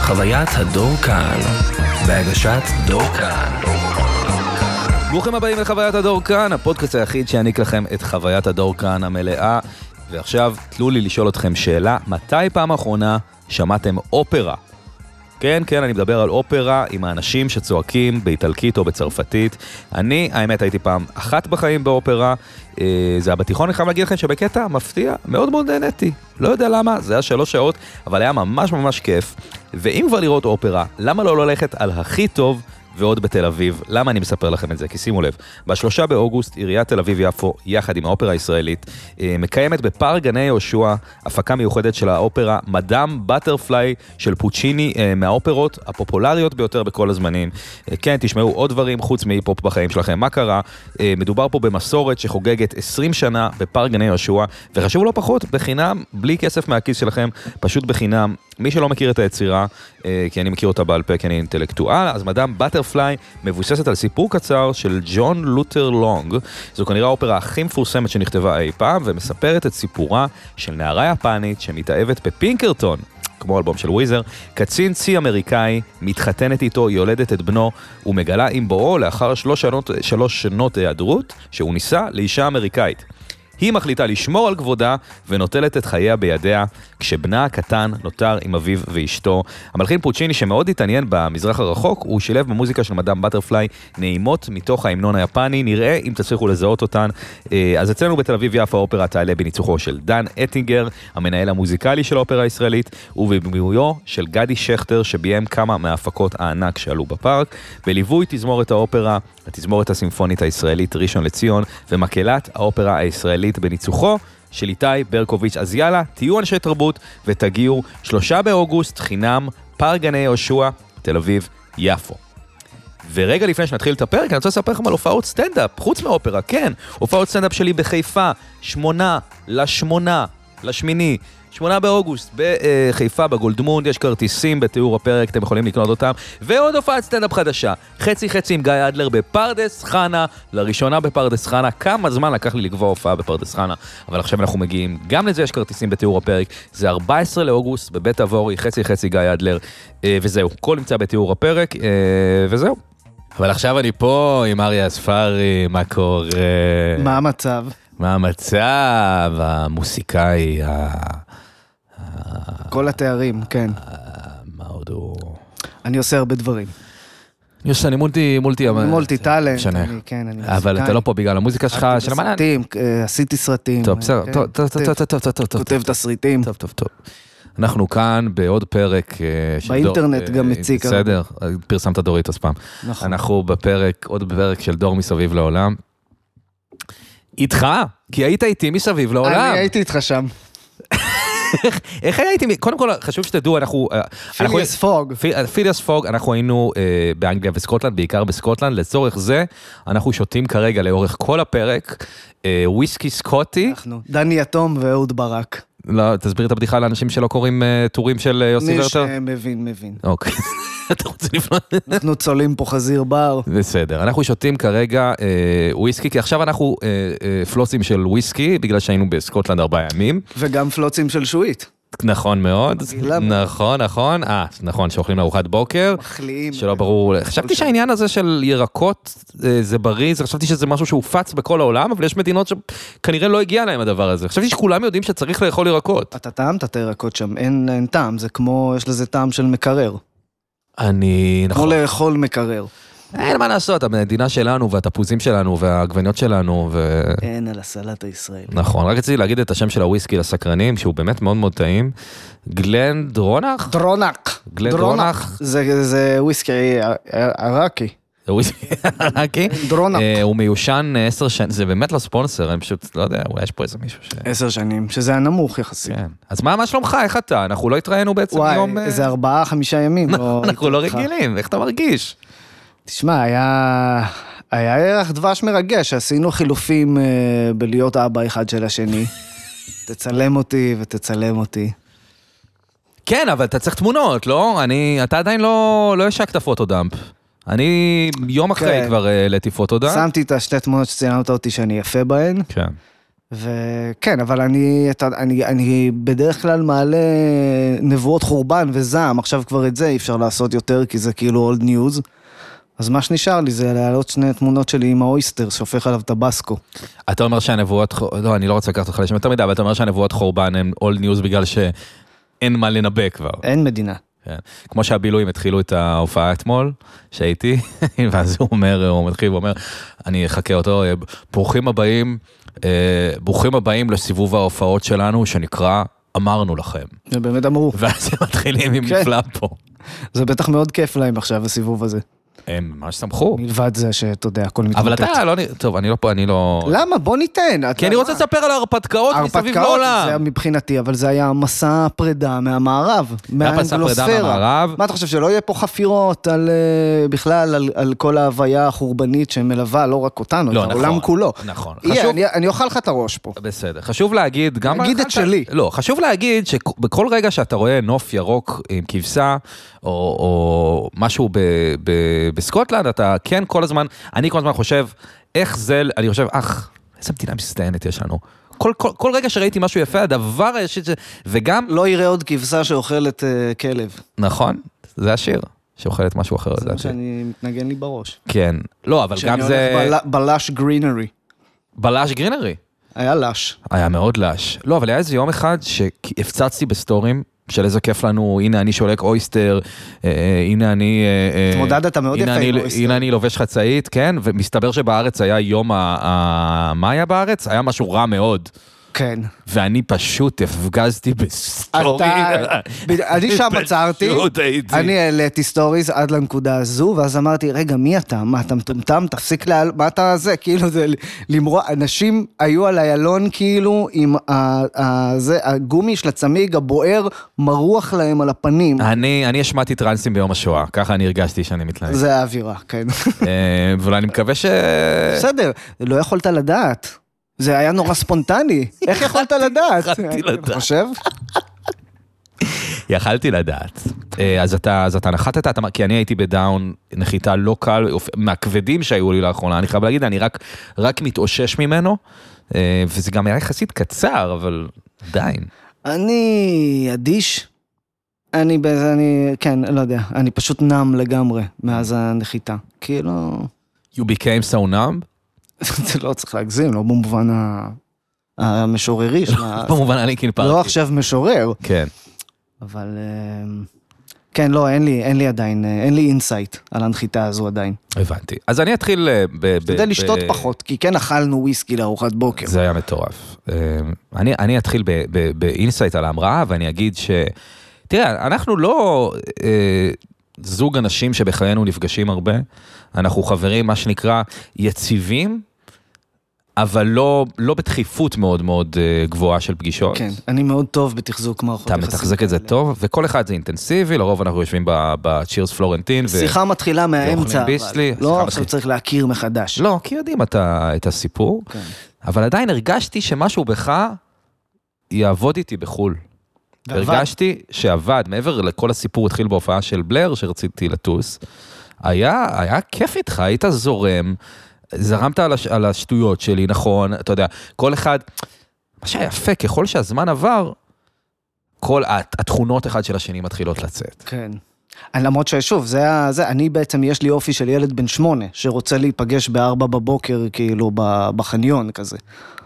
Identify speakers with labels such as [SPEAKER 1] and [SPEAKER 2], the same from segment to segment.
[SPEAKER 1] חוויית הדור כאן, בהגשת דור כאן.
[SPEAKER 2] ברוכים הבאים לחוויית הדור כאן, הפודקאסט היחיד שיעניק לכם את חוויית הדור כאן המלאה. ועכשיו, תנו לי לשאול אתכם שאלה, מתי פעם אחרונה שמעתם אופרה? כן, כן, אני מדבר על אופרה עם האנשים שצועקים באיטלקית או בצרפתית. אני, האמת, הייתי פעם אחת בחיים באופרה. אה, זה היה בתיכון, אני חייב להגיד לכם שבקטע מפתיע, מאוד מאוד נהניתי. לא יודע למה, זה היה שלוש שעות, אבל היה ממש ממש כיף. ואם כבר לראות אופרה, למה לא ללכת על הכי טוב ועוד בתל אביב? למה אני מספר לכם את זה? כי שימו לב, בשלושה באוגוסט עיריית תל אביב-יפו, יחד עם האופרה הישראלית, אה, מקיימת בפארק גני יהושע הפקה מיוחדת של האופרה מדאם בטרפליי של פוצ'יני אה, מהאופרות הפופולריות ביותר בכל הזמנים. אה, כן, תשמעו עוד דברים חוץ מהיפ-הופ בחיים שלכם. מה קרה? אה, מדובר פה במסורת שחוגגת 20 שנה בפארק גני יהושע, וחשוב לא פחות, בחינם, בלי כסף מהכיס שלכם, פשוט בחינם. מי שלא מכיר את היצירה, אה, כי אני מכיר אותה בעל פה, כי אני אינטלקטואל, אז מדאם בטרפליי מבוססת על סיפור קצר של ג'ון לותר לונג. זו כנראה האופרה הכי מפורסמת שנכתבה אי פעם, ומספרת את סיפורה של נערה יפנית שמתאהבת בפינקרטון. כמו אלבום של וויזר, קצין צי אמריקאי, מתחתנת איתו, יולדת את בנו, ומגלה עם בואו, לאחר שלוש שנות, שלוש שנות היעדרות, שהוא נישא לאישה אמריקאית. היא מחליטה לשמור על כבודה ונוטלת את חייה בידיה, כשבנה הקטן נותר עם אביו ואשתו. המלחין פוצ'יני, שמאוד התעניין במזרח הרחוק, הוא שילב במוזיקה של מדאם בטרפליי נעימות מתוך ההמנון היפני, נראה אם תצליחו לזהות אותן. אה, אז אצלנו בתל אביב יפו האופרה תעלה בניצוחו של דן אטינגר, המנהל המוזיקלי של האופרה הישראלית, ובבימויו של גדי שכטר, שביים כמה מההפקות הענק שעלו בפארק, בליווי תזמורת האופרה, התזמורת הסימפונית הישראלית ראשון לציון, ומקהלת האופרה הישראלית בניצוחו. של איתי ברקוביץ'. אז יאללה, תהיו אנשי תרבות ותגיעו שלושה באוגוסט, חינם, פארק גני יהושע, תל אביב, יפו. ורגע לפני שנתחיל את הפרק, אני רוצה לספר לכם על הופעות סטנדאפ, חוץ מאופרה, כן. הופעות סטנדאפ שלי בחיפה, שמונה לשמונה, לשמיני. שמונה באוגוסט בחיפה, בגולדמונד, יש כרטיסים בתיאור הפרק, אתם יכולים לקנות אותם. ועוד הופעת סטנדאפ חדשה, חצי חצי עם גיא אדלר בפרדס חנה, לראשונה בפרדס חנה. כמה זמן לקח לי לקבוע הופעה בפרדס חנה, אבל עכשיו אנחנו מגיעים, גם לזה יש כרטיסים בתיאור הפרק. זה 14 לאוגוסט בבית אבורי, חצי חצי גיא אדלר, אה, וזהו, הכל נמצא בתיאור הפרק, אה, וזהו.
[SPEAKER 3] אבל עכשיו אני פה עם אריה אספרי, מה קורה? אה,
[SPEAKER 4] מה המצב?
[SPEAKER 3] מה המצב המוסיקאי, ה...
[SPEAKER 4] כל התארים, כן.
[SPEAKER 3] אה, מה עוד הוא...
[SPEAKER 4] אני עושה הרבה דברים.
[SPEAKER 3] יוס, אני מולטי, מולטי, אבל...
[SPEAKER 4] מולטי טאלנט,
[SPEAKER 3] אה, משנה.
[SPEAKER 4] אני- כן, אני
[SPEAKER 3] אבל אתה לא פה בגלל המוזיקה שלך, של המנה...
[SPEAKER 4] סרטים, עשיתי סרטים.
[SPEAKER 3] טוב, בסדר,
[SPEAKER 4] כן,
[SPEAKER 3] טוב, טוב, טוב, טוב, טוב, טוב, טוב, טוב,
[SPEAKER 4] כותב תסריטים.
[SPEAKER 3] טוב, טוב, טוב. אנחנו כאן בעוד פרק אה, של דור...
[SPEAKER 4] באינטרנט גם
[SPEAKER 3] אה,
[SPEAKER 4] מציק הרבה.
[SPEAKER 3] בסדר, פרסמת דוריטוס פעם.
[SPEAKER 4] נכון.
[SPEAKER 3] אנחנו בפרק, עוד בפרק של דור מסביב לעולם. איתך, כי היית איתי מסביב לעולם.
[SPEAKER 4] אני הייתי איתך שם.
[SPEAKER 3] איך היה איתי? קודם כל, חשוב שתדעו, אנחנו... אה, אנחנו-
[SPEAKER 4] פיליאס פוג.
[SPEAKER 3] פי- פיליאס פוג, אנחנו היינו אה, באנגליה וסקוטלנד, בעיקר בסקוטלנד. לצורך זה, אנחנו שותים כרגע לאורך כל הפרק אה, וויסקי סקוטי.
[SPEAKER 4] אנחנו. דני יתום ואהוד ברק.
[SPEAKER 3] לא, תסביר את הבדיחה לאנשים שלא קוראים אה, טורים של אה, יוסי
[SPEAKER 4] מי
[SPEAKER 3] ורטר.
[SPEAKER 4] שמבין, מבין.
[SPEAKER 3] אוקיי. אתה רוצה לפנות?
[SPEAKER 4] אנחנו צולעים פה חזיר בר.
[SPEAKER 3] בסדר, אנחנו שותים כרגע אה, וויסקי, כי עכשיו אנחנו אה, אה, פלוסים של וויסקי, בגלל שהיינו בסקוטלנד ארבעה ימים.
[SPEAKER 4] וגם פלוצים של שועית.
[SPEAKER 3] נכון מאוד.
[SPEAKER 4] מגעילה מאוד.
[SPEAKER 3] נכון, נכון. אה, נכון, שאוכלים לארוחת בוקר.
[SPEAKER 4] מחליאים.
[SPEAKER 3] שלא ברור, חשבתי
[SPEAKER 4] שם.
[SPEAKER 3] שהעניין הזה של ירקות אה, זה בריא, זה- חשבתי שזה משהו שהופץ בכל העולם, אבל יש מדינות שכנראה לא הגיע להם הדבר הזה. חשבתי שכולם יודעים שצריך לאכול ירקות.
[SPEAKER 4] אתה טעמת את הירקות שם, אין אין טעם, זה כמו, יש לזה טעם של מקרר.
[SPEAKER 3] אני,
[SPEAKER 4] כמו
[SPEAKER 3] נכון,
[SPEAKER 4] לאכול מקרר.
[SPEAKER 3] אין מה לעשות, המדינה שלנו והתפוזים שלנו והעגבניות שלנו, ו...
[SPEAKER 4] אין על הסלט הישראלי.
[SPEAKER 3] נכון, רק רציתי להגיד את השם של הוויסקי לסקרנים, שהוא באמת מאוד מאוד טעים. גלן דרונח?
[SPEAKER 4] דרונק.
[SPEAKER 3] גלן דרונח?
[SPEAKER 4] זה, זה וויסקי אה, אה, עראקי.
[SPEAKER 3] זה וויסקי עיראקי.
[SPEAKER 4] דרונק.
[SPEAKER 3] אה, הוא מיושן אה, עשר שנים, זה באמת לא ספונסר, אני פשוט, לא יודע, אולי יש פה איזה מישהו ש...
[SPEAKER 4] עשר שנים, שזה הנמוך יחסית.
[SPEAKER 3] אה, כן. אז מה, מה שלומך? איך אתה? אנחנו לא התראינו בעצם
[SPEAKER 4] וואי,
[SPEAKER 3] יום... אה,
[SPEAKER 4] איזה ארבעה, חמישה ימים. לא
[SPEAKER 3] אנחנו לא
[SPEAKER 4] ראיתי אותך.
[SPEAKER 3] רגילים, איך אתה מרגיש?
[SPEAKER 4] תשמע, היה... היה ירח דבש מרגש, עשינו חילופים אה, בלהיות אבא אחד של השני. תצלם אותי ותצלם אותי.
[SPEAKER 3] כן, אבל אתה צריך תמונות, לא? אני, אתה עדיין לא, לא השקת פוטודאמפ. אני יום אחרי
[SPEAKER 4] כן.
[SPEAKER 3] כבר אה, העליתי פוטודאמפ.
[SPEAKER 4] שמתי את השתי תמונות שצילמת אותי שאני יפה בהן,
[SPEAKER 3] כן.
[SPEAKER 4] וכן, אבל אני, אתה, אני, אני בדרך כלל מעלה נבואות חורבן וזעם, עכשיו כבר את זה אי אפשר לעשות יותר, כי זה כאילו old news. אז מה שנשאר לי זה להעלות שני תמונות שלי עם האויסטר שהופך עליו טבסקו.
[SPEAKER 2] אתה אומר שהנבואות, חור- לא, אני לא רוצה לקחת אותך לשם יותר מדי, אבל אתה אומר שהנבואות חורבן הם all news בגלל שאין מה לנבא כבר.
[SPEAKER 4] אין מדינה.
[SPEAKER 2] כן. כמו שהבילויים התחילו את ההופעה אתמול, שהייתי, ואז הוא אומר, הוא מתחיל ואומר, אני אחכה אותו, אה, ברוכים הבאים, אה, ברוכים הבאים לסיבוב ההופעות שלנו, שנקרא אמרנו לכם.
[SPEAKER 4] זה באמת אמרו.
[SPEAKER 2] ואז הם מתחילים עם
[SPEAKER 4] כן.
[SPEAKER 2] מפלע פה.
[SPEAKER 4] זה בטח מאוד כיף להם עכשיו, הסיבוב הזה.
[SPEAKER 2] הם ממש שמחו.
[SPEAKER 4] מלבד זה שאתה יודע, הכל מתמוטט.
[SPEAKER 2] אבל אתה לא, נ- טוב, אני לא פה, אני לא...
[SPEAKER 4] למה? בוא ניתן. אתה-
[SPEAKER 2] כי אני רוצה לספר על ההרפתקאות מסביב
[SPEAKER 4] הרפתקאות לא, זה היה
[SPEAKER 2] לעולם.
[SPEAKER 4] מבחינתי, אבל זה היה מסע פרידה מהמערב,
[SPEAKER 2] מסע פרידה
[SPEAKER 4] מהאנגלוספירה.
[SPEAKER 2] מהמערב.
[SPEAKER 4] מה אתה חושב, שלא יהיה פה חפירות על אה, בכלל, על- על כל ההוויה החורבנית שמלווה לא רק אותנו,
[SPEAKER 2] לא,
[SPEAKER 4] את
[SPEAKER 2] נכון,
[SPEAKER 4] העולם כולו.
[SPEAKER 2] נכון.
[SPEAKER 4] יהיה,
[SPEAKER 2] חשוב-
[SPEAKER 4] אני- אני אוכל לך את הראש פה.
[SPEAKER 2] בסדר. חשוב להגיד גם...
[SPEAKER 4] תגיד את שלי.
[SPEAKER 2] לא, חשוב להגיד שבכל רגע שאתה רואה נוף ירוק עם כבשה, או, או משהו ב, ב, בסקוטלנד, אתה כן כל הזמן, אני כל הזמן חושב, איך זה, אני חושב, אך, איזה מדינה מצטיינת יש לנו. כל, כל, כל רגע שראיתי משהו יפה, הדבר היחיד ש... וגם,
[SPEAKER 4] לא יראה עוד כבשה שאוכלת אה, כלב.
[SPEAKER 2] נכון, זה השיר, שאוכלת משהו אחר,
[SPEAKER 4] זה מה
[SPEAKER 2] לדעתי.
[SPEAKER 4] שאני מתנגן לי בראש.
[SPEAKER 2] כן. לא, אבל אוקיי. גם
[SPEAKER 4] כשאני
[SPEAKER 2] זה...
[SPEAKER 4] הולך בל- בלש גרינרי.
[SPEAKER 2] בלש גרינרי.
[SPEAKER 4] היה לש.
[SPEAKER 2] היה מאוד לש. לא, אבל היה איזה יום אחד שהפצצתי בסטורים של איזה כיף לנו, הנה אני שולק אויסטר, אה, אה, הנה אני... אה, אה,
[SPEAKER 4] התמודדת מאוד
[SPEAKER 2] הנה
[SPEAKER 4] יפה עם
[SPEAKER 2] אני-
[SPEAKER 4] אויסטר.
[SPEAKER 2] הנה אני לובש חצאית, כן, ומסתבר שבארץ היה יום ה... ה- מה היה בארץ? היה משהו רע מאוד.
[SPEAKER 4] כן.
[SPEAKER 2] ואני פשוט הפגזתי בסטורים.
[SPEAKER 4] אתה... בד- אני שם עצרתי,
[SPEAKER 2] פשוט הייתי.
[SPEAKER 4] אני העליתי סטוריז עד לנקודה הזו, ואז אמרתי, רגע, מי אתה? מה, אתה מטומטם? תפסיק להעל... מה אתה זה? כאילו, זה ל- למרוע... אנשים היו על איילון, כאילו, עם ה- ה- זה, הגומי של הצמיג הבוער מרוח להם על הפנים.
[SPEAKER 2] אני אני השמעתי טרנסים ביום השואה, ככה אני הרגשתי שאני מתלהג.
[SPEAKER 4] זה האווירה, כן.
[SPEAKER 2] אה, אבל אני מקווה ש...
[SPEAKER 4] בסדר, לא יכולת לדעת. זה היה נורא ספונטני. איך יכולת לדעת?
[SPEAKER 2] יכלתי לדעת.
[SPEAKER 4] אתה חושב?
[SPEAKER 2] יכלתי לדעת. אה, אז אתה, אז אתה נחתת, אתה, כי אני הייתי בדאון נחיתה לא קל, אופ- מהכבדים שהיו לי לאחרונה, אני חייב להגיד, אני רק, רק מתאושש ממנו, אה, וזה גם היה יחסית קצר, אבל עדיין.
[SPEAKER 4] אני אדיש. אני באיזה, אני, כן, לא יודע, אני פשוט נם לגמרי מאז הנחיתה. כאילו,
[SPEAKER 2] You became so numb,
[SPEAKER 4] זה לא צריך להגזים, לא במובן ה- המשוררי של ה...
[SPEAKER 2] לא במובן הלינקין פארק.
[SPEAKER 4] אה, לא עכשיו משורר,
[SPEAKER 2] כן.
[SPEAKER 4] אבל... אמ, כן, לא, אין לי, אין לי עדיין, אה, אין לי אינסייט על הנחיתה הזו עדיין.
[SPEAKER 2] הבנתי. אז אני אתחיל אה, ב... ב-
[SPEAKER 4] כדי
[SPEAKER 2] ב-
[SPEAKER 4] לשתות פחות, כי כן אכלנו וויסקי לארוחת בוקר.
[SPEAKER 2] זה היה מטורף. אה, אני, אני אתחיל ב- ב- באינסייט על ההמראה, ואני אגיד ש... תראה, אנחנו לא אה, זוג אנשים שבחיינו נפגשים הרבה, אנחנו חברים, מה שנקרא, יציבים, אבל לא, לא בתכיפות מאוד מאוד אה, גבוהה של פגישות.
[SPEAKER 4] כן, אני מאוד טוב בתחזוק מערכות
[SPEAKER 2] אתה
[SPEAKER 4] יחסים.
[SPEAKER 2] מתחזק את זה
[SPEAKER 4] כאלה.
[SPEAKER 2] טוב, וכל אחד זה אינטנסיבי, לרוב אנחנו יושבים ב- בצ'ירס פלורנטין. ו-
[SPEAKER 4] שיחה מתחילה מהאמצע, אבל.
[SPEAKER 2] ביסלי, שיחה
[SPEAKER 4] לא עכשיו
[SPEAKER 2] מתחילה.
[SPEAKER 4] צריך להכיר מחדש.
[SPEAKER 2] לא, כי יודעים את, ה- את הסיפור,
[SPEAKER 4] כן.
[SPEAKER 2] אבל עדיין הרגשתי שמשהו בך יעבוד איתי בחו"ל.
[SPEAKER 4] ועבד.
[SPEAKER 2] הרגשתי שעבד, מעבר לכל הסיפור התחיל בהופעה של בלר, שרציתי לטוס, היה, היה כיף איתך, היית זורם, זרמת על, הש, על השטויות שלי, נכון, אתה יודע, כל אחד, מה שהיה יפה, ככל שהזמן עבר, כל הת- התכונות אחד של השני מתחילות לצאת.
[SPEAKER 4] כן. אני- למרות ששוב, זה ה... זה, אני בעצם, יש לי אופי של ילד בן שמונה, שרוצה להיפגש בארבע בבוקר, כאילו, ב- בחניון כזה.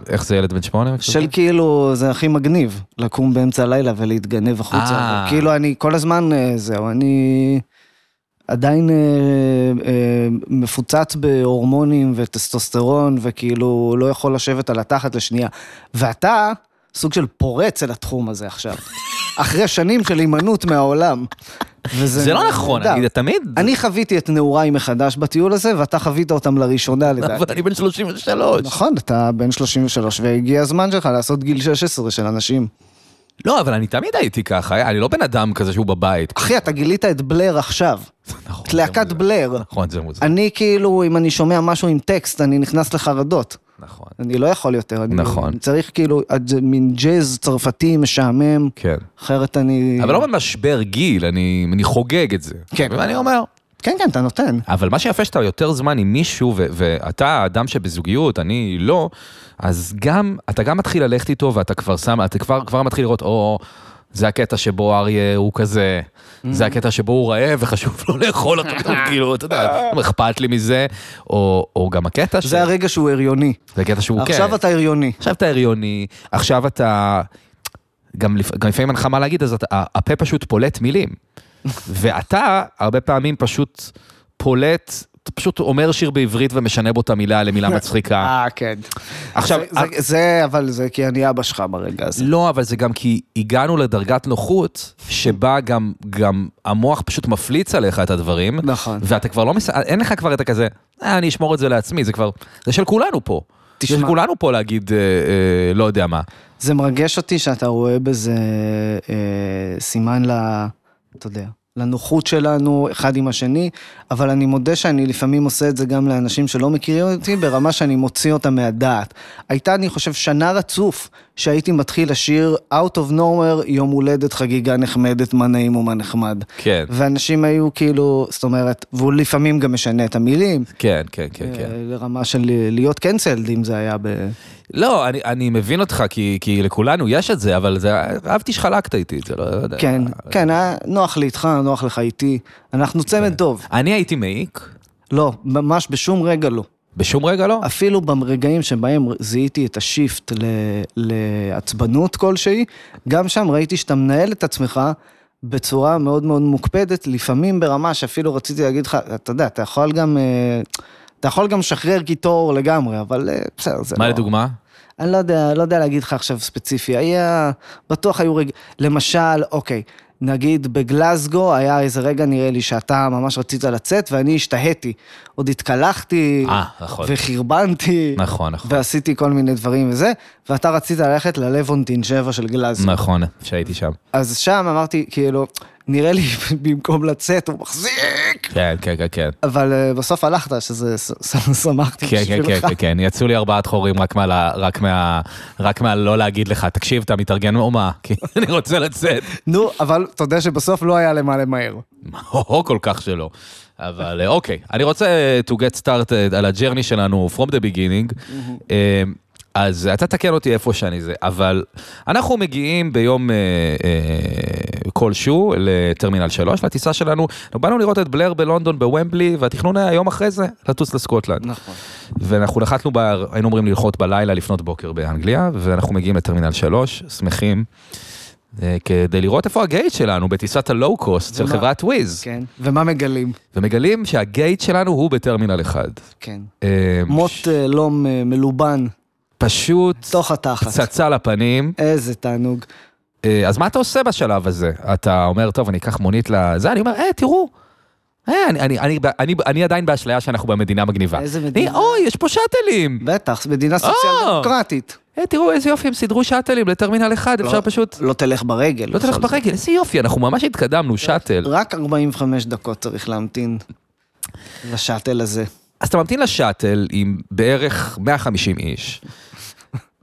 [SPEAKER 2] איך זה ילד בן שמונה?
[SPEAKER 4] של כאילו, זה הכי מגניב, לקום באמצע הלילה ולהתגנב החוצה.
[SPEAKER 2] אה.
[SPEAKER 4] כאילו, אני כל הזמן, אה, זהו, אני עדיין אה, אה, מפוצץ בהורמונים וטסטוסטרון, וכאילו, לא יכול לשבת על התחת לשנייה. ואתה סוג של פורץ אל התחום הזה עכשיו. אחרי שנים של הימנעות מהעולם. וזה
[SPEAKER 2] זה לא נכון,
[SPEAKER 4] נהדר.
[SPEAKER 2] אני תמיד...
[SPEAKER 4] אני חוויתי את נעוריי מחדש בטיול הזה, ואתה חווית אותם לראשונה
[SPEAKER 2] אבל
[SPEAKER 4] לדעתי.
[SPEAKER 2] אני בן 33.
[SPEAKER 4] נכון, אתה בן 33, והגיע הזמן שלך לעשות גיל 16 של אנשים.
[SPEAKER 2] לא, אבל אני תמיד הייתי ככה, אני לא בן אדם כזה שהוא בבית.
[SPEAKER 4] אחי, אתה גילית את בלר עכשיו.
[SPEAKER 2] נכון,
[SPEAKER 4] את
[SPEAKER 2] זה
[SPEAKER 4] להקת
[SPEAKER 2] מוזר.
[SPEAKER 4] בלר.
[SPEAKER 2] נכון, זה מוזר.
[SPEAKER 4] אני כאילו, אם אני שומע משהו עם טקסט, אני נכנס לחרדות.
[SPEAKER 2] נכון.
[SPEAKER 4] אני לא יכול יותר. אני-
[SPEAKER 2] נכון.
[SPEAKER 4] אני צריך כאילו, עד- מין ג'אז צרפתי משעמם,
[SPEAKER 2] כן.
[SPEAKER 4] אחרת אני...
[SPEAKER 2] לא- אבל לא במשבר גיל, אני, אני חוגג את זה.
[SPEAKER 4] כן.
[SPEAKER 2] ואני אומר,
[SPEAKER 4] כן, כן, אתה נותן.
[SPEAKER 2] אבל מה שיפה שאתה יותר זמן עם מישהו, ו- ואתה אדם שבזוגיות, אני לא, אז גם, אתה גם מתחיל ללכת איתו, ואתה כבר שם, אתה כבר, כבר מתחיל לראות, או, זה הקטע שבו אריה הוא כזה,
[SPEAKER 4] Mm.
[SPEAKER 2] זה הקטע שבו הוא רעב וחשוב לו לאכול אותו, גם, כאילו, אתה יודע, "מה אכפת לי מזה, או, או גם הקטע ש...
[SPEAKER 4] זה הרגע שהוא הריוני.
[SPEAKER 2] זה הקטע שהוא, כן.
[SPEAKER 4] עכשיו אתה הריוני.
[SPEAKER 2] עכשיו אתה הריוני, עכשיו אתה... גם, לפ... גם לפעמים אין לך מה להגיד, אז אתה... הפה פשוט פולט מילים. ואתה הרבה פעמים פשוט פולט, אתה פשוט אומר שיר בעברית ומשנה בו את המילה למילה מצחיקה.
[SPEAKER 4] אה, כן.
[SPEAKER 2] עכשיו,
[SPEAKER 4] זה- זה- זה, אבל זה כי אני אבא שלך ברגע הזה.
[SPEAKER 2] לא, אבל זה גם כי הגענו לדרגת נוחות, שבה גם, גם המוח פשוט מפליץ עליך את הדברים.
[SPEAKER 4] נכון.
[SPEAKER 2] ואתה כבר לא מס... אין לך כבר את הכזה, אה, אני אשמור את זה לעצמי, זה כבר... זה של כולנו פה.
[SPEAKER 4] תשמע.
[SPEAKER 2] זה של כולנו פה להגיד, אה, אה, לא יודע מה.
[SPEAKER 4] זה מרגש אותי שאתה רואה בזה אה, סימן ל... אתה יודע. לנוחות שלנו אחד עם השני, אבל אני מודה שאני לפעמים עושה את זה גם לאנשים שלא מכירים אותי, ברמה שאני מוציא אותם מהדעת. הייתה, אני חושב, שנה רצוף שהייתי מתחיל לשיר Out of Nowhere, יום הולדת, חגיגה נחמדת, מה נעים ומה נחמד.
[SPEAKER 2] כן,
[SPEAKER 4] ואנשים היו כאילו, זאת אומרת, והוא לפעמים גם משנה את המילים,
[SPEAKER 2] כן, כן, כן, כן.
[SPEAKER 4] אה, לרמה של להיות קנצלד, אם זה היה ב...
[SPEAKER 2] לא, אני, אני מבין אותך, כי, כי לכולנו יש את זה, אבל זה, אהבתי שחלקת איתי את זה, לא יודע.
[SPEAKER 4] כן, כן, היה נוח לי איתך, נוח לך איתי. אנחנו צמד טוב.
[SPEAKER 2] אני הייתי מעיק,
[SPEAKER 4] לא, ממש בשום רגע לא.
[SPEAKER 2] בשום רגע לא.
[SPEAKER 4] אפילו ברגעים שבהם זיהיתי את השיפט ל- לעצבנות כלשהי, גם שם ראיתי שאתה מנהל את עצמך בצורה מאוד מאוד מוקפדת, לפעמים ברמה שאפילו רציתי להגיד לך, אתה יודע, אתה יכול גם... אה, אתה יכול גם לשחרר קיטור לגמרי, אבל אה, בסדר, זה לא...
[SPEAKER 2] מה לדוגמה?
[SPEAKER 4] אני לא יודע, לא יודע להגיד לך עכשיו ספציפי, היה, בטוח היו רגע, למשל, אוקיי, נגיד בגלזגו היה איזה רגע, נראה לי, שאתה ממש רצית לצאת, ואני השתהיתי. עוד התקלחתי,
[SPEAKER 2] אה, נכון.
[SPEAKER 4] וחרבנתי,
[SPEAKER 2] נכון, נכון.
[SPEAKER 4] ועשיתי כל מיני דברים וזה, ואתה רצית ללכת ללוונטין 7 של גלזגו.
[SPEAKER 2] נכון, שהייתי שם.
[SPEAKER 4] אז שם אמרתי, כאילו, נראה לי במקום לצאת, הוא מחזיק!
[SPEAKER 2] כן, כן, כן, כן.
[SPEAKER 4] אבל אה, בסוף הלכת, שזה, ס- ס- שמחתי
[SPEAKER 2] כן, כן,
[SPEAKER 4] בשבילך.
[SPEAKER 2] כן, כן, כן, יצאו לי ארבעת חורים רק מה, לה- רק מה, רק מה לא להגיד לך, תקשיב, אתה מתארגן או מה? כי אני רוצה לצאת.
[SPEAKER 4] נו, אבל תודה שבסוף לא היה למה למהר.
[SPEAKER 2] או כל כך שלא. אבל אה, אוקיי, אני רוצה אה, to get started על הג'רני שלנו from the beginning. אה, אז אתה תקן אותי איפה שאני זה, אבל אנחנו מגיעים ביום אה, אה, כלשהו לטרמינל 3, לטיסה שלנו, באנו לראות את בלר בלונדון בוומבלי, והתכנון היה יום אחרי זה לטוס לסקוטלנד.
[SPEAKER 4] נכון.
[SPEAKER 2] ואנחנו נחתנו, ב... היינו אמורים ללחוט בלילה לפנות בוקר באנגליה, ואנחנו מגיעים לטרמינל 3, שמחים, אה, כדי לראות איפה הגייט שלנו בטיסת הלואו-קוסט של
[SPEAKER 4] ומה-
[SPEAKER 2] חברת וויז.
[SPEAKER 4] כן. ומה מגלים?
[SPEAKER 2] ומגלים שהגייט שלנו הוא בטרמינל 1.
[SPEAKER 4] כן.
[SPEAKER 2] אה,
[SPEAKER 4] מוט
[SPEAKER 2] ש-
[SPEAKER 4] אה, לא מ- מלובן,
[SPEAKER 2] פשוט
[SPEAKER 4] תוך התחת.
[SPEAKER 2] פצצה לפנים.
[SPEAKER 4] איזה תענוג.
[SPEAKER 2] אה, אז מה אתה עושה בשלב הזה? אתה אומר, טוב, אני אקח מונית לזה, אני אומר, אה, תראו. אה, אני, אני, אני, אני, אני עדיין באשליה שאנחנו במדינה מגניבה.
[SPEAKER 4] איזה מדינה?
[SPEAKER 2] אני,
[SPEAKER 3] לא
[SPEAKER 2] אוי, יש פה שאטלים.
[SPEAKER 4] בטח, מדינה סוציאל דמוקרטית.
[SPEAKER 2] אה, תראו איזה יופי, הם סידרו שאטלים לטרמינל 1, אפשר פשוט...
[SPEAKER 4] לא תלך ברגל.
[SPEAKER 2] לא תלך
[SPEAKER 4] בכל זאת.
[SPEAKER 2] ברגל, איזה יופי, אנחנו ממש התקדמנו, שאטל.
[SPEAKER 4] רק 45 דקות צריך להמתין לשאטל הזה.
[SPEAKER 2] אז אתה ממתין לשאטל עם בערך 150 איש,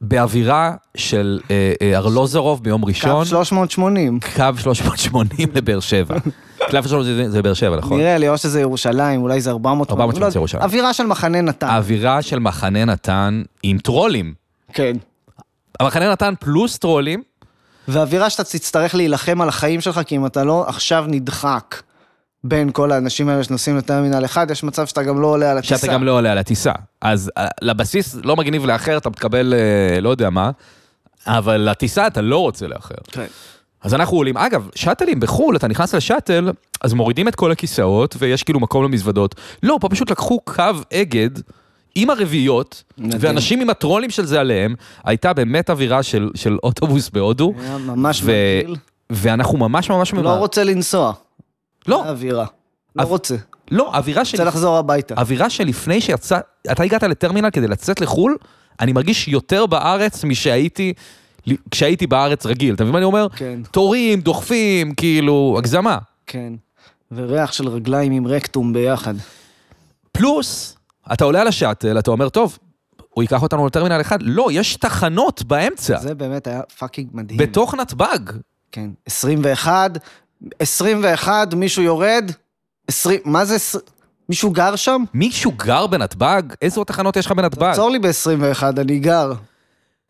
[SPEAKER 2] באווירה של אה, אה, ארלוזרוב ביום
[SPEAKER 4] קו
[SPEAKER 2] ראשון,
[SPEAKER 4] 380.
[SPEAKER 2] קו 380 לבאר שבע. קו 380 זה- זה באר שבע, נכון?
[SPEAKER 4] נראה לי, או שזה ירושלים, אולי זה 400.
[SPEAKER 2] 480
[SPEAKER 4] לא,
[SPEAKER 2] זה ירושלים.
[SPEAKER 4] אווירה של מחנה נתן.
[SPEAKER 2] האווירה של מחנה נתן עם טרולים.
[SPEAKER 4] כן.
[SPEAKER 2] המחנה נתן פלוס טרולים,
[SPEAKER 4] ואווירה שאתה תצטרך להילחם על החיים שלך, כי אם אתה לא עכשיו נדחק בין כל האנשים האלה שנוסעים לטרמינל 1, יש מצב שאתה גם לא עולה על הטיסה.
[SPEAKER 2] שאתה גם לא עולה על הטיסה. אז אה, לבסיס לא מגניב לאחר, אתה מקבל אה, לא יודע מה, אבל לטיסה אתה לא רוצה לאחר.
[SPEAKER 4] כן.
[SPEAKER 2] אז אנחנו עולים, אגב, שאטלים בחו"ל, אתה נכנס לשאטל, אז מורידים את כל הכיסאות ויש כאילו מקום למזוודות. לא, פה פשוט לקחו קו אגד עם הרביעיות,
[SPEAKER 4] מדהים.
[SPEAKER 2] ואנשים עם הטרולים של זה עליהם, הייתה באמת אווירה של, של אוטובוס בהודו.
[SPEAKER 4] היה ממש
[SPEAKER 2] ו-
[SPEAKER 4] מגעיל.
[SPEAKER 2] ואנחנו ממש ממש
[SPEAKER 4] לא רוצה לנסוע.
[SPEAKER 2] לא,
[SPEAKER 4] אווירה. לא
[SPEAKER 2] אב-
[SPEAKER 4] רוצה.
[SPEAKER 2] לא, אווירה של...
[SPEAKER 4] רוצה לחזור הביתה.
[SPEAKER 2] אווירה שלפני שיצא, אתה הגעת לטרמינל כדי לצאת לחו"ל, אני מרגיש יותר בארץ משהייתי, כשהייתי בארץ רגיל. אתה מבין מה אני אומר?
[SPEAKER 4] כן.
[SPEAKER 2] תורים, דוחפים, כאילו, הגזמה.
[SPEAKER 4] כן. וריח של רגליים עם רקטום ביחד.
[SPEAKER 2] פלוס, אתה עולה על השאטל, אתה אומר, טוב, הוא ייקח אותנו לטרמינל אחד. לא, יש תחנות באמצע,
[SPEAKER 4] זה באמת היה פאקינג מדהים.
[SPEAKER 2] בתוך נתב"ג.
[SPEAKER 4] כן. 21, 21, מישהו יורד, 20, מה זה 20? מישהו גר שם?
[SPEAKER 2] מישהו גר בנתב"ג? איזה עוד תחנות יש לך בנתב"ג?
[SPEAKER 4] תעצור לי ב-21, אני גר.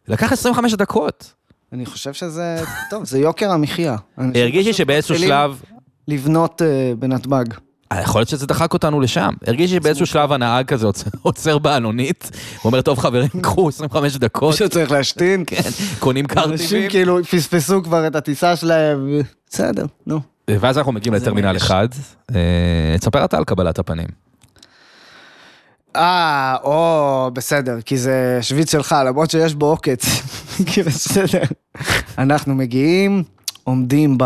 [SPEAKER 2] לקח 25 דקות.
[SPEAKER 4] אני חושב שזה, טוב, זה יוקר המחיה. אנשים
[SPEAKER 2] הרגיש לי
[SPEAKER 4] פשוט
[SPEAKER 2] שבאיזשהו
[SPEAKER 4] מתחילים
[SPEAKER 2] שלב...
[SPEAKER 4] לבנות אה, בנתב"ג.
[SPEAKER 2] אה, יכול להיות שזה דחק אותנו לשם. הרגיש לי שבאיזשהו שלב הנהג כזה עוצר- עוצר בעלונית, ואומר, טוב חברים, קחו 25 דקות,
[SPEAKER 4] מישהו צריך להשתין. כן.
[SPEAKER 2] קונים
[SPEAKER 4] אנשים
[SPEAKER 2] קרטיבים,
[SPEAKER 4] כאילו פספסו כבר את הטיסה שלהם. בסדר, נו.
[SPEAKER 2] ואז אנחנו מגיעים לטרמינל 1. אה, תספר אתה על קבלת הפנים.
[SPEAKER 4] אה, או, בסדר, כי זה שוויץ שלך, למרות שיש בו עוקץ. כי בסדר. אנחנו מגיעים, עומדים ב...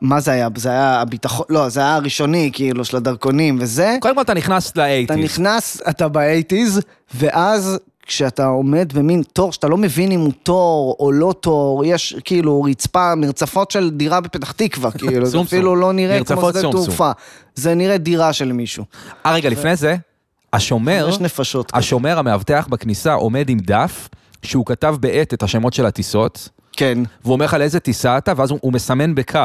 [SPEAKER 4] מה זה היה? זה היה הביטחון, לא, זה היה הראשוני, כאילו, של הדרכונים וזה.
[SPEAKER 2] קודם כל אתה נכנס
[SPEAKER 4] אתה
[SPEAKER 2] לאייטיז.
[SPEAKER 4] נכנס, אתה באייטיז, ואז כשאתה עומד במין תור, שאתה לא מבין אם הוא תור או לא תור, יש כאילו רצפה, מרצפות של דירה בפתח תקווה, כאילו, זה
[SPEAKER 2] צום צום.
[SPEAKER 4] אפילו לא נראה כמו
[SPEAKER 2] מרצפות
[SPEAKER 4] שדה
[SPEAKER 2] צום צום.
[SPEAKER 4] תעופה. זה נראה דירה של מישהו.
[SPEAKER 2] אה, רגע, לפני זה, השומר,
[SPEAKER 4] יש נפשות.
[SPEAKER 2] השומר המאבטח בכניסה עומד עם דף, שהוא כתב בעט את השמות של הטיסות,
[SPEAKER 4] כן.
[SPEAKER 2] והוא אומר לך לאיזה טיסה אתה, ואז הוא, הוא מסמן בקו.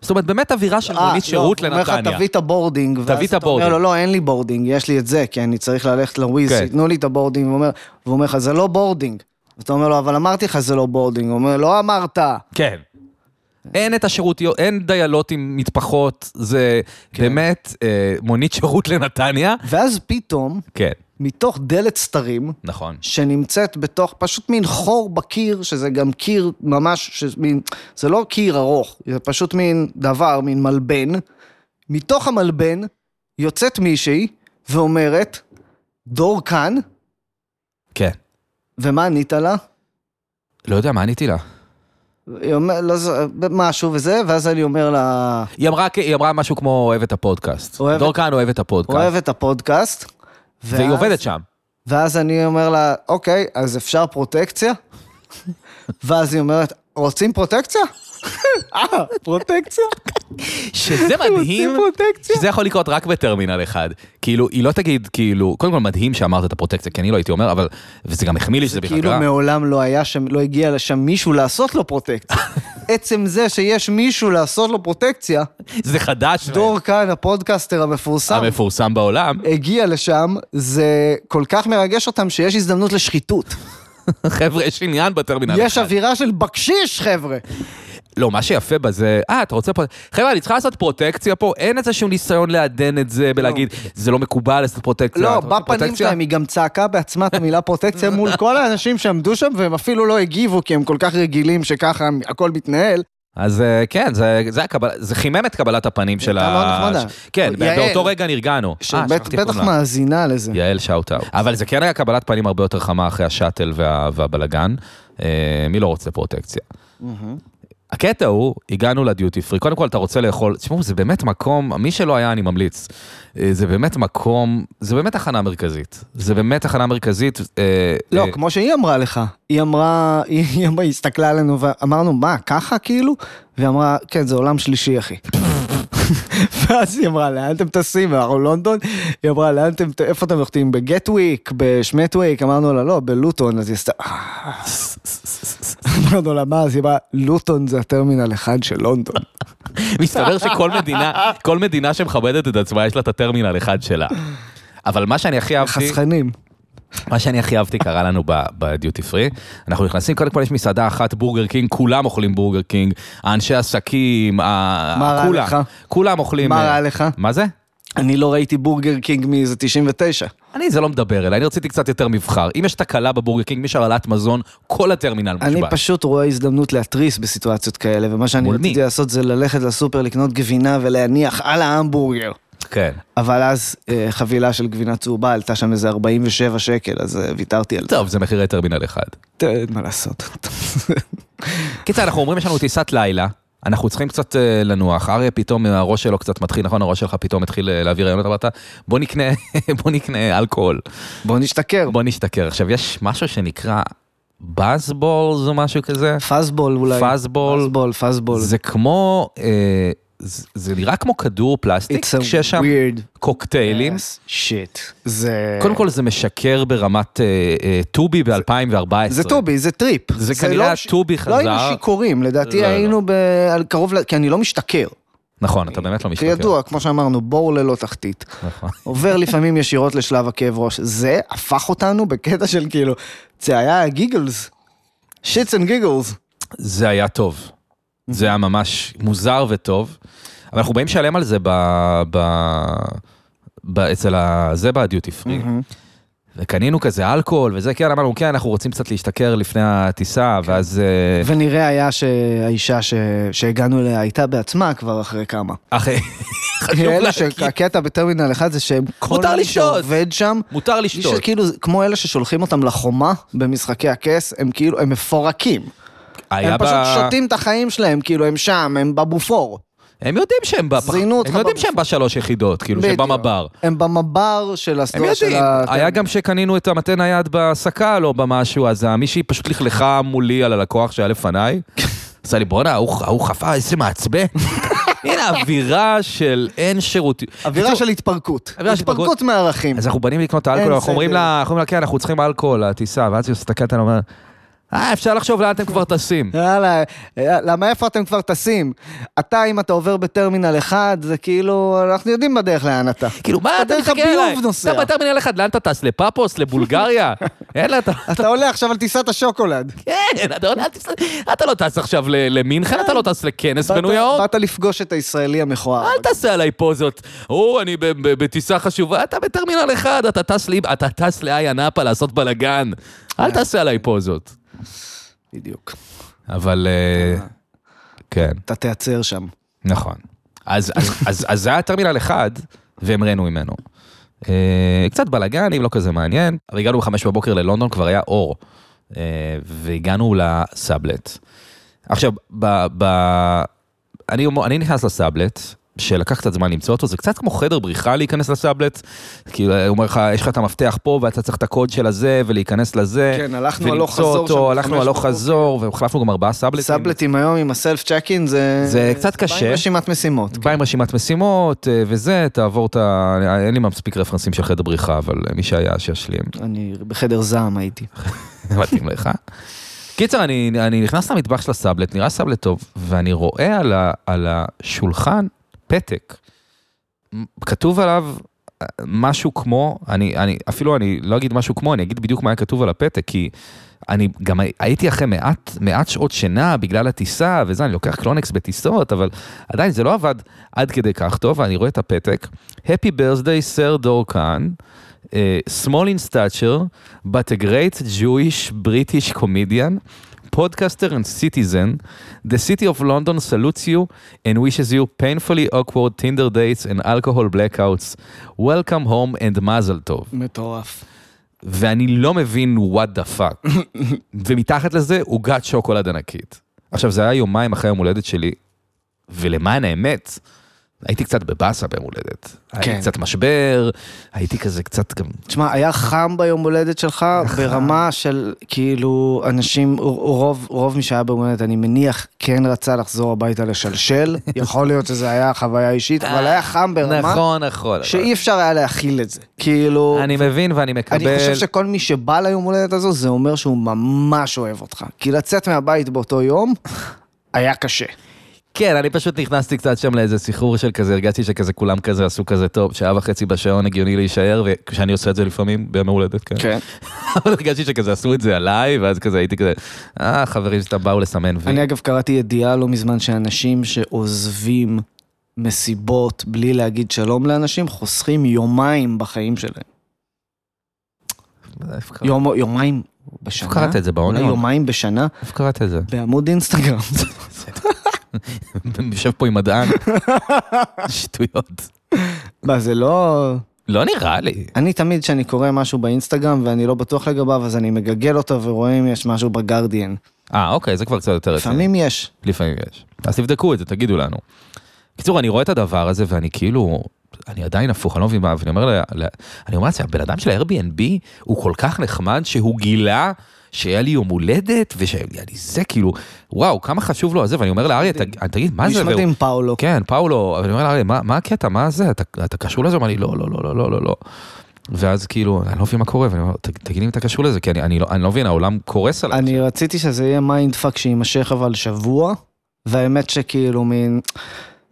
[SPEAKER 2] זאת אומרת, באמת אווירה של
[SPEAKER 4] אה,
[SPEAKER 2] מונית שירות
[SPEAKER 4] לא, הוא אומר לך,
[SPEAKER 2] לנתניה.
[SPEAKER 4] תביא את הבורדינג. ואז
[SPEAKER 2] תביא את
[SPEAKER 4] אתה אומר
[SPEAKER 2] הבורדינג.
[SPEAKER 4] לו, לא, אין לי בורדינג, יש לי את זה, כי אני צריך ללכת לוויז,
[SPEAKER 2] כן.
[SPEAKER 4] תנו לי את הבורדינג. והוא אומר- והוא אומר לך, זה לא בורדינג. ואתה אומר לו, אבל אמרתי לך, זה לא בורדינג. הוא אומר, לא אמרת.
[SPEAKER 2] כן. אין את השירותיות, אין דיילות עם מטפחות, זה
[SPEAKER 4] כן.
[SPEAKER 2] באמת אה, מונית שירות לנתניה.
[SPEAKER 4] ואז פתאום,
[SPEAKER 2] כן,
[SPEAKER 4] מתוך דלת סתרים,
[SPEAKER 2] נכון.
[SPEAKER 4] שנמצאת בתוך פשוט מין חור בקיר, שזה גם קיר ממש, שמין, זה לא קיר ארוך, זה פשוט מין דבר, מין מלבן. מתוך המלבן יוצאת מישהי ואומרת, דור כאן,
[SPEAKER 2] כן.
[SPEAKER 4] ומה ענית לה?
[SPEAKER 2] לא יודע, מה עניתי לה?
[SPEAKER 4] היא אומרת, לא זו- משהו וזה, ואז אני אומר לה,
[SPEAKER 2] היא אמרה, היא אמרה משהו כמו אוהב את הפודקאסט.
[SPEAKER 4] אוהב
[SPEAKER 2] דור
[SPEAKER 4] את-
[SPEAKER 2] כהן אוהב את הפודקאסט.
[SPEAKER 4] אוהב את הפודקאסט.
[SPEAKER 2] והיא
[SPEAKER 4] ואז-
[SPEAKER 2] עובדת שם.
[SPEAKER 4] ואז אני אומר לה, אוקיי, אז אפשר פרוטקציה? ואז היא אומרת, רוצים פרוטקציה? אה, פרוטקציה?
[SPEAKER 2] שזה מדהים,
[SPEAKER 4] פרוטקציה?
[SPEAKER 2] שזה יכול לקרות רק בטרמינל אחד. כאילו, היא לא תגיד, כאילו, קודם כל מדהים שאמרת את הפרוטקציה, כי אני לא הייתי אומר, אבל, וזה גם החמיא לי שזה בכלל
[SPEAKER 4] כאילו
[SPEAKER 2] קרה.
[SPEAKER 4] מעולם לא היה שם, לא הגיע לשם מישהו לעשות לו פרוטקציה. עצם זה שיש מישהו לעשות לו פרוטקציה,
[SPEAKER 2] זה חדש,
[SPEAKER 4] דור אה, כאן, הפודקאסטר המפורסם,
[SPEAKER 2] המפורסם בעולם,
[SPEAKER 4] הגיע לשם, זה כל כך מרגש אותם שיש הזדמנות לשחיתות.
[SPEAKER 2] חבר'ה, יש עניין בטרמינל
[SPEAKER 4] יש
[SPEAKER 2] אחד.
[SPEAKER 4] אווירה של בקשיש, חבר'ה.
[SPEAKER 2] לא, מה שיפה בזה, אה, אתה רוצה פה... חבר'ה, אני צריכה לעשות פרוטקציה פה, אין איזה שום ניסיון לעדן את זה ולהגיד, זה לא מקובל לעשות פרוטקציה.
[SPEAKER 4] לא,
[SPEAKER 2] אתה רוצה
[SPEAKER 4] בפנים
[SPEAKER 2] פרוטקציה?"
[SPEAKER 4] שלהם, היא גם צעקה בעצמה את המילה פרוטקציה מול כל האנשים שעמדו שם, והם אפילו לא הגיבו, כי הם כל כך רגילים שככה הכל מתנהל.
[SPEAKER 2] אז אה, כן, זה- זה הקבל- זה חימם את קבלת הפנים של ה...
[SPEAKER 4] הייתה מאוד נחמדה.
[SPEAKER 2] ש- כן,
[SPEAKER 4] לא, נכון, אה. יעל.
[SPEAKER 2] באותו רגע נרגענו. אה, שכחתי איך
[SPEAKER 4] שבטח
[SPEAKER 2] קוראים לה.
[SPEAKER 4] מאזינה לזה.
[SPEAKER 2] יעל שאוט-אאוט. אבל זה כן היה קבלת פנים הרבה יותר חמה אחרי השאטל וה, והבלגן. אה, מי לא רוצה פרוטקציה? הקטע הוא, הגענו לדיוטי פרי, קודם כל אתה רוצה לאכול, תשמעו, זה באמת מקום, מי שלא היה אני ממליץ, אה, זה באמת מקום, זה באמת תחנה מרכזית. זה באמת תחנה מרכזית. אה,
[SPEAKER 4] לא,
[SPEAKER 2] אה,
[SPEAKER 4] כמו שהיא אמרה לך. היא אמרה, היא היא אמרה, היא הסתכלה עלינו ואמרנו, מה, ככה כאילו? והיא אמרה, כן, זה עולם שלישי, אחי. ואז היא אמרה, לאן אתם טסים? אנחנו לונדון? היא אמרה, לאן אתם, איפה אתם נוחתים? בגטוויק? בשמטוויק? אמרנו לה, לא, בלוטון. אז היא עשתה, "אה." אמרנו לה, מה? אז היא אמרה, לוטון זה הטרמינל אחד של לונדון.
[SPEAKER 2] מסתבר שכל מדינה, כל מדינה שמכבדת את עצמה, יש לה את הטרמינל אחד שלה. אבל מה שאני הכי אהבתי...
[SPEAKER 4] חסכנים.
[SPEAKER 2] מה שאני הכי אהבתי קרה לנו ב- בדיוטי פרי, אנחנו נכנסים, קודם כל יש מסעדה אחת, בורגר קינג, כולם אוכלים בורגר קינג, האנשי עסקים, ה-
[SPEAKER 4] מה רע
[SPEAKER 2] כולם,
[SPEAKER 4] לך?
[SPEAKER 2] כולם אוכלים.
[SPEAKER 4] מה
[SPEAKER 2] אה,
[SPEAKER 4] רע לך?
[SPEAKER 2] מה זה?
[SPEAKER 4] אני לא ראיתי בורגר קינג מאיזה 99.
[SPEAKER 2] אני זה לא מדבר אליי, אני רציתי קצת יותר מבחר. אם יש תקלה בבורגר קינג, מי שהרעלת מזון, כל הטרמינל מושבת.
[SPEAKER 4] אני פשוט רואה הזדמנות להתריס בסיטואציות כאלה, ומה שאני
[SPEAKER 2] מול מי?
[SPEAKER 4] רציתי לעשות זה ללכת לסופר לקנות גבינה ולהניח על ההמבורגר.
[SPEAKER 2] כן.
[SPEAKER 4] אבל אז אה, חבילה של גבינה צהובה עלתה שם איזה 47 שקל, אז אה, ויתרתי על זה.
[SPEAKER 2] טוב, זה מחירי טרמינל אחד.
[SPEAKER 4] טוב, אין מה לעשות.
[SPEAKER 2] קיצר, אנחנו אומרים, יש לנו טיסת לילה. אנחנו צריכים קצת אה, לנוח, אריה פתאום, אה, הראש שלו קצת מתחיל, נכון? הראש שלך פתאום התחיל אה, להעביר רעיונות, אמרת, בוא נקנה, בוא נקנה אלכוהול.
[SPEAKER 4] בוא נשתכר.
[SPEAKER 2] בוא נשתכר. עכשיו, יש משהו שנקרא באז-בולס או משהו כזה?
[SPEAKER 4] פאזבול אולי.
[SPEAKER 2] פאזבול.
[SPEAKER 4] פאזבול, פאזבול.
[SPEAKER 2] זה כמו, אה, זה זה נראה כמו כדור פלסטיק,
[SPEAKER 4] It's a
[SPEAKER 2] כשיש שם
[SPEAKER 4] weird. אה,
[SPEAKER 2] קוקטיילים.
[SPEAKER 4] שיט. זה...
[SPEAKER 2] קודם כל זה משקר ברמת אה, אה, טובי ב-2014.
[SPEAKER 4] זה טובי, זה טריפ.
[SPEAKER 2] זה כנראה
[SPEAKER 4] לא ש-
[SPEAKER 2] טובי
[SPEAKER 4] לא היינו
[SPEAKER 2] חזר.
[SPEAKER 4] שיכורים, לדעתי
[SPEAKER 2] לא, לא.
[SPEAKER 4] היינו ב... על קרוב ל... כי אני לא משתכר.
[SPEAKER 2] נכון, אתה באמת לא משתכר.
[SPEAKER 4] כידוע, כמו שאמרנו, בור ללא תחתית.
[SPEAKER 2] נכון.
[SPEAKER 4] עובר לפעמים ישירות לשלב הכאב ראש. זה הפך אותנו בקטע של כאילו, זה היה גיגלס. שיטס אנד גיגלס.
[SPEAKER 2] זה היה טוב. זה היה ממש מוזר וטוב. אבל אנחנו באים לשלם על זה ב... ב... ב... אצל ה... זה בדיוטי פרי. וקנינו כזה אלכוהול וזה, כן, אמרנו, כן, אנחנו רוצים קצת להשתכר לפני הטיסה,
[SPEAKER 4] כן.
[SPEAKER 2] ואז... אה,
[SPEAKER 4] ונראה היה שהאישה ש... שהגענו אליה הייתה בעצמה כבר אחרי כמה.
[SPEAKER 2] אחרי... חשוב
[SPEAKER 4] אלה
[SPEAKER 2] להגיד.
[SPEAKER 4] שהקטע בטרמינל 1 זה שהם כל
[SPEAKER 2] מותר
[SPEAKER 4] מי
[SPEAKER 2] לשתות.
[SPEAKER 4] שעובד שם,
[SPEAKER 2] מותר
[SPEAKER 4] מי
[SPEAKER 2] לשתות.
[SPEAKER 4] שכאילו, כמו אלה ששולחים אותם לחומה במשחקי הכס, הם כאילו, הם מפורקים.
[SPEAKER 2] היה
[SPEAKER 4] הם
[SPEAKER 2] ב-
[SPEAKER 4] פשוט שותים את החיים שלהם, כאילו, הם שם, הם בבופור.
[SPEAKER 2] הם יודעים שהם בפח...
[SPEAKER 4] זיינו אותך
[SPEAKER 2] הם יודעים
[SPEAKER 4] בבופ-
[SPEAKER 2] שהם בשלוש יחידות, כאילו,
[SPEAKER 4] בדיוק.
[SPEAKER 2] שבמבר.
[SPEAKER 4] הם במבר של
[SPEAKER 2] הם
[SPEAKER 4] הסטור לא, של
[SPEAKER 2] יודעים,
[SPEAKER 4] ה... כן.
[SPEAKER 2] היה גם שקנינו את המתן היד בסקל או במשהו, אז מישהי פשוט לכלכה מולי על הלקוח שהיה לפניי. עשה לי, בואנה, ההוא ההוא חפה, איזה מעצבן. הנה, אווירה של אין שירותיות.
[SPEAKER 4] אווירה של התפרקות.
[SPEAKER 2] אווירה של התפרקות.
[SPEAKER 4] התפרקות מערכים.
[SPEAKER 2] אז אנחנו בנים לקנות אלכוהול,
[SPEAKER 4] אין
[SPEAKER 2] אנחנו אומרים
[SPEAKER 4] סדר.
[SPEAKER 2] לה, אנחנו אומרים לה, כן, אנחנו צריכים אלכוהול, הטיסה, ואז היא מסתכלת עלינו, אומרת, אה, אפשר לחשוב לאן אתם כבר טסים.
[SPEAKER 4] יאללה, אה, למה איפה אתם כבר טסים? אתה, אם אתה עובר בטרמינל 1, זה כאילו, אנחנו יודעים בדרך לאן אתה.
[SPEAKER 2] כאילו, מה אתה
[SPEAKER 4] בדרך
[SPEAKER 2] מחכה
[SPEAKER 4] הביוב
[SPEAKER 2] אליי?
[SPEAKER 4] נוסע.
[SPEAKER 2] אתה בטרמינל אחד, לאן אתה טס? לפאפוס? לבולגריה? אין לה, אתה...
[SPEAKER 4] אתה עולה עכשיו על טיסת השוקולד.
[SPEAKER 2] כן, אתה לא- אל תס- אתה לא טס עכשיו ל- למינכן, אתה לא טס לכנס בניו
[SPEAKER 4] באת-
[SPEAKER 2] יורק.
[SPEAKER 4] באת לפגוש את הישראלי המכוער.
[SPEAKER 2] אל תעשה עליי פוזות. או, אני ב- ב- בטיסה חשובה, אתה בטרמינל אחד, אתה טס לי, אתה טס לאיה נאפה לעשות בלאגן. אל תעשה עליי פוזות.
[SPEAKER 4] בדיוק.
[SPEAKER 2] אבל... אה, כן,
[SPEAKER 4] אתה תיעצר שם.
[SPEAKER 2] נכון. אז- אז- אז אז זה היה טרמינל אחד, והם רנו ממנו. אה, קצת בלאגנים, לא כזה מעניין. אבל הגענו בחמש בבוקר ללונדון, כבר היה אור. אה, והגענו לסאבלט. עכשיו, ב... ב- אני, אומר- אני נכנס לסאבלט, שלקח קצת זמן למצוא אותו, זה קצת כמו חדר בריחה להיכנס לסאבלט. כאילו, הוא אומר לך, יש לך את המפתח פה, ואתה צריך את הקוד של הזה, ולהיכנס לזה.
[SPEAKER 4] כן, הלכנו הלוך
[SPEAKER 2] אה, ולמצוא
[SPEAKER 4] חזור שם
[SPEAKER 2] אותו, הלכנו
[SPEAKER 4] בחמש
[SPEAKER 2] הלוך
[SPEAKER 4] בבוקר.
[SPEAKER 2] חזור, והחלפנו גם ארבעה סאבלטים.
[SPEAKER 4] סאבלטים היום עם הסלף צ'קין זה...
[SPEAKER 2] זה קצת קשה.
[SPEAKER 4] בא עם רשימת משימות.
[SPEAKER 2] בא עם רשימת משימות אה, וזה, תעבור את ה... אין לי מספיק רפרנסים של חדר בריחה, אבל אה, מי שהיה, שישלים.
[SPEAKER 4] אני בחדר זעם הייתי.
[SPEAKER 2] מתאים לך. קיצר, אני, אני נכנס למטבח של הסאבלט, נראה סאבלט טוב, ואני רואה על, ה, על השולחן פתק. מ- כתוב עליו אה, משהו כמו, אני, אני, אפילו אני לא אגיד משהו כמו, אני אגיד בדיוק מה היה כתוב על הפתק, כי אני גם הי- הייתי אחרי מעט, מעט שעות שינה בגלל הטיסה וזה, אני לוקח קלונקס בטיסות, אבל עדיין זה לא עבד עד כדי כך טוב, ואני רואה את הפתק. Happy birthday, סר דורקן. uh, small in stature, but a great Jewish British comedian, podcaster and citizen, the city of London salutes you and wishes you painfully awkward Tinder dates and alcohol blackouts. Welcome home and mazel tov.
[SPEAKER 4] מטורף.
[SPEAKER 2] ואני לא מבין what the fuck. ומתחת לזה עוגת שוקולד ענקית. עכשיו, זה היה יומיים אחרי יום הולדת שלי, ולמען האמת, הייתי קצת בבאסה ביום הולדת. כן. היה
[SPEAKER 4] כן.
[SPEAKER 2] לי קצת משבר, הייתי כזה קצת גם
[SPEAKER 4] תשמע, היה חם ביום הולדת שלך, ברמה של כאילו אנשים, רוב, רוב מי שהיה ביום הולדת, אני מניח, כן רצה לחזור הביתה לשלשל. יכול להיות שזו הייתה חוויה אישית, אבל היה חם ברמה
[SPEAKER 2] אה, נכון, נכון.
[SPEAKER 4] שאי אפשר היה להכיל את זה. כאילו,
[SPEAKER 2] אני מבין ואני מקבל.
[SPEAKER 4] אני חושב שכל מי שבא ליום הולדת הזו, זה אומר שהוא ממש אוהב אותך. כי לצאת מהבית באותו יום, היה קשה.
[SPEAKER 2] כן, אני פשוט נכנסתי קצת שם לאיזה סחרור של כזה, הרגשתי שכזה כולם כזה עשו כזה טוב, שעה וחצי בשעון הגיוני להישאר, וכשאני עושה את זה לפעמים, ביום ההולדת, כן. אבל הרגשתי שכזה עשו את זה עליי, ואז כזה הייתי כזה, אה, חברים שאתה באו לסמן וי.
[SPEAKER 4] אני אגב קראתי ידיעה לא מזמן שאנשים שעוזבים מסיבות בלי להגיד שלום לאנשים, חוסכים יומיים בחיים שלהם.
[SPEAKER 2] אוקיי.
[SPEAKER 4] יום, יומיים בשנה?
[SPEAKER 2] איפה קראת את זה, לא, בעולם?
[SPEAKER 4] אולי יומיים בשנה?
[SPEAKER 2] איפה קראת את זה?
[SPEAKER 4] בעמוד אינסטגרם.
[SPEAKER 2] יושב פה עם מדען. שטויות.
[SPEAKER 4] מה, זה לא...
[SPEAKER 2] לא נראה לי.
[SPEAKER 4] אני תמיד כשאני קורא משהו באינסטגרם ואני לא בטוח לגביו, אז אני מגגל אותו ורואה אם יש משהו בגרדיאן.
[SPEAKER 2] אה, אוקיי, זה כבר קצת יותר רציני.
[SPEAKER 4] לפעמים יש.
[SPEAKER 2] לפעמים יש. אז תבדקו את זה, תגידו לנו. בקיצור, אני רואה את הדבר הזה ואני כאילו, אני עדיין הפוך, אני לא מבין מה, ואני אומר, לה, לה, אני אומר לעצמי, הבן אדם של ה-Airbnb הוא כל כך נחמד שהוא גילה שהיה לי יום הולדת ושהיה לי זה, כאילו, וואו, כמה חשוב לו הזה, לא ואני אומר לאריה, "תג- תגיד, מה זה?
[SPEAKER 4] נשמע
[SPEAKER 2] והוא-
[SPEAKER 4] עם פאולו.
[SPEAKER 2] כן, פאולו, אבל אני אומר לאריה, מה, מה הקטע, מה זה, אתה, אתה קשור לזה? הוא אומר לי, לא, לא, לא, לא, לא, לא, לא. ואז כאילו, אני לא מבין מה קורה, ואני אומר, "ת- תגיד לי אם אתה קשור לזה, כי אני, אני, לא, אני לא מבין, העולם קורס עליי.
[SPEAKER 4] אני רציתי שזה יהיה מיינד פאק שיימשך אבל שבוע, והאמת שכאילו מין...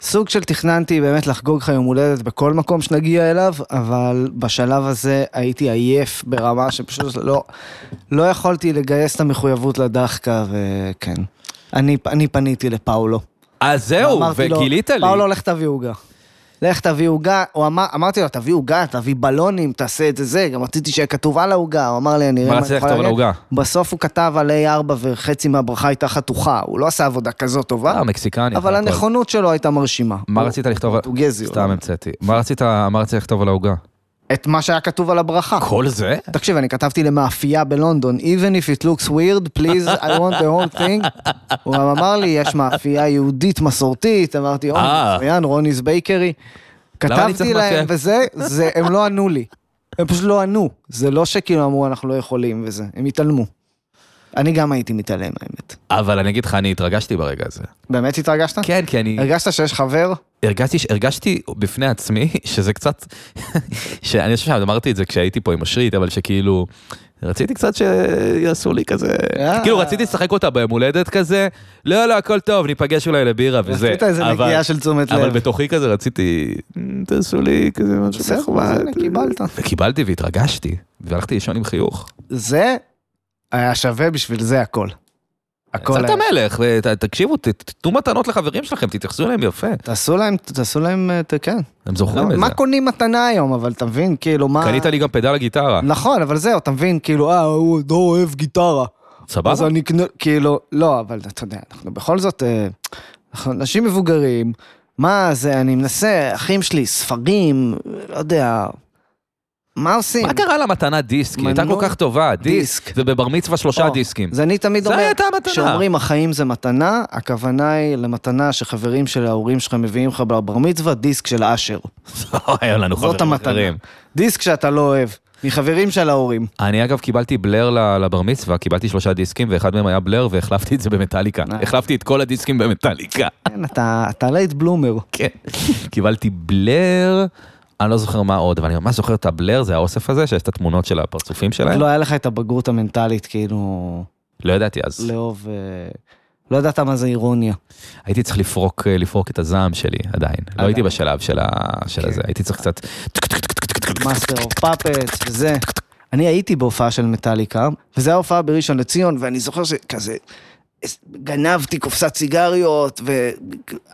[SPEAKER 4] סוג של תכננתי באמת לחגוג לך יום הולדת בכל מקום שנגיע אליו, אבל בשלב הזה הייתי עייף ברמה שפשוט לא, לא יכולתי לגייס את המחויבות לדחקה, וכן. אני, אני פניתי לפאולו.
[SPEAKER 2] אז זהו,
[SPEAKER 4] ואמרתי לו,
[SPEAKER 2] וגילית לי.
[SPEAKER 4] פאולו, לך תביא עוגה. לך תביא עוגה, הוא אמר, אמרתי לו, תביא עוגה, תביא בלונים, תעשה את זה, זה, גם רציתי שיהיה כתוב על העוגה, הוא אמר לי, אני
[SPEAKER 2] מה
[SPEAKER 4] אראה
[SPEAKER 2] רצית
[SPEAKER 4] יכול
[SPEAKER 2] לכתוב על
[SPEAKER 4] להגיד."
[SPEAKER 2] העוגה?
[SPEAKER 4] בסוף הוא כתב על A4 וחצי מהברכה הייתה חתוכה, הוא לא עשה עבודה כזאת טובה,
[SPEAKER 2] אה, מקסיקני.
[SPEAKER 4] אבל
[SPEAKER 2] הכל.
[SPEAKER 4] הנכונות שלו הייתה מרשימה.
[SPEAKER 2] מה
[SPEAKER 4] הוא-
[SPEAKER 2] רצית לכתוב על...
[SPEAKER 4] פורטוגזי, לא-
[SPEAKER 2] סתם המצאתי. מה רצית מה רצית לכתוב על העוגה?
[SPEAKER 4] את מה שהיה כתוב על הברכה.
[SPEAKER 2] כל זה?
[SPEAKER 4] תקשיב, אני כתבתי למאפייה בלונדון, even if it looks weird, please, I want the whole thing. הוא גם אמר לי, יש מאפייה יהודית מסורתית, אמרתי, או,
[SPEAKER 2] אה.
[SPEAKER 4] מצוין, רוני's bakery.
[SPEAKER 2] למה אני צריך
[SPEAKER 4] כתבתי להם
[SPEAKER 2] מאפייה?
[SPEAKER 4] וזה, זה, הם לא ענו לי. הם פשוט לא ענו. זה לא שכאילו אמרו, אנחנו לא יכולים וזה, הם התעלמו. אני גם הייתי מתעלם, האמת.
[SPEAKER 2] אבל אני אגיד לך, אני התרגשתי ברגע הזה.
[SPEAKER 4] באמת התרגשת?
[SPEAKER 2] כן, כי אני
[SPEAKER 4] הרגשת שיש חבר?
[SPEAKER 2] הרגשתי, ש- הרגשתי בפני עצמי שזה קצת, שאני חושב שאמרתי את זה כשהייתי פה עם אושרית, אבל שכאילו, רציתי קצת שיעשו לי כזה,
[SPEAKER 4] אה.
[SPEAKER 2] כאילו רציתי לשחק אותה ביום הולדת כזה, לא, לא, הכל טוב, ניפגש אולי לבירה וזה.
[SPEAKER 4] רצית איזה
[SPEAKER 2] אבל-
[SPEAKER 4] נגיעה של תשומת
[SPEAKER 2] אבל
[SPEAKER 4] לב.
[SPEAKER 2] בתוכי כזה רציתי, "מ, תעשו לי כזה משהו
[SPEAKER 4] בסדר,
[SPEAKER 2] נחמד.
[SPEAKER 4] הנה, קיבלת.
[SPEAKER 2] וקיבלתי והתרגשתי, והלכתי לישון עם חיוך.
[SPEAKER 4] זה היה שווה בשביל זה הכל. הכל
[SPEAKER 2] קצת
[SPEAKER 4] היה
[SPEAKER 2] המלך, ת- תקשיבו, ת- תתנו מתנות לחברים שלכם, תתייחסו אליהם יפה.
[SPEAKER 4] תעשו להם, תעשו להם, אה, ת- כן.
[SPEAKER 2] הם זוכרים את לא, זה.
[SPEAKER 4] מה קונים מתנה היום, אבל אתה מבין, כאילו, מה...
[SPEAKER 2] קנית לי גם פדל לגיטרה,
[SPEAKER 4] נכון, אבל זהו, אתה מבין, כאילו, אה, הוא לא אוהב גיטרה. אז
[SPEAKER 2] סבבה?
[SPEAKER 4] אני אקנה, כאילו, לא, אבל אתה יודע, אנחנו בכל זאת, אה, אנחנו אנשים מבוגרים, מה זה, אני מנסה, אחים שלי, ספרים, לא יודע, מה עושים?
[SPEAKER 2] מה קרה למתנה דיסק? היא הייתה כל
[SPEAKER 4] מנוי?
[SPEAKER 2] כך טובה, דיסק.
[SPEAKER 4] דיסק.
[SPEAKER 2] ובר מצווה שלושה
[SPEAKER 4] או,
[SPEAKER 2] דיסקים.
[SPEAKER 4] אז אני תמיד
[SPEAKER 2] זה
[SPEAKER 4] אומר,
[SPEAKER 2] הייתה המתנה.
[SPEAKER 4] כשאומרים החיים זה מתנה, הכוונה היא למתנה שחברים של ההורים שלך מביאים לך בבר מצווה, דיסק של אשר.
[SPEAKER 2] היה לנו
[SPEAKER 4] זאת
[SPEAKER 2] חברים
[SPEAKER 4] המתנה.
[SPEAKER 2] אחרים.
[SPEAKER 4] דיסק שאתה לא אוהב, מחברים של ההורים.
[SPEAKER 2] אני אגב קיבלתי בלר ל- לבר מצווה, קיבלתי שלושה דיסקים ואחד מהם היה בלר והחלפתי את זה במטאליקה.
[SPEAKER 4] אה.
[SPEAKER 2] החלפתי את כל הדיסקים במטאליקה.
[SPEAKER 4] כן, אתה, אתה לייט בלומר.
[SPEAKER 2] כן. קיבלתי בלר, אני לא זוכר מה עוד, אבל אני ממש זוכר את הבלר, זה האוסף הזה, שיש את התמונות של הפרצופים שלהם.
[SPEAKER 4] לא היה לך את הבגרות המנטלית, כאילו,
[SPEAKER 2] לא ידעתי אז.
[SPEAKER 4] לאהוב... אה, לא ידעת מה זה אירוניה.
[SPEAKER 2] הייתי צריך לפרוק, אה, לפרוק את הזעם שלי עדיין. לא אוקיי. הייתי בשלב של ה- של הזה, הייתי צריך קצת...
[SPEAKER 4] מאסטר אוף פאפט, וזה. אני הייתי בהופעה של מטאליקה, וזו ההופעה בראשון לציון, ואני זוכר שכזה... גנבתי קופסת סיגריות,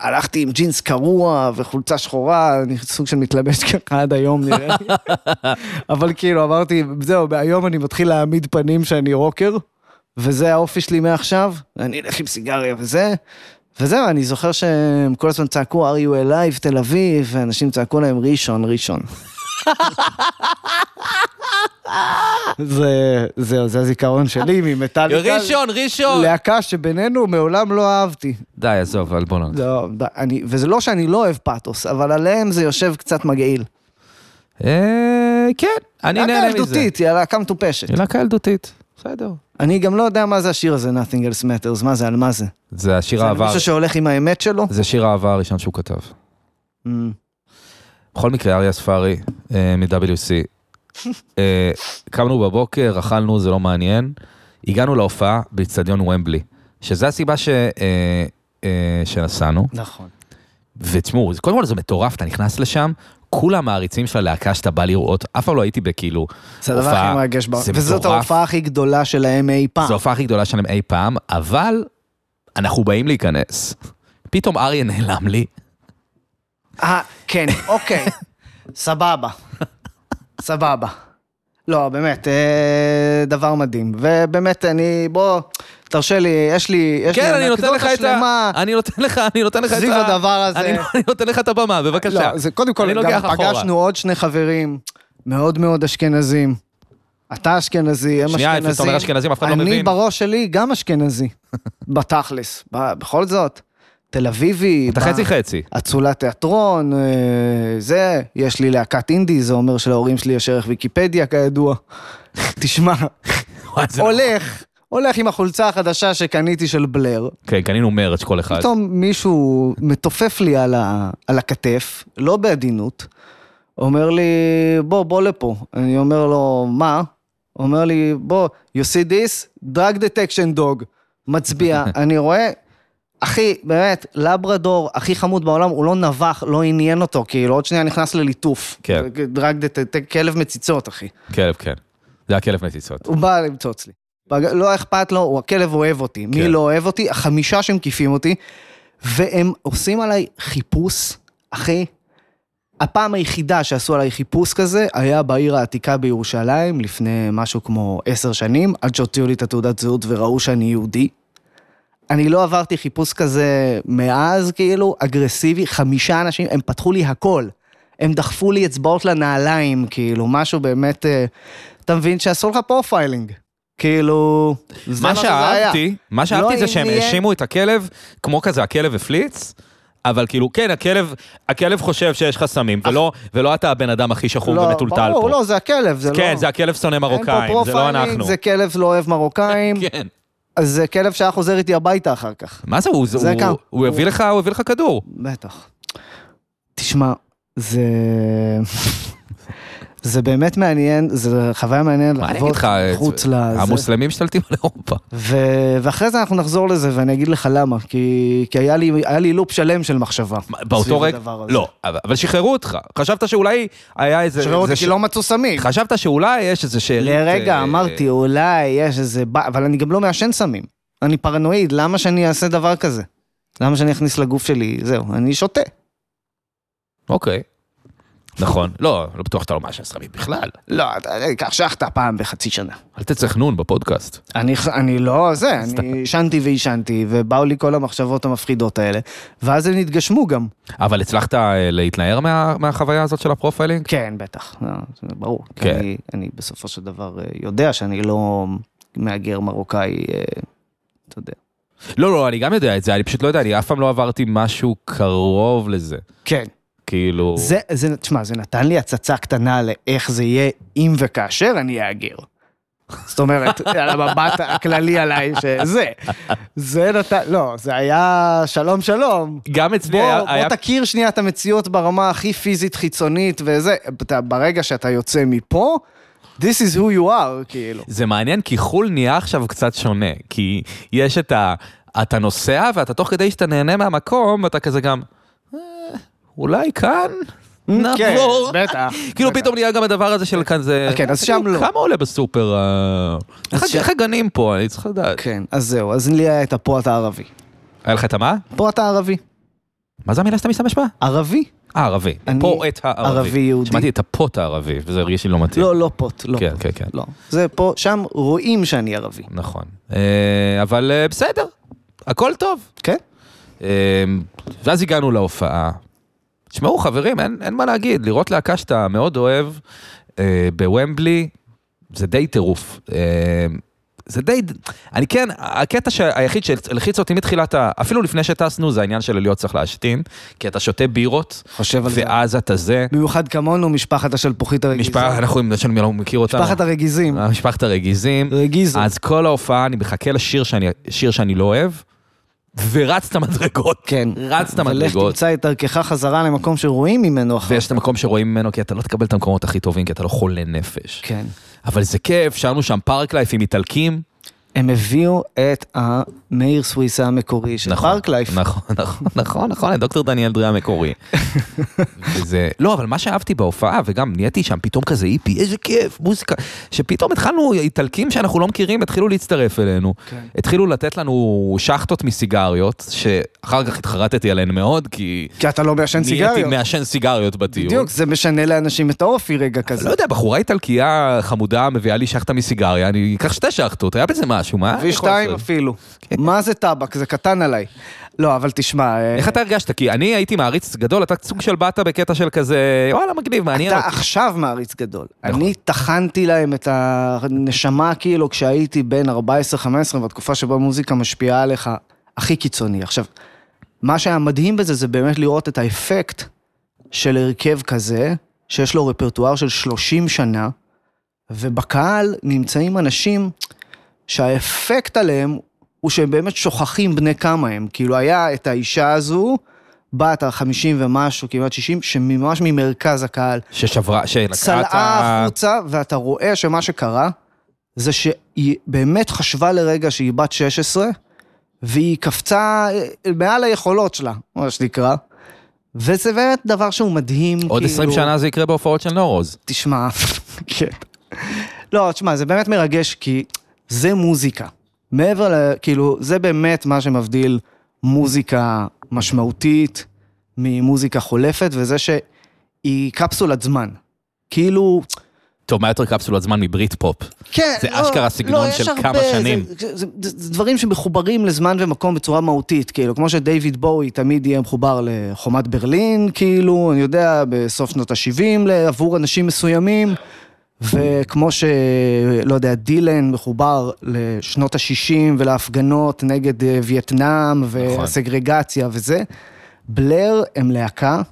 [SPEAKER 4] והלכתי עם ג'ינס קרוע וחולצה שחורה, אני סוג של מתלבש ככה עד היום נראה לי. אבל כאילו אמרתי, זהו, היום אני מתחיל להעמיד פנים שאני רוקר, וזה האופי שלי מעכשיו, אני אלך עם סיגריה וזה. וזהו, אני זוכר שהם כל הזמן צעקו, are you alive, תל אביב, ואנשים צעקו להם ראשון, ראשון. זה, זהו, זה הזיכרון שלי ממטאליקה.
[SPEAKER 2] אה, ראשון, ראשון!
[SPEAKER 4] להקה שבינינו מעולם לא אהבתי.
[SPEAKER 2] די, עזוב, אבל בוא נ...
[SPEAKER 4] לא, ד- אני, וזה לא שאני לא אוהב פאתוס, אבל עליהם זה יושב קצת מגעיל.
[SPEAKER 2] אה, כן, אני
[SPEAKER 4] להקה
[SPEAKER 2] נהנה מזה.
[SPEAKER 4] ילדותית, היא להקה מטופשת.
[SPEAKER 2] היא להקה ילדותית, בסדר.
[SPEAKER 4] אני גם לא יודע מה זה השיר הזה, Nothing else matters, מה זה, על מה זה?
[SPEAKER 2] זה השיר
[SPEAKER 4] זה על
[SPEAKER 2] האהבה,
[SPEAKER 4] מישהו שהולך עם האמת שלו?
[SPEAKER 2] זה שיר האהבה הראשון שהוא כתב.
[SPEAKER 4] Mm.
[SPEAKER 2] בכל מקרה, אריה ספארי אה, מ-WC. אה, קמנו בבוקר, אכלנו, זה לא מעניין. הגענו להופעה באיצטדיון ומבלי, שזה הסיבה ש... אה, אה, שנסענו,
[SPEAKER 4] נכון.
[SPEAKER 2] ותשמעו, זה- קודם כל זה מטורף, אתה נכנס לשם, כולם מעריצים של הלהקה שאתה בא לראות, אף פעם לא הייתי בכאילו,
[SPEAKER 4] זה הדבר
[SPEAKER 2] הופעה-
[SPEAKER 4] הכי מרגש בעולם.
[SPEAKER 2] זה
[SPEAKER 4] וזאת
[SPEAKER 2] מטורף.
[SPEAKER 4] ההופעה הכי גדולה שלהם אי פעם.
[SPEAKER 2] זו ההופעה הכי גדולה שלהם אי פעם, אבל אנחנו באים להיכנס. פתאום אריה נעלם לי,
[SPEAKER 4] אה, כן, אוקיי. סבבה. סבבה. לא, באמת, אה, דבר מדהים. ובאמת, אני, בוא, תרשה לי, יש לי, יש
[SPEAKER 2] כן,
[SPEAKER 4] לי
[SPEAKER 2] אני נותן לך
[SPEAKER 4] אנקדוטה
[SPEAKER 2] את ה...
[SPEAKER 4] שלמה.
[SPEAKER 2] אני נותן לך, אני נותן לך את ה...
[SPEAKER 4] סביב הדבר הזה.
[SPEAKER 2] אני אני נותן לך את הבמה, בבקשה.
[SPEAKER 4] לא, זה קודם כל,
[SPEAKER 2] אני
[SPEAKER 4] גם
[SPEAKER 2] לוקח אחורה.
[SPEAKER 4] פגשנו עוד שני חברים מאוד מאוד אשכנזים. אתה אשכנזי, הם אשכנזים.
[SPEAKER 2] שנייה, איפה אתה אומר אשכנזים, אף אחד לא
[SPEAKER 4] אני
[SPEAKER 2] מבין.
[SPEAKER 4] בראש שלי גם אשכנזי, בתכלס. ב- בכל זאת, תל אביבי.
[SPEAKER 2] אתה
[SPEAKER 4] ב-
[SPEAKER 2] חצי חצי.
[SPEAKER 4] אצולת תיאטרון, אה, זה, יש לי להקת אינדי, זה אומר שלהורים שלי יש ערך ויקיפדיה כידוע. תשמע,
[SPEAKER 2] וואי, זה נכון.
[SPEAKER 4] הולך, הולך עם החולצה החדשה שקניתי של בלר,
[SPEAKER 2] כן, קנינו מרץ' כל אחד.
[SPEAKER 4] פתאום מישהו מתופף לי על, ה, על הכתף, לא בעדינות, אומר לי, בוא, בוא לפה. אני אומר לו, מה? אומר לי, בוא, you see this? drug detection dog. מצביע, אני רואה אחי, באמת, לברדור הכי חמוד בעולם, הוא לא נבח, לא עניין אותו, כאילו, עוד שנייה נכנס לליטוף.
[SPEAKER 2] כן.
[SPEAKER 4] דרג דת- ת- כלב מציצות, אחי.
[SPEAKER 2] כלב, כן. זה היה כלב מציצות.
[SPEAKER 4] הוא בא למצוץ לי. בג- לא אכפת לו, הוא הכלב אוהב אותי. מי
[SPEAKER 2] כן.
[SPEAKER 4] לא אוהב אותי? החמישה שמקיפים אותי, והם עושים עליי חיפוש, אחי. הפעם היחידה שעשו עליי חיפוש כזה, היה בעיר העתיקה בירושלים, לפני משהו כמו עשר שנים, עד שהוציאו לי את התעודת זהות וראו שאני יהודי. אני לא עברתי חיפוש כזה מאז, כאילו, אגרסיבי, חמישה אנשים, הם פתחו לי הכל. הם דחפו לי אצבעות לנעליים, כאילו, משהו באמת... אה, אתה מבין שעשו לך פרופיילינג. כאילו, זה
[SPEAKER 2] מה
[SPEAKER 4] מה שזה היה.
[SPEAKER 2] שאהבתי, מה
[SPEAKER 4] לא,
[SPEAKER 2] שאהבתי
[SPEAKER 4] אם
[SPEAKER 2] זה שהם
[SPEAKER 4] זה יהיה-
[SPEAKER 2] האשימו את הכלב, כמו כזה, הכלב הפליץ, אבל כאילו, כן, הכלב, הכלב חושב שיש לך סמים, ולא- ולא אתה הבן אדם הכי שחור
[SPEAKER 4] לא,
[SPEAKER 2] ומטולטל
[SPEAKER 4] ברור,
[SPEAKER 2] פה.
[SPEAKER 4] לא, זה הכלב, זה לא...
[SPEAKER 2] כן, זה הכלב שונא
[SPEAKER 4] אין פה
[SPEAKER 2] מרוקאים, זה לא
[SPEAKER 4] פרופיילינג,
[SPEAKER 2] אנחנו.
[SPEAKER 4] זה כלב לא אוהב מרוקאים,
[SPEAKER 2] כן.
[SPEAKER 4] אז זה כלב שהיה חוזר איתי הביתה אחר כך.
[SPEAKER 2] מה זה, הוא-
[SPEAKER 4] זה
[SPEAKER 2] הוא-
[SPEAKER 4] כמה-
[SPEAKER 2] הוא הביא לך, הוא הביא לך כדור.
[SPEAKER 4] בטח. תשמע, זה... זה באמת מעניין, זה חוויה מעניינת
[SPEAKER 2] מה אני
[SPEAKER 4] לחוות
[SPEAKER 2] אגיד לך,
[SPEAKER 4] חוץ לזה.
[SPEAKER 2] המוסלמים משתלטים על אירופה.
[SPEAKER 4] ו... ואחרי זה אנחנו נחזור לזה ואני אגיד לך למה, כי, כי היה, לי... היה לי לופ שלם של מחשבה.
[SPEAKER 2] מה,
[SPEAKER 4] סביב
[SPEAKER 2] באותו רגע,
[SPEAKER 4] הדבר הזה.
[SPEAKER 2] לא, אבל אבל שחררו אותך. חשבת שאולי היה איזה...
[SPEAKER 4] שחררו אותי
[SPEAKER 2] זה
[SPEAKER 4] כי
[SPEAKER 2] ש-
[SPEAKER 4] לא מצאו סמים.
[SPEAKER 2] חשבת שאולי יש איזה שארית...
[SPEAKER 4] לרגע
[SPEAKER 2] אה,
[SPEAKER 4] אמרתי, אולי יש איזה... ב- אבל אני גם לא מעשן סמים. אני פרנואיד, למה שאני אעשה דבר כזה? למה שאני אכניס לגוף שלי? זהו, אני שותה.
[SPEAKER 2] אוקיי. נכון. לא, לא בטוח שאתה לא מעשן סמים בכלל.
[SPEAKER 4] לא, אתה יודע, קח שחטה פעם בחצי שנה.
[SPEAKER 2] אל תצריך נון בפודקאסט.
[SPEAKER 4] אני, אני לא זה, אני עישנתי ועישנתי, ובאו לי כל המחשבות המפחידות האלה, ואז הן התגשמו גם.
[SPEAKER 2] אבל הצלחת אה, להתנער מה- מהחוויה הזאת של הפרופיילינג?
[SPEAKER 4] כן, בטח, לא, זה ברור. כי
[SPEAKER 2] כן.
[SPEAKER 4] אני, אני בסופו של דבר אה, יודע שאני לא מהגר מרוקאי, אה, אתה יודע.
[SPEAKER 2] לא, לא, אני גם יודע את זה, אני פשוט לא יודע, אני אף פעם לא עברתי משהו קרוב לזה.
[SPEAKER 4] כן.
[SPEAKER 2] כאילו...
[SPEAKER 4] זה, זה, תשמע, זה נתן לי הצצה קטנה לאיך זה יהיה אם וכאשר אני אהיה הגר. זאת אומרת, על המבט הכללי עליי שזה. זה נתן, לא, זה היה שלום שלום.
[SPEAKER 2] גם אצלי
[SPEAKER 4] בוא,
[SPEAKER 2] כן, היה...
[SPEAKER 4] בוא
[SPEAKER 2] היה-
[SPEAKER 4] תכיר שנייה את המציאות ברמה הכי פיזית חיצונית וזה, אתה, ברגע שאתה יוצא מפה, this is who you are, כאילו.
[SPEAKER 2] זה מעניין כי חו"ל נהיה עכשיו קצת שונה, כי יש את ה... אתה נוסע ואתה תוך כדי שאתה נהנה מהמקום, אתה כזה גם, "אה, אולי כאן
[SPEAKER 4] כן,
[SPEAKER 2] נעבור.
[SPEAKER 4] בטח.
[SPEAKER 2] כאילו
[SPEAKER 4] בטח.
[SPEAKER 2] פתאום נהיה גם הדבר הזה של כזה,
[SPEAKER 4] כן, אז
[SPEAKER 2] כאילו,
[SPEAKER 4] שם לא.
[SPEAKER 2] כמה עולה בסופר, ה- איך
[SPEAKER 4] שם-
[SPEAKER 2] איך הגנים פה, אני צריך לדעת.
[SPEAKER 4] כן, אז זהו, אז לי היה את הפה אתה ערבי.
[SPEAKER 2] היה לך את המה?
[SPEAKER 4] פה אתה ערבי.
[SPEAKER 2] מה זה המילה שאתה משתמש בה?
[SPEAKER 4] ערבי?
[SPEAKER 2] אה, ערבי.
[SPEAKER 4] אני
[SPEAKER 2] פה את הערבי.
[SPEAKER 4] ערבי יהודי.
[SPEAKER 2] שמעתי את הפוט הערבי, וזה הרגיש לי לא מתאים.
[SPEAKER 4] לא, לא פוט, לא.
[SPEAKER 2] כן,
[SPEAKER 4] פוט.
[SPEAKER 2] כן, כן.
[SPEAKER 4] לא. זה פה, שם רואים שאני ערבי.
[SPEAKER 2] נכון. אה, אבל אה, בסדר, הכל טוב.
[SPEAKER 4] כן?
[SPEAKER 2] אה, ואז הגענו להופעה. תשמעו חברים, אין, אין מה להגיד, לראות להקה שאתה מאוד אוהב אה, בוומבלי, זה די טירוף. אה, זה די, אני כן, הקטע שה- היחיד שהלחיץ אותי מתחילת ה... אפילו לפני שטסנו, זה העניין של להיות צריך להשתין, כי אתה שותה בירות,
[SPEAKER 4] חושב על זה.
[SPEAKER 2] ואז אתה זה.
[SPEAKER 4] במיוחד כמונו, משפחת השלפוחית הרגיזים.
[SPEAKER 2] משפחה, אנחנו, יש לנו מי לא מכיר אותנו.
[SPEAKER 4] משפחת הרגיזים.
[SPEAKER 2] אה, משפחת הרגיזים.
[SPEAKER 4] רגיזו.
[SPEAKER 2] אז כל ההופעה, אני מחכה לשיר שאני, שיר שאני לא אוהב, ורץ את המדרגות.
[SPEAKER 4] כן.
[SPEAKER 2] רץ את
[SPEAKER 4] ולך
[SPEAKER 2] המדרגות.
[SPEAKER 4] תמצא את דרכך חזרה למקום שרואים ממנו אחר.
[SPEAKER 2] ויש את המקום שרואים ממנו, כי אתה לא תקבל את המקומות הכי טובים, כי אתה לא חולה נפש.
[SPEAKER 4] כן.
[SPEAKER 2] אבל זה כיף, שרנו שם פארק לייף עם איטלקים.
[SPEAKER 4] הם הביאו את המאיר סוויסה המקורי של
[SPEAKER 2] נכון,
[SPEAKER 4] פארקלייף.
[SPEAKER 2] נכון, נכון, נכון, נכון, דוקטור דניאל דרי המקורי. וזה, לא, אבל מה שאהבתי בהופעה, וגם נהייתי שם פתאום כזה היפי, איזה כיף, מוזיקה, שפתאום התחלנו, איטלקים שאנחנו לא מכירים, התחילו להצטרף אלינו.
[SPEAKER 4] כן.
[SPEAKER 2] התחילו לתת לנו שחטות מסיגריות, שאחר כך התחרטתי עליהן מאוד, כי...
[SPEAKER 4] כי אתה לא מעשן
[SPEAKER 2] נהייתי
[SPEAKER 4] סיגריות.
[SPEAKER 2] מעשן סיגריות בטיול.
[SPEAKER 4] בדיוק, זה משנה לאנשים את האופי רגע
[SPEAKER 2] לא
[SPEAKER 4] כזה.
[SPEAKER 2] יודע, בחורה איטלקייה חמודה מביאה לי שחטה מסיגריה, אני אקח שתי שחטות, היה בזה משהו, מה? אני יכול כן.
[SPEAKER 4] V2
[SPEAKER 2] לעשות?
[SPEAKER 4] אפילו. מה זה טבק? זה קטן עליי. לא, אבל תשמע, אה,
[SPEAKER 2] איך אתה הרגשת? כי אני הייתי מעריץ גדול, אתה סוג של באת בקטע של כזה, וואלה, מגניב, מעניין.
[SPEAKER 4] אתה
[SPEAKER 2] אותי."
[SPEAKER 4] עכשיו מעריץ גדול.
[SPEAKER 2] נכון.
[SPEAKER 4] אני טחנתי להם את הנשמה כאילו כשהייתי בן 14-15, בתקופה שבה מוזיקה משפיעה עליך הכי קיצוני. עכשיו, מה שהיה מדהים בזה זה באמת לראות את האפקט של הרכב כזה, שיש לו רפרטואר של 30 שנה, ובקהל נמצאים אנשים שהאפקט עליהם הוא שהם באמת שוכחים בני כמה הם. כאילו היה את האישה הזו, בת ה-50 ומשהו, כמעט 60, שממש ממרכז הקהל,
[SPEAKER 2] ששברה, שלקחה את
[SPEAKER 4] צלעה
[SPEAKER 2] ה...
[SPEAKER 4] החוצה, ואתה רואה שמה שקרה, זה שהיא באמת חשבה לרגע שהיא בת 16, והיא קפצה אה, מעל היכולות שלה, מה שנקרא. וזה באמת דבר שהוא מדהים, כאילו,
[SPEAKER 2] עוד 20 שנה זה יקרה בהופעות של נורוז.
[SPEAKER 4] תשמע, כן. לא, תשמע, זה באמת מרגש, כי זה מוזיקה. מעבר ל... כאילו, זה באמת מה שמבדיל מוזיקה משמעותית ממוזיקה חולפת, וזה שהיא קפסולת זמן. כאילו,
[SPEAKER 2] טוב, מה יותר קפסולת זמן מברית פופ?
[SPEAKER 4] כן,
[SPEAKER 2] זה אשכרה סגנון
[SPEAKER 4] יש
[SPEAKER 2] של כמה שנים.
[SPEAKER 4] זה, זה, זה, זה, זה דברים שמחוברים לזמן ומקום בצורה מהותית, כאילו, כמו שדייוויד בואי תמיד יהיה מחובר לחומת ברלין, כאילו, אני יודע, בסוף שנות ה-70 עבור אנשים מסוימים, וכמו ש... לא יודע, דילן מחובר לשנות ה-60 ולהפגנות נגד אה, וייטנאם
[SPEAKER 2] נכון.
[SPEAKER 4] והסגרגציה וזה, בלר הם להקה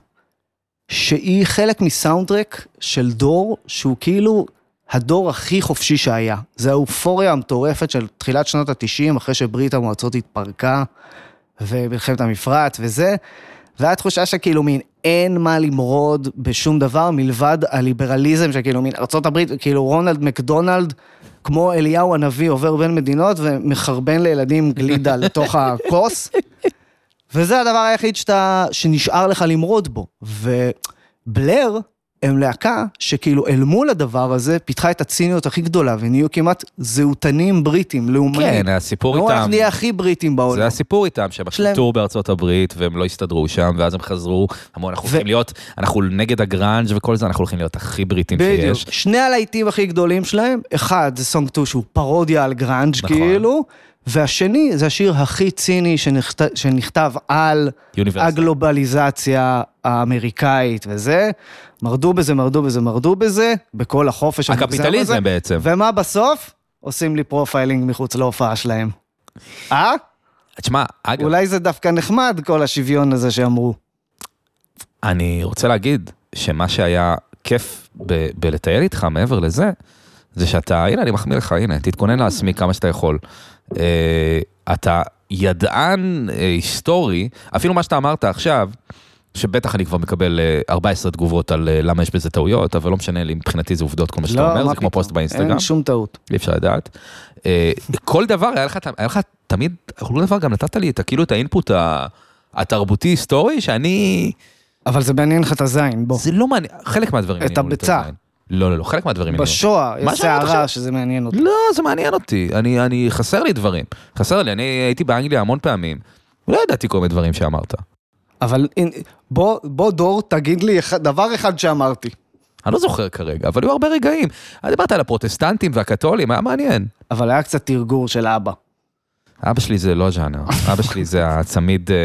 [SPEAKER 4] שהיא חלק מסאונדטרק של דור שהוא כאילו הדור הכי חופשי שהיה. זה האופוריה המטורפת של תחילת שנות ה-90, אחרי שברית המועצות התפרקה, ומלחמת המפרץ וזה, והיה תחושה שכאילו מין אין מה למרוד בשום דבר מלבד הליברליזם שכאילו מין ארה"ב, כאילו רונלד מקדונלד, כמו אליהו הנביא עובר בין מדינות ומחרבן לילדים גלידה לתוך הכוס. וזה הדבר היחיד שאתה, שנשאר לך למרוד בו. ובלר הם להקה שכאילו אל מול הדבר הזה פיתחה את הציניות הכי גדולה, ונהיו כמעט זהותנים בריטים, לאומנים.
[SPEAKER 2] כן, הסיפור
[SPEAKER 4] אמרו,
[SPEAKER 2] איתם.
[SPEAKER 4] אנחנו נהיה הכי בריטים
[SPEAKER 2] זה
[SPEAKER 4] בעולם.
[SPEAKER 2] הסיפור איתם, שהם עשו
[SPEAKER 4] שלהם.
[SPEAKER 2] טור בארצות הברית, והם לא הסתדרו שם, ואז הם חזרו, אמרו, אנחנו
[SPEAKER 4] ו-
[SPEAKER 2] הולכים להיות, אנחנו נגד הגראנג' וכל זה, אנחנו הולכים להיות הכי בריטים
[SPEAKER 4] בדיוק.
[SPEAKER 2] שיש.
[SPEAKER 4] שני הלהיטים הכי גדולים שלהם, אחד זה סונג 2 שהוא פרודיה על גראנג'
[SPEAKER 2] נכון.
[SPEAKER 4] כאילו, והשני זה השיר הכי ציני שנכת- שנכתב על
[SPEAKER 2] יוניברסיטה.
[SPEAKER 4] הגלובליזציה האמריקאית וזה. מרדו בזה, מרדו בזה, מרדו בזה, בכל החופש המוגזם הזה.
[SPEAKER 2] הקפיטליזם בעצם.
[SPEAKER 4] ומה בסוף? עושים לי פרופיילינג מחוץ להופעה שלהם. אה?
[SPEAKER 2] תשמע, אגב,
[SPEAKER 4] אולי זה דווקא נחמד, כל השוויון הזה שאמרו.
[SPEAKER 2] אני רוצה להגיד שמה שהיה כיף ב- בלטייל איתך מעבר לזה, זה שאתה, הנה אני מחמיא לך, הנה, תתכונן להסמיק כמה שאתה יכול. אה, אתה ידען אה, היסטורי, אפילו מה שאתה אמרת עכשיו, שבטח אני כבר מקבל אה, 14 תגובות על אה, למה יש בזה טעויות, אבל לא משנה לי, מבחינתי זה עובדות כל מה שאתה
[SPEAKER 4] לא,
[SPEAKER 2] אומר,
[SPEAKER 4] מה
[SPEAKER 2] זה כמו
[SPEAKER 4] פתאום.
[SPEAKER 2] פוסט באינסטגרם.
[SPEAKER 4] אין שום טעות.
[SPEAKER 2] אי אפשר לדעת. אה, כל דבר, היה לך, היה לך תמיד, כל דבר גם נתת לי את, ה- כאילו את האינפוט ה- התרבותי-היסטורי, שאני,
[SPEAKER 4] אבל זה מעניין לך את הזין, בוא.
[SPEAKER 2] זה לא מעניין, חלק מהדברים.
[SPEAKER 4] את
[SPEAKER 2] עניינו לי
[SPEAKER 4] הביצה.
[SPEAKER 2] עדיין. לא, לא, לא, חלק מהדברים. עניינו אותי.
[SPEAKER 4] בשואה
[SPEAKER 2] מה
[SPEAKER 4] יש
[SPEAKER 2] שאני אומר
[SPEAKER 4] סערה
[SPEAKER 2] עכשיו?
[SPEAKER 4] שזה מעניין אותי.
[SPEAKER 2] לא, זה מעניין אותי, אני, אני, חסר לי דברים. חסר לי, אני הייתי באנגליה המון פעמים, לא ידעתי כל מיני דברים שאמרת.
[SPEAKER 4] אבל הנה, בוא, בוא דור, תגיד לי אחד- דבר אחד שאמרתי.
[SPEAKER 2] אני לא זוכר כרגע, אבל היו הרבה רגעים. אז דיברת על הפרוטסטנטים והקתולים, היה מעניין.
[SPEAKER 4] אבל היה קצת תרגור של אבא.
[SPEAKER 2] אבא שלי זה לא ז'אנר, אבא שלי זה הצמיד, אה,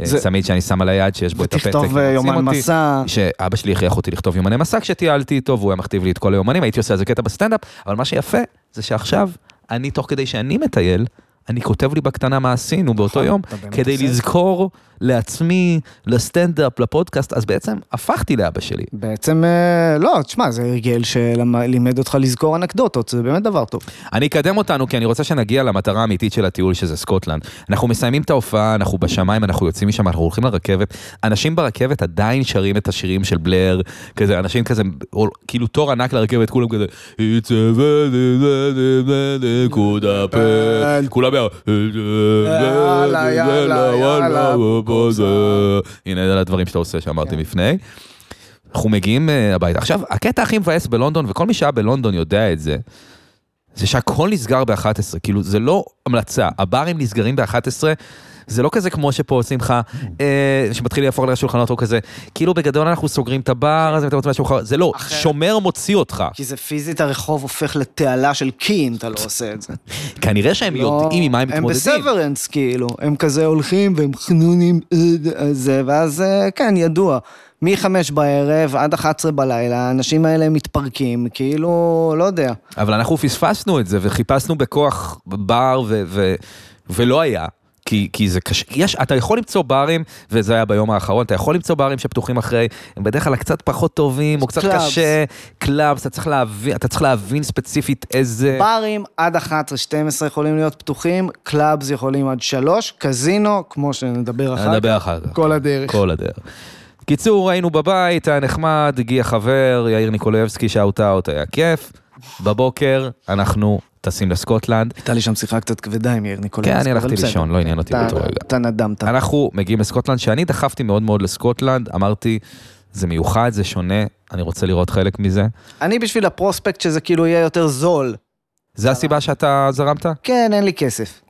[SPEAKER 2] אה,
[SPEAKER 4] זה-
[SPEAKER 2] צמיד שאני שם על היד שיש בו את הפתק.
[SPEAKER 4] תכתוב אה,
[SPEAKER 2] שים
[SPEAKER 4] יומן
[SPEAKER 2] אותי.
[SPEAKER 4] מסע.
[SPEAKER 2] שאבא שלי הכריח אותי לכתוב יומני מסע כשטיילתי איתו, והוא היה מכתיב לי את כל היומנים, הייתי עושה איזה קטע בסטנדאפ, אבל מה שיפה זה שעכשיו, אני תוך כדי שאני מטייל, אני כותב לי בקטנה מה עשינו באותו
[SPEAKER 4] נכון,
[SPEAKER 2] יום,
[SPEAKER 4] אתה באמת
[SPEAKER 2] כדי
[SPEAKER 4] עושה?
[SPEAKER 2] לזכור לעצמי, לסטנדאפ, לפודקאסט, אז בעצם הפכתי לאבא שלי.
[SPEAKER 4] בעצם, אה, לא, תשמע, זה הרגל שלימד אותך לזכור אנקדוטות, זה באמת דבר טוב.
[SPEAKER 2] אני אקדם אותנו כי אני רוצה שנגיע למטרה האמיתית של הטיול שזה סקוטלנד. אנחנו מסיימים את ההופעה, אנחנו בשמיים, אנחנו יוצאים משם, אנחנו הולכים לרכבת. אנשים ברכבת עדיין שרים את השירים של בלר, כזה, אנשים כזה, או- כאילו תור ענק לרכבת, כולם כזה, It's a very, very, very good apple." כולם יאללה,
[SPEAKER 4] יאללה, יאללה, יאללה. כן.
[SPEAKER 2] הנה אלה הדברים שאתה עושה שאמרתי לפני. אנחנו מגיעים אה, הביתה. עכשיו, הקטע הכי מבאס בלונדון, וכל מי שהיה בלונדון יודע את זה, זה שהכל נסגר ב-11, כאילו זה לא המלצה, הברים נסגרים ב-11, זה לא כזה כמו שפה עושים לך, אה, שמתחיל להפוך לשולחנות או כזה, כאילו בגדול אנחנו סוגרים את הבר, אז אם אתם רוצים משהו אחר, זה לא,
[SPEAKER 4] אחרת.
[SPEAKER 2] שומר מוציא אותך.
[SPEAKER 4] כי זה פיזית הרחוב הופך לתעלה של קי אם אתה לא עושה את זה.
[SPEAKER 2] כנראה שהם יודעים עם מה הם
[SPEAKER 4] לא, הם
[SPEAKER 2] מתמודדים.
[SPEAKER 4] בסוורנס כאילו, הם כזה הולכים והם חנונים, אה, זה, ואז אה, כן, ידוע. מחמש בערב עד 11 בלילה, האנשים האלה מתפרקים, כאילו, לא יודע.
[SPEAKER 2] אבל אנחנו פספסנו את זה וחיפשנו בכוח בר ו- ו- ולא היה. כי, כי זה קשה, יש, אתה יכול למצוא ברים, וזה היה ביום האחרון, אתה יכול למצוא ברים שפתוחים אחרי, הם בדרך כלל קצת פחות טובים, או קצת
[SPEAKER 4] קלאבס.
[SPEAKER 2] קשה, קלאבס, אתה צריך להבין, אתה צריך להבין ספציפית איזה...
[SPEAKER 4] ברים עד 11-12 יכולים להיות פתוחים, קלאבס יכולים עד 3, קזינו, כמו שנדבר אחר כך,
[SPEAKER 2] נדבר אחר כך.
[SPEAKER 4] כל הדרך.
[SPEAKER 2] כל הדרך. קיצור, היינו בבית, היה נחמד, הגיע חבר, יאיר ניקולייבסקי, שאוט אאוט, היה כיף. בבוקר אנחנו טסים לסקוטלנד.
[SPEAKER 4] הייתה לי שם שיחה קצת כבדה עם יאיר ניקולס.
[SPEAKER 2] כן, אני
[SPEAKER 4] אבל
[SPEAKER 2] הלכתי
[SPEAKER 4] בסדר.
[SPEAKER 2] לישון, לא עניין אותי
[SPEAKER 4] אתה-
[SPEAKER 2] באותו רגע. אה.
[SPEAKER 4] אתה נדמת.
[SPEAKER 2] אנחנו מגיעים לסקוטלנד, שאני דחפתי מאוד מאוד לסקוטלנד, אמרתי, זה מיוחד, זה שונה, אני רוצה לראות חלק מזה.
[SPEAKER 4] אני בשביל הפרוספקט שזה כאילו יהיה יותר זול.
[SPEAKER 2] זה הסיבה שאתה זרמת?
[SPEAKER 4] כן, אין לי כסף.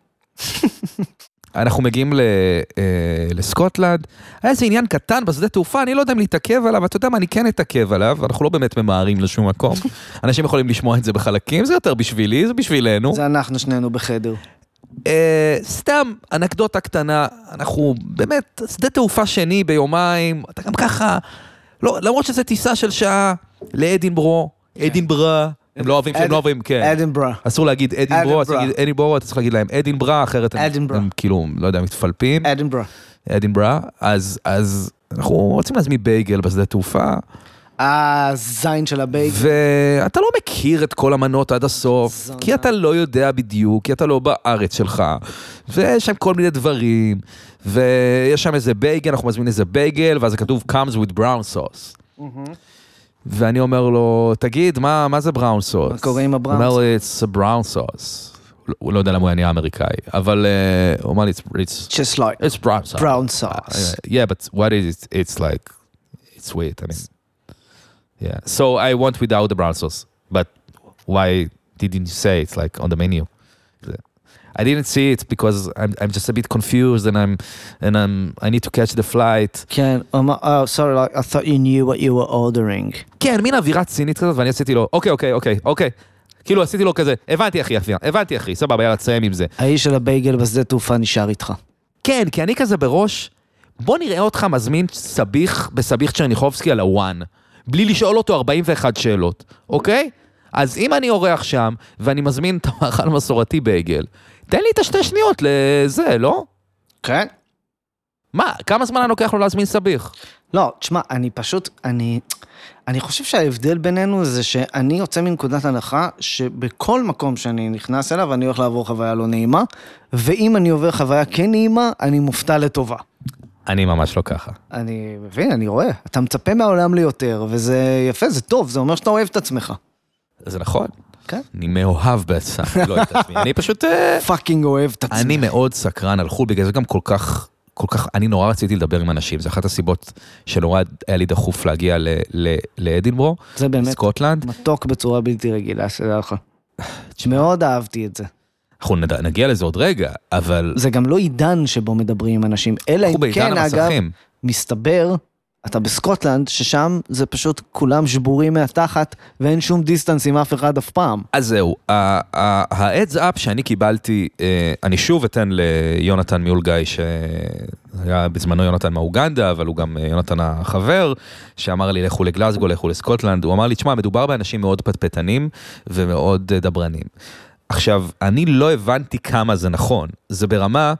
[SPEAKER 2] אנחנו מגיעים ל, אה, לסקוטלנד, היה איזה עניין קטן בשדה תעופה, אני לא יודע אם להתעכב עליו, אתה יודע מה, אני כן אתעכב עליו, אנחנו לא באמת ממהרים לשום מקום. אנשים יכולים לשמוע את זה בחלקים, זה יותר בשבילי, זה בשבילנו.
[SPEAKER 4] זה אנחנו שנינו בחדר.
[SPEAKER 2] אה, סתם אנקדוטה קטנה, אנחנו באמת, שדה תעופה שני ביומיים, אתה גם ככה, לא, למרות שזה טיסה של שעה לאדינברו,
[SPEAKER 4] כן.
[SPEAKER 2] אדינברה, הם לא אוהבים, הם לא אוהבים, כן.
[SPEAKER 4] אדנברה.
[SPEAKER 2] אסור להגיד אדינברו, אז
[SPEAKER 4] אדינברה.
[SPEAKER 2] תגיד אדינברו, אתה צריך להגיד להם אדינברה, אחרת הם-
[SPEAKER 4] אדינברה.
[SPEAKER 2] הם כאילו, לא יודע, מתפלפים.
[SPEAKER 4] אדנברה.
[SPEAKER 2] אדינברה, אז, אז אנחנו רוצים להזמין בייגל בשדה תעופה,
[SPEAKER 4] הזין של הבייגל.
[SPEAKER 2] ואתה לא מכיר את כל המנות עד הסוף,
[SPEAKER 4] זונה.
[SPEAKER 2] כי אתה לא יודע בדיוק, כי אתה לא בארץ שלך, ויש שם כל מיני דברים, ויש שם איזה בייגל, אנחנו מזמינים איזה בייגל, ואז זה כתוב comes with brown sauce. ואני אומר לו, תגיד, מה, מה זה בראון סוס?
[SPEAKER 4] מה קורה עם הבראון
[SPEAKER 2] הוא אומר לי, it's a brown sauce. הוא- הוא לא יודע למה הוא היה אמריקאי, אבל אה, הוא אמר לי, "It's- it's
[SPEAKER 4] Just like
[SPEAKER 2] it's brown sauce. Uh,
[SPEAKER 4] brown sauce.
[SPEAKER 2] yeah, but what is it? It's like it's sweet. I mean, yeah. So I want without the brown sauce, but why didn't you say it's like on the menu? I didn't see it because I'm I'm just a bit confused and I'm and I'm I need to catch the flight.
[SPEAKER 4] כן, הוא אמר, oh, sorry, like, I thought you knew what you were ordering.
[SPEAKER 2] כן, מין אווירה צינית כזאת, ואני עשיתי לו, אוקיי, אוקיי, אוקיי, אוקיי. כאילו עשיתי לו כזה, הבנתי אחי, אחי, הבנתי אחי, סבבה, יאללה, תסיים עם זה.
[SPEAKER 4] האיש של הבייגל בשדה תעופה נשאר איתך.
[SPEAKER 2] כן, כי אני כזה בראש, בוא נראה אותך מזמין סביח בסביח צ'רניחובסקי על הוואן, בלי לשאול אותו 41 שאלות, אוקיי? אז אם אני אורח שם, ואני מזמין את המאכל המסורתי בייגל, תן לי את השתי שניות לזה, לא?
[SPEAKER 4] כן?
[SPEAKER 2] מה, כמה זמן היה לוקח לו להזמין סביח?
[SPEAKER 4] לא, תשמע, אני פשוט, אני, אני חושב שההבדל בינינו זה שאני יוצא מנקודת הנחה שבכל מקום שאני נכנס אליו, אני הולך לעבור חוויה לא נעימה, ואם אני עובר חוויה כן נעימה, אני מופתע לטובה.
[SPEAKER 2] אני ממש לא ככה.
[SPEAKER 4] אני מבין, אני רואה. אתה מצפה מהעולם ליותר, וזה יפה, זה טוב, זה אומר שאתה אוהב את עצמך.
[SPEAKER 2] זה נכון.
[SPEAKER 4] כן.
[SPEAKER 2] אני מאוהב בעצמי, לא את עצמי. אני פשוט... אה,
[SPEAKER 4] פאקינג אוהב את עצמך.
[SPEAKER 2] אני מאוד סקרן על חו"ל, בגלל זה גם כל כך, כל כך, אני נורא רציתי לדבר עם אנשים, זו אחת הסיבות שנורא היה לי דחוף להגיע ל- ל- לאדינבורו,
[SPEAKER 4] זה באמת
[SPEAKER 2] סקוטלנד.
[SPEAKER 4] מתוק בצורה בלתי רגילה, שתדע לך. מאוד אהבתי את זה.
[SPEAKER 2] אנחנו נד- נגיע לזה עוד רגע, אבל
[SPEAKER 4] זה גם לא עידן שבו מדברים עם אנשים, אלא
[SPEAKER 2] אנחנו
[SPEAKER 4] אם
[SPEAKER 2] בעידן
[SPEAKER 4] כן, אגב,
[SPEAKER 2] המסכים.
[SPEAKER 4] מסתבר, אתה בסקוטלנד, ששם זה פשוט כולם שבורים מהתחת, ואין שום דיסטנס עם אף אחד אף פעם.
[SPEAKER 2] אז זהו, ה-heads up שאני קיבלתי, אה, אני שוב אתן ליונתן מיולגאי, שהיה בזמנו יונתן מאוגנדה, אבל הוא גם אה, יונתן החבר, שאמר לי לכו לגלזגו, לכו לסקוטלנד, הוא אמר לי, תשמע, מדובר באנשים מאוד פטפטנים ומאוד אה, דברנים. עכשיו, אני לא הבנתי כמה זה נכון, זה ברמה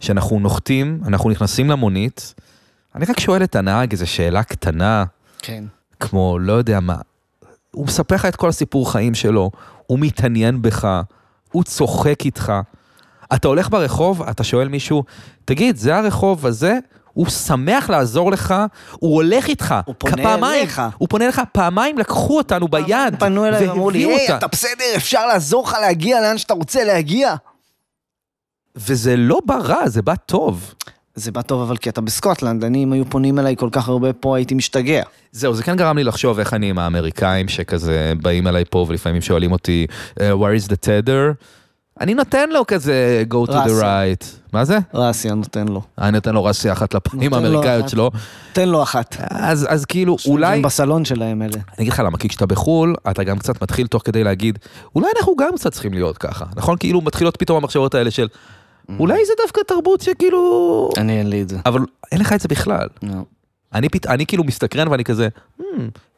[SPEAKER 2] שאנחנו נוחתים, אנחנו נכנסים למונית, אני רק שואל את הנהג איזו שאלה קטנה,
[SPEAKER 4] כן.
[SPEAKER 2] כמו, לא יודע מה, הוא מספר לך את כל הסיפור חיים שלו, הוא מתעניין בך, הוא צוחק איתך. אתה הולך ברחוב, אתה שואל מישהו, תגיד, זה הרחוב הזה? הוא שמח לעזור לך, הוא הולך איתך.
[SPEAKER 4] הוא פונה
[SPEAKER 2] פעמיים,
[SPEAKER 4] אליך.
[SPEAKER 2] הוא פונה אליך, פעמיים לקחו אותנו ביד.
[SPEAKER 4] פנו אליי ואמרו לי,
[SPEAKER 2] והביאו
[SPEAKER 4] היי,
[SPEAKER 2] אותה."
[SPEAKER 4] אתה בסדר, אפשר לעזור לך להגיע לאן שאתה רוצה להגיע.
[SPEAKER 2] וזה לא בא רע, זה בא טוב.
[SPEAKER 4] זה בא טוב, אבל כי אתה בסקוטלנד, אני, אם היו פונים אליי כל כך הרבה פה, הייתי משתגע.
[SPEAKER 2] זהו, זה כן גרם לי לחשוב איך אני עם האמריקאים שכזה באים אליי פה ולפעמים שואלים אותי, "Uh, where is the tether? אני נותן לו כזה go to the
[SPEAKER 4] רסיה.
[SPEAKER 2] right. מה זה?
[SPEAKER 4] רסיה נותן לו.
[SPEAKER 2] אני נותן לו רסיה אחת לפנים
[SPEAKER 4] נותן לו
[SPEAKER 2] האמריקאיות
[SPEAKER 4] אחת.
[SPEAKER 2] שלו.
[SPEAKER 4] תן לו אחת.
[SPEAKER 2] אז, אז כאילו, אולי...
[SPEAKER 4] הם בסלון שלהם אלה.
[SPEAKER 2] אני אגיד לך למה, כי כשאתה בחו"ל, אתה גם קצת מתחיל תוך כדי להגיד, אולי אנחנו גם קצת צריכים להיות ככה, נכון? כאילו מתחילות פתאום המחשבות האלה של, אולי זה דווקא תרבות שכאילו...
[SPEAKER 4] אני אין לי את זה.
[SPEAKER 2] אבל אין לך את זה בכלל. אני, פת... אני כאילו מסתקרן ואני כזה, "Hmm,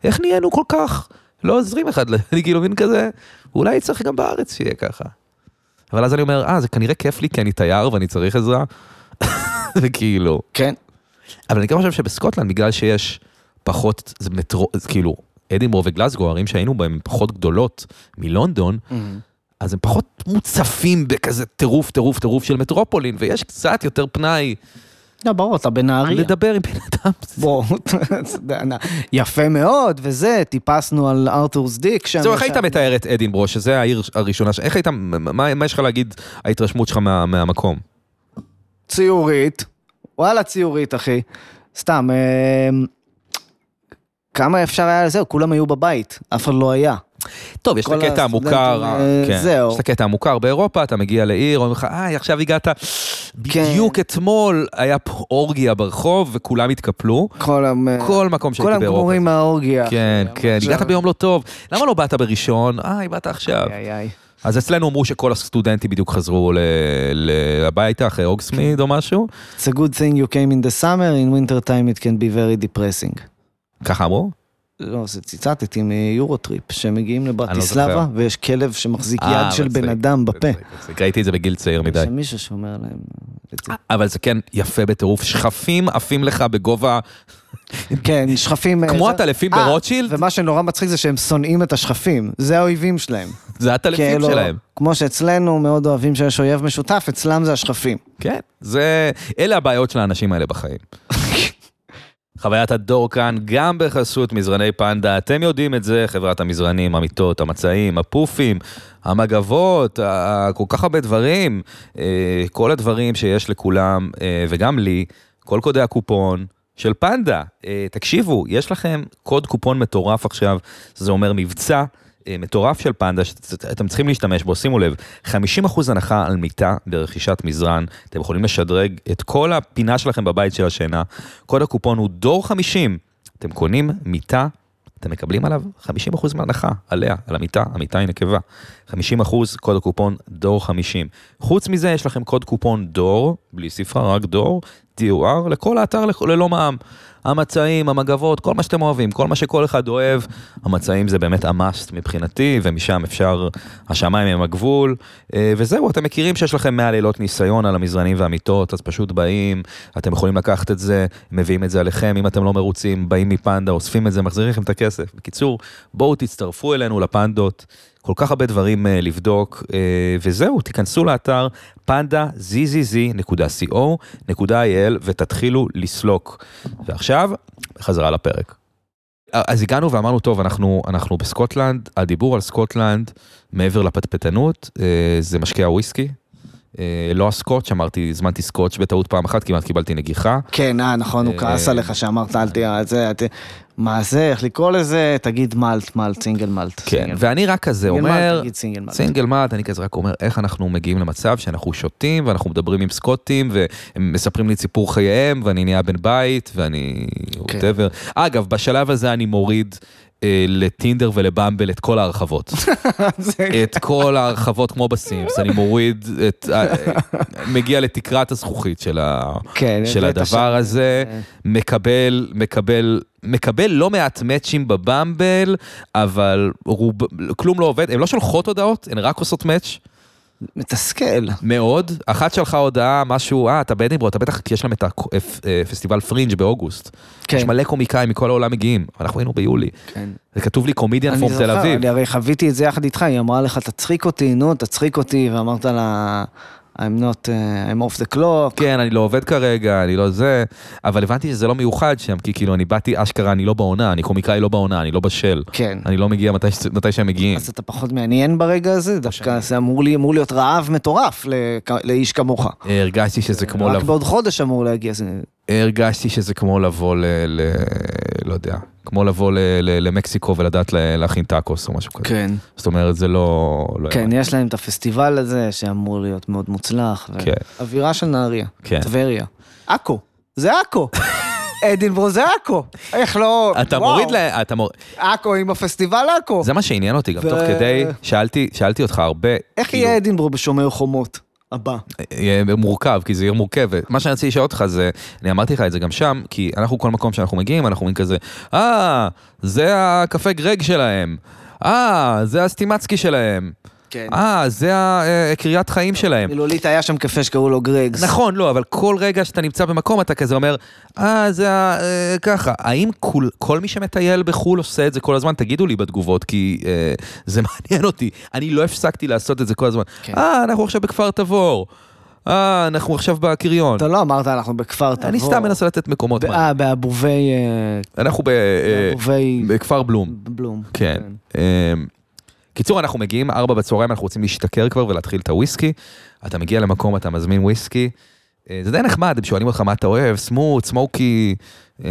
[SPEAKER 2] איך נהיינו כל כך לא עוזרים אחד, ל-" אני כאילו מין כזה, אולי צריך גם בארץ שיהיה ככה. אבל אז אני אומר, אה, זה כנראה כיף לי כי אני תייר ואני צריך עזרה, וכאילו.
[SPEAKER 4] כן.
[SPEAKER 2] אבל אני גם חושב שבסקוטלנד, בגלל שיש פחות, זה מטרו, זה כאילו, אדינבורו וגלזגו, הערים שהיינו בהן הן פחות גדולות מלונדון, אז הם פחות מוצפים בכזה טירוף, טירוף, טירוף של מטרופולין, ויש קצת יותר פנאי
[SPEAKER 4] לא, ברור, אתה בנהריה.
[SPEAKER 2] לדבר עם בן אדם.
[SPEAKER 4] בוא, אתה יודע, נע- יפה מאוד, וזה, טיפסנו על ארתורס דיק שם.
[SPEAKER 2] זהו, איך
[SPEAKER 4] ושם.
[SPEAKER 2] היית מתאר את אדינברו, שזה העיר הראשונה, ש- איך היית, מה מה יש לך להגיד, ההתרשמות שלך מה- מהמקום?
[SPEAKER 4] ציורית. וואלה, ציורית, אחי. סתם, אה, כמה אפשר היה לזה? כולם היו בבית, אף אחד לא היה.
[SPEAKER 2] טוב, יש את
[SPEAKER 4] כל
[SPEAKER 2] הקטע
[SPEAKER 4] הסטודנטים,
[SPEAKER 2] המוכר,
[SPEAKER 4] אה,
[SPEAKER 2] כן,
[SPEAKER 4] זהו.
[SPEAKER 2] יש את הקטע המוכר באירופה, אתה מגיע לעיר, אומרים לך, אה, עכשיו הגעת,
[SPEAKER 4] כן.
[SPEAKER 2] בדיוק אתמול היה פה אורגיה ברחוב וכולם התקפלו,
[SPEAKER 4] כל המ...
[SPEAKER 2] כל מקום
[SPEAKER 4] כל
[SPEAKER 2] שהייתי באירופה.
[SPEAKER 4] הגמורים מהאורגיה.
[SPEAKER 2] כן, כן,
[SPEAKER 4] עכשיו-
[SPEAKER 2] הגעת ביום לא טוב, למה לא באת בראשון? אה, באת עכשיו.
[SPEAKER 4] איי, איי.
[SPEAKER 2] אז אצלנו אמרו שכל הסטודנטים בדיוק חזרו ל- ל- הביתה אחרי אוגסמיד או משהו,
[SPEAKER 4] It's a good thing you came in the summer, in winter time it can be very depressing.
[SPEAKER 2] ככה אמרו?
[SPEAKER 4] לא, זה ציטטתי מיורוטריפ, שמגיעים
[SPEAKER 2] לא זוכר.
[SPEAKER 4] לברטיסלבה ויש כלב שמחזיק יד
[SPEAKER 2] אה,
[SPEAKER 4] של
[SPEAKER 2] מצחיק,
[SPEAKER 4] בן אדם בפה.
[SPEAKER 2] מצחיק, מצחיק. ראיתי את זה בגיל צעיר
[SPEAKER 4] יש
[SPEAKER 2] מדי.
[SPEAKER 4] שם מישהו שאומר להם... "אה,
[SPEAKER 2] אבל זה כן יפה בטירוף, שכפים עפים לך בגובה,
[SPEAKER 4] כן, שכפים...
[SPEAKER 2] כמו
[SPEAKER 4] זה-
[SPEAKER 2] הטלפים
[SPEAKER 4] אה,
[SPEAKER 2] ברוטשילד,
[SPEAKER 4] ומה שנורא מצחיק זה שהם שונאים את השכפים, זה האויבים שלהם.
[SPEAKER 2] זה הטלפים
[SPEAKER 4] כאילו,
[SPEAKER 2] שלהם.
[SPEAKER 4] כמו שאצלנו מאוד אוהבים שיש אויב משותף, אצלם זה השכפים.
[SPEAKER 2] כן, זה, אלה הבעיות של האנשים האלה בחיים. חוויית הדור כאן גם בחסות מזרני פנדה, אתם יודעים את זה, חברת המזרנים, המיטות, המצעים, הפופים, המגבות, ה- ה- כל כך הרבה דברים, אה, כל הדברים שיש לכולם אה, וגם לי, כל קודי הקופון. של פנדה, אה, תקשיבו, יש לכם קוד קופון מטורף עכשיו, זה אומר מבצע אה, מטורף של פנדה, שאתם צריכים להשתמש בו, שימו לב, 50% הנחה על מיטה ברכישת מזרן, אתם יכולים לשדרג את כל הפינה שלכם בבית של השינה, קוד הקופון הוא דור 50, אתם קונים מיטה, אתם מקבלים עליו 50% מהנחה עליה, על המיטה, המיטה היא נקבה. 50% קוד הקופון דור 50. חוץ מזה יש לכם קוד קופון דור, בלי ספרה, רק דור, DOR, לכל האתר לכ- ללא מע"מ. המצעים, המגבות, כל מה שאתם אוהבים, כל מה שכל אחד אוהב, המצעים זה באמת המאסט מבחינתי, ומשם אפשר, השמיים הם הגבול, אה, וזהו, אתם מכירים שיש לכם 100 לילות ניסיון על המזרנים והמיטות, אז פשוט באים, אתם יכולים לקחת את זה, מביאים את זה עליכם, אם אתם לא מרוצים, באים מפנדה, אוספים את זה, מחזירים לכם את הכסף. בקיצור, בואו תצטרפו אלינו לפנדות, כל כך הרבה דברים אה, לבדוק, אה, וזהו, תיכנסו לאתר panda.zzz.co.il ותתחילו לסלוק. ועכשיו, חזרה לפרק. אז הגענו ואמרנו, טוב, אנחנו, אנחנו בסקוטלנד, הדיבור על סקוטלנד, מעבר לפטפטנות, אה, זה משקיע וויסקי. אה, לא הסקוטש, אמרתי, הזמנתי סקוטש בטעות פעם אחת, כמעט קיבלתי נגיחה.
[SPEAKER 4] כן, אה, נכון, הוא
[SPEAKER 2] אה,
[SPEAKER 4] כעס עליך שאמרת, אל תהיה, זה, אל תהיה- מה זה, איך לקרוא לזה, תגיד מלט, מלט, סינגל מלט.
[SPEAKER 2] כן,
[SPEAKER 4] סינגל
[SPEAKER 2] ואני רק כזה
[SPEAKER 4] סינגל מלט,
[SPEAKER 2] אומר,
[SPEAKER 4] תגיד סינגל מלט.
[SPEAKER 2] סינגל מאט, אני כזה רק אומר איך אנחנו מגיעים למצב שאנחנו שותים ואנחנו מדברים עם סקוטים והם מספרים לי את סיפור חייהם ואני נהיה בן בית ואני...
[SPEAKER 4] כן.
[SPEAKER 2] whatever. אגב, בשלב הזה אני מוריד אה, לטינדר ולבמבל את כל ההרחבות.
[SPEAKER 4] זה-
[SPEAKER 2] את כל ההרחבות כמו בסימס, אני מוריד את... אה, מגיע לתקרת הזכוכית של ה...
[SPEAKER 4] כן,
[SPEAKER 2] של
[SPEAKER 4] הבאת
[SPEAKER 2] הדבר
[SPEAKER 4] שם-
[SPEAKER 2] הזה,
[SPEAKER 4] אה.
[SPEAKER 2] מקבל, מקבל, מקבל לא מעט מאצ'ים בבמבל, אבל רוב, כלום לא עובד, הן לא שולחות הודעות, הן רק עושות מאץ',
[SPEAKER 4] מתסכל.
[SPEAKER 2] מאוד. אחת שלחה הודעה, משהו, אה, אתה באדינברו, אתה בטח, כי יש להם את הפסטיבל פרינג' באוגוסט.
[SPEAKER 4] כן.
[SPEAKER 2] יש מלא קומיקאים מכל העולם מגיעים, אנחנו היינו ביולי.
[SPEAKER 4] כן.
[SPEAKER 2] זה כתוב לי קומדיאן
[SPEAKER 4] אני
[SPEAKER 2] פורם תל
[SPEAKER 4] זוכר,
[SPEAKER 2] אביב.
[SPEAKER 4] אני הרי חוויתי את זה יחד איתך, היא אמרה לך, תצחיק אותי, נו, תצחיק אותי, ואמרת לה, I'm not, uh, I'm off the clock.
[SPEAKER 2] כן, אני לא עובד כרגע, אני לא זה, אבל הבנתי שזה לא מיוחד שם, כי כאילו אני באתי אשכרה, אני לא בעונה, אני קומיקאי לא בעונה, אני לא בשל.
[SPEAKER 4] כן.
[SPEAKER 2] אני לא מגיע מתי, ש- מתי שהם מגיעים.
[SPEAKER 4] אז אתה פחות מעניין ברגע
[SPEAKER 2] לא
[SPEAKER 4] הזה, דווקא זה אמור לי- אמור להיות רעב מטורף לכ- לאיש כמוך.
[SPEAKER 2] אה, הרגשתי שזה כמו
[SPEAKER 4] רק
[SPEAKER 2] לבוא,
[SPEAKER 4] בעוד חודש אמור להגיע, זה-
[SPEAKER 2] הרגשתי שזה כמו לבוא ל... ל... לא יודע, כמו לבוא ל... ל... למקסיקו ולדעת ל... להכין טאקוס או משהו כזה.
[SPEAKER 4] כן.
[SPEAKER 2] זאת אומרת, זה לא... לא
[SPEAKER 4] כן,
[SPEAKER 2] יאמן.
[SPEAKER 4] יש להם את הפסטיבל הזה שאמור להיות מאוד מוצלח. ו-
[SPEAKER 2] כן.
[SPEAKER 4] אווירה של נהריה,
[SPEAKER 2] כן.
[SPEAKER 4] טבריה. עכו, זה עכו. אדינברו זה עכו. איך לא...
[SPEAKER 2] אתה
[SPEAKER 4] וואו.
[SPEAKER 2] מוריד ל... אתה מור...
[SPEAKER 4] עכו עם הפסטיבל עכו.
[SPEAKER 2] זה מה שעניין אותי, גם
[SPEAKER 4] ו-
[SPEAKER 2] תוך כדי, שאלתי, שאלתי אותך הרבה,
[SPEAKER 4] איך
[SPEAKER 2] כאילו,
[SPEAKER 4] יהיה אדינברו בשומר חומות הבא?
[SPEAKER 2] יהיה מורכב, כי זו עיר מורכבת. מה שאני רציתי לשאול אותך זה, אני אמרתי לך את זה גם שם, כי אנחנו כל מקום שאנחנו מגיעים, אנחנו אומרים כזה, אה, זה הקפה גרג שלהם, אה, זה הסטימצקי שלהם,
[SPEAKER 4] כן.
[SPEAKER 2] אה, זה הקריית חיים שלהם.
[SPEAKER 4] מילולית היה שם קפה שקראו לו גרגס.
[SPEAKER 2] נכון, לא, אבל כל רגע שאתה נמצא במקום אתה כזה אומר, אה, זה ה- אה, ככה. האם כל, כל מי שמטייל בחו"ל עושה את זה כל הזמן? תגידו לי בתגובות, כי אה, זה מעניין אותי. אני לא הפסקתי לעשות את זה כל הזמן.
[SPEAKER 4] כן.
[SPEAKER 2] אה, אנחנו עכשיו בכפר תבור. אה, אנחנו עכשיו בקריון.
[SPEAKER 4] אתה לא אמרת, אנחנו בכפר תבור.
[SPEAKER 2] אני סתם מנסה לתת מקומות.
[SPEAKER 4] ב- אה, באבובי... אה,
[SPEAKER 2] אנחנו ב- אה,
[SPEAKER 4] באבובי
[SPEAKER 2] בכפר בלום.
[SPEAKER 4] בלום.
[SPEAKER 2] כן. אמ, קיצור, אנחנו מגיעים, ארבע בצהריים, אנחנו רוצים להשתכר כבר ולהתחיל את הוויסקי. אתה מגיע למקום, אתה מזמין וויסקי. אה, זה די נחמד, הם שואלים אותך מה אתה אוהב, סמוט, סמוקי, אה,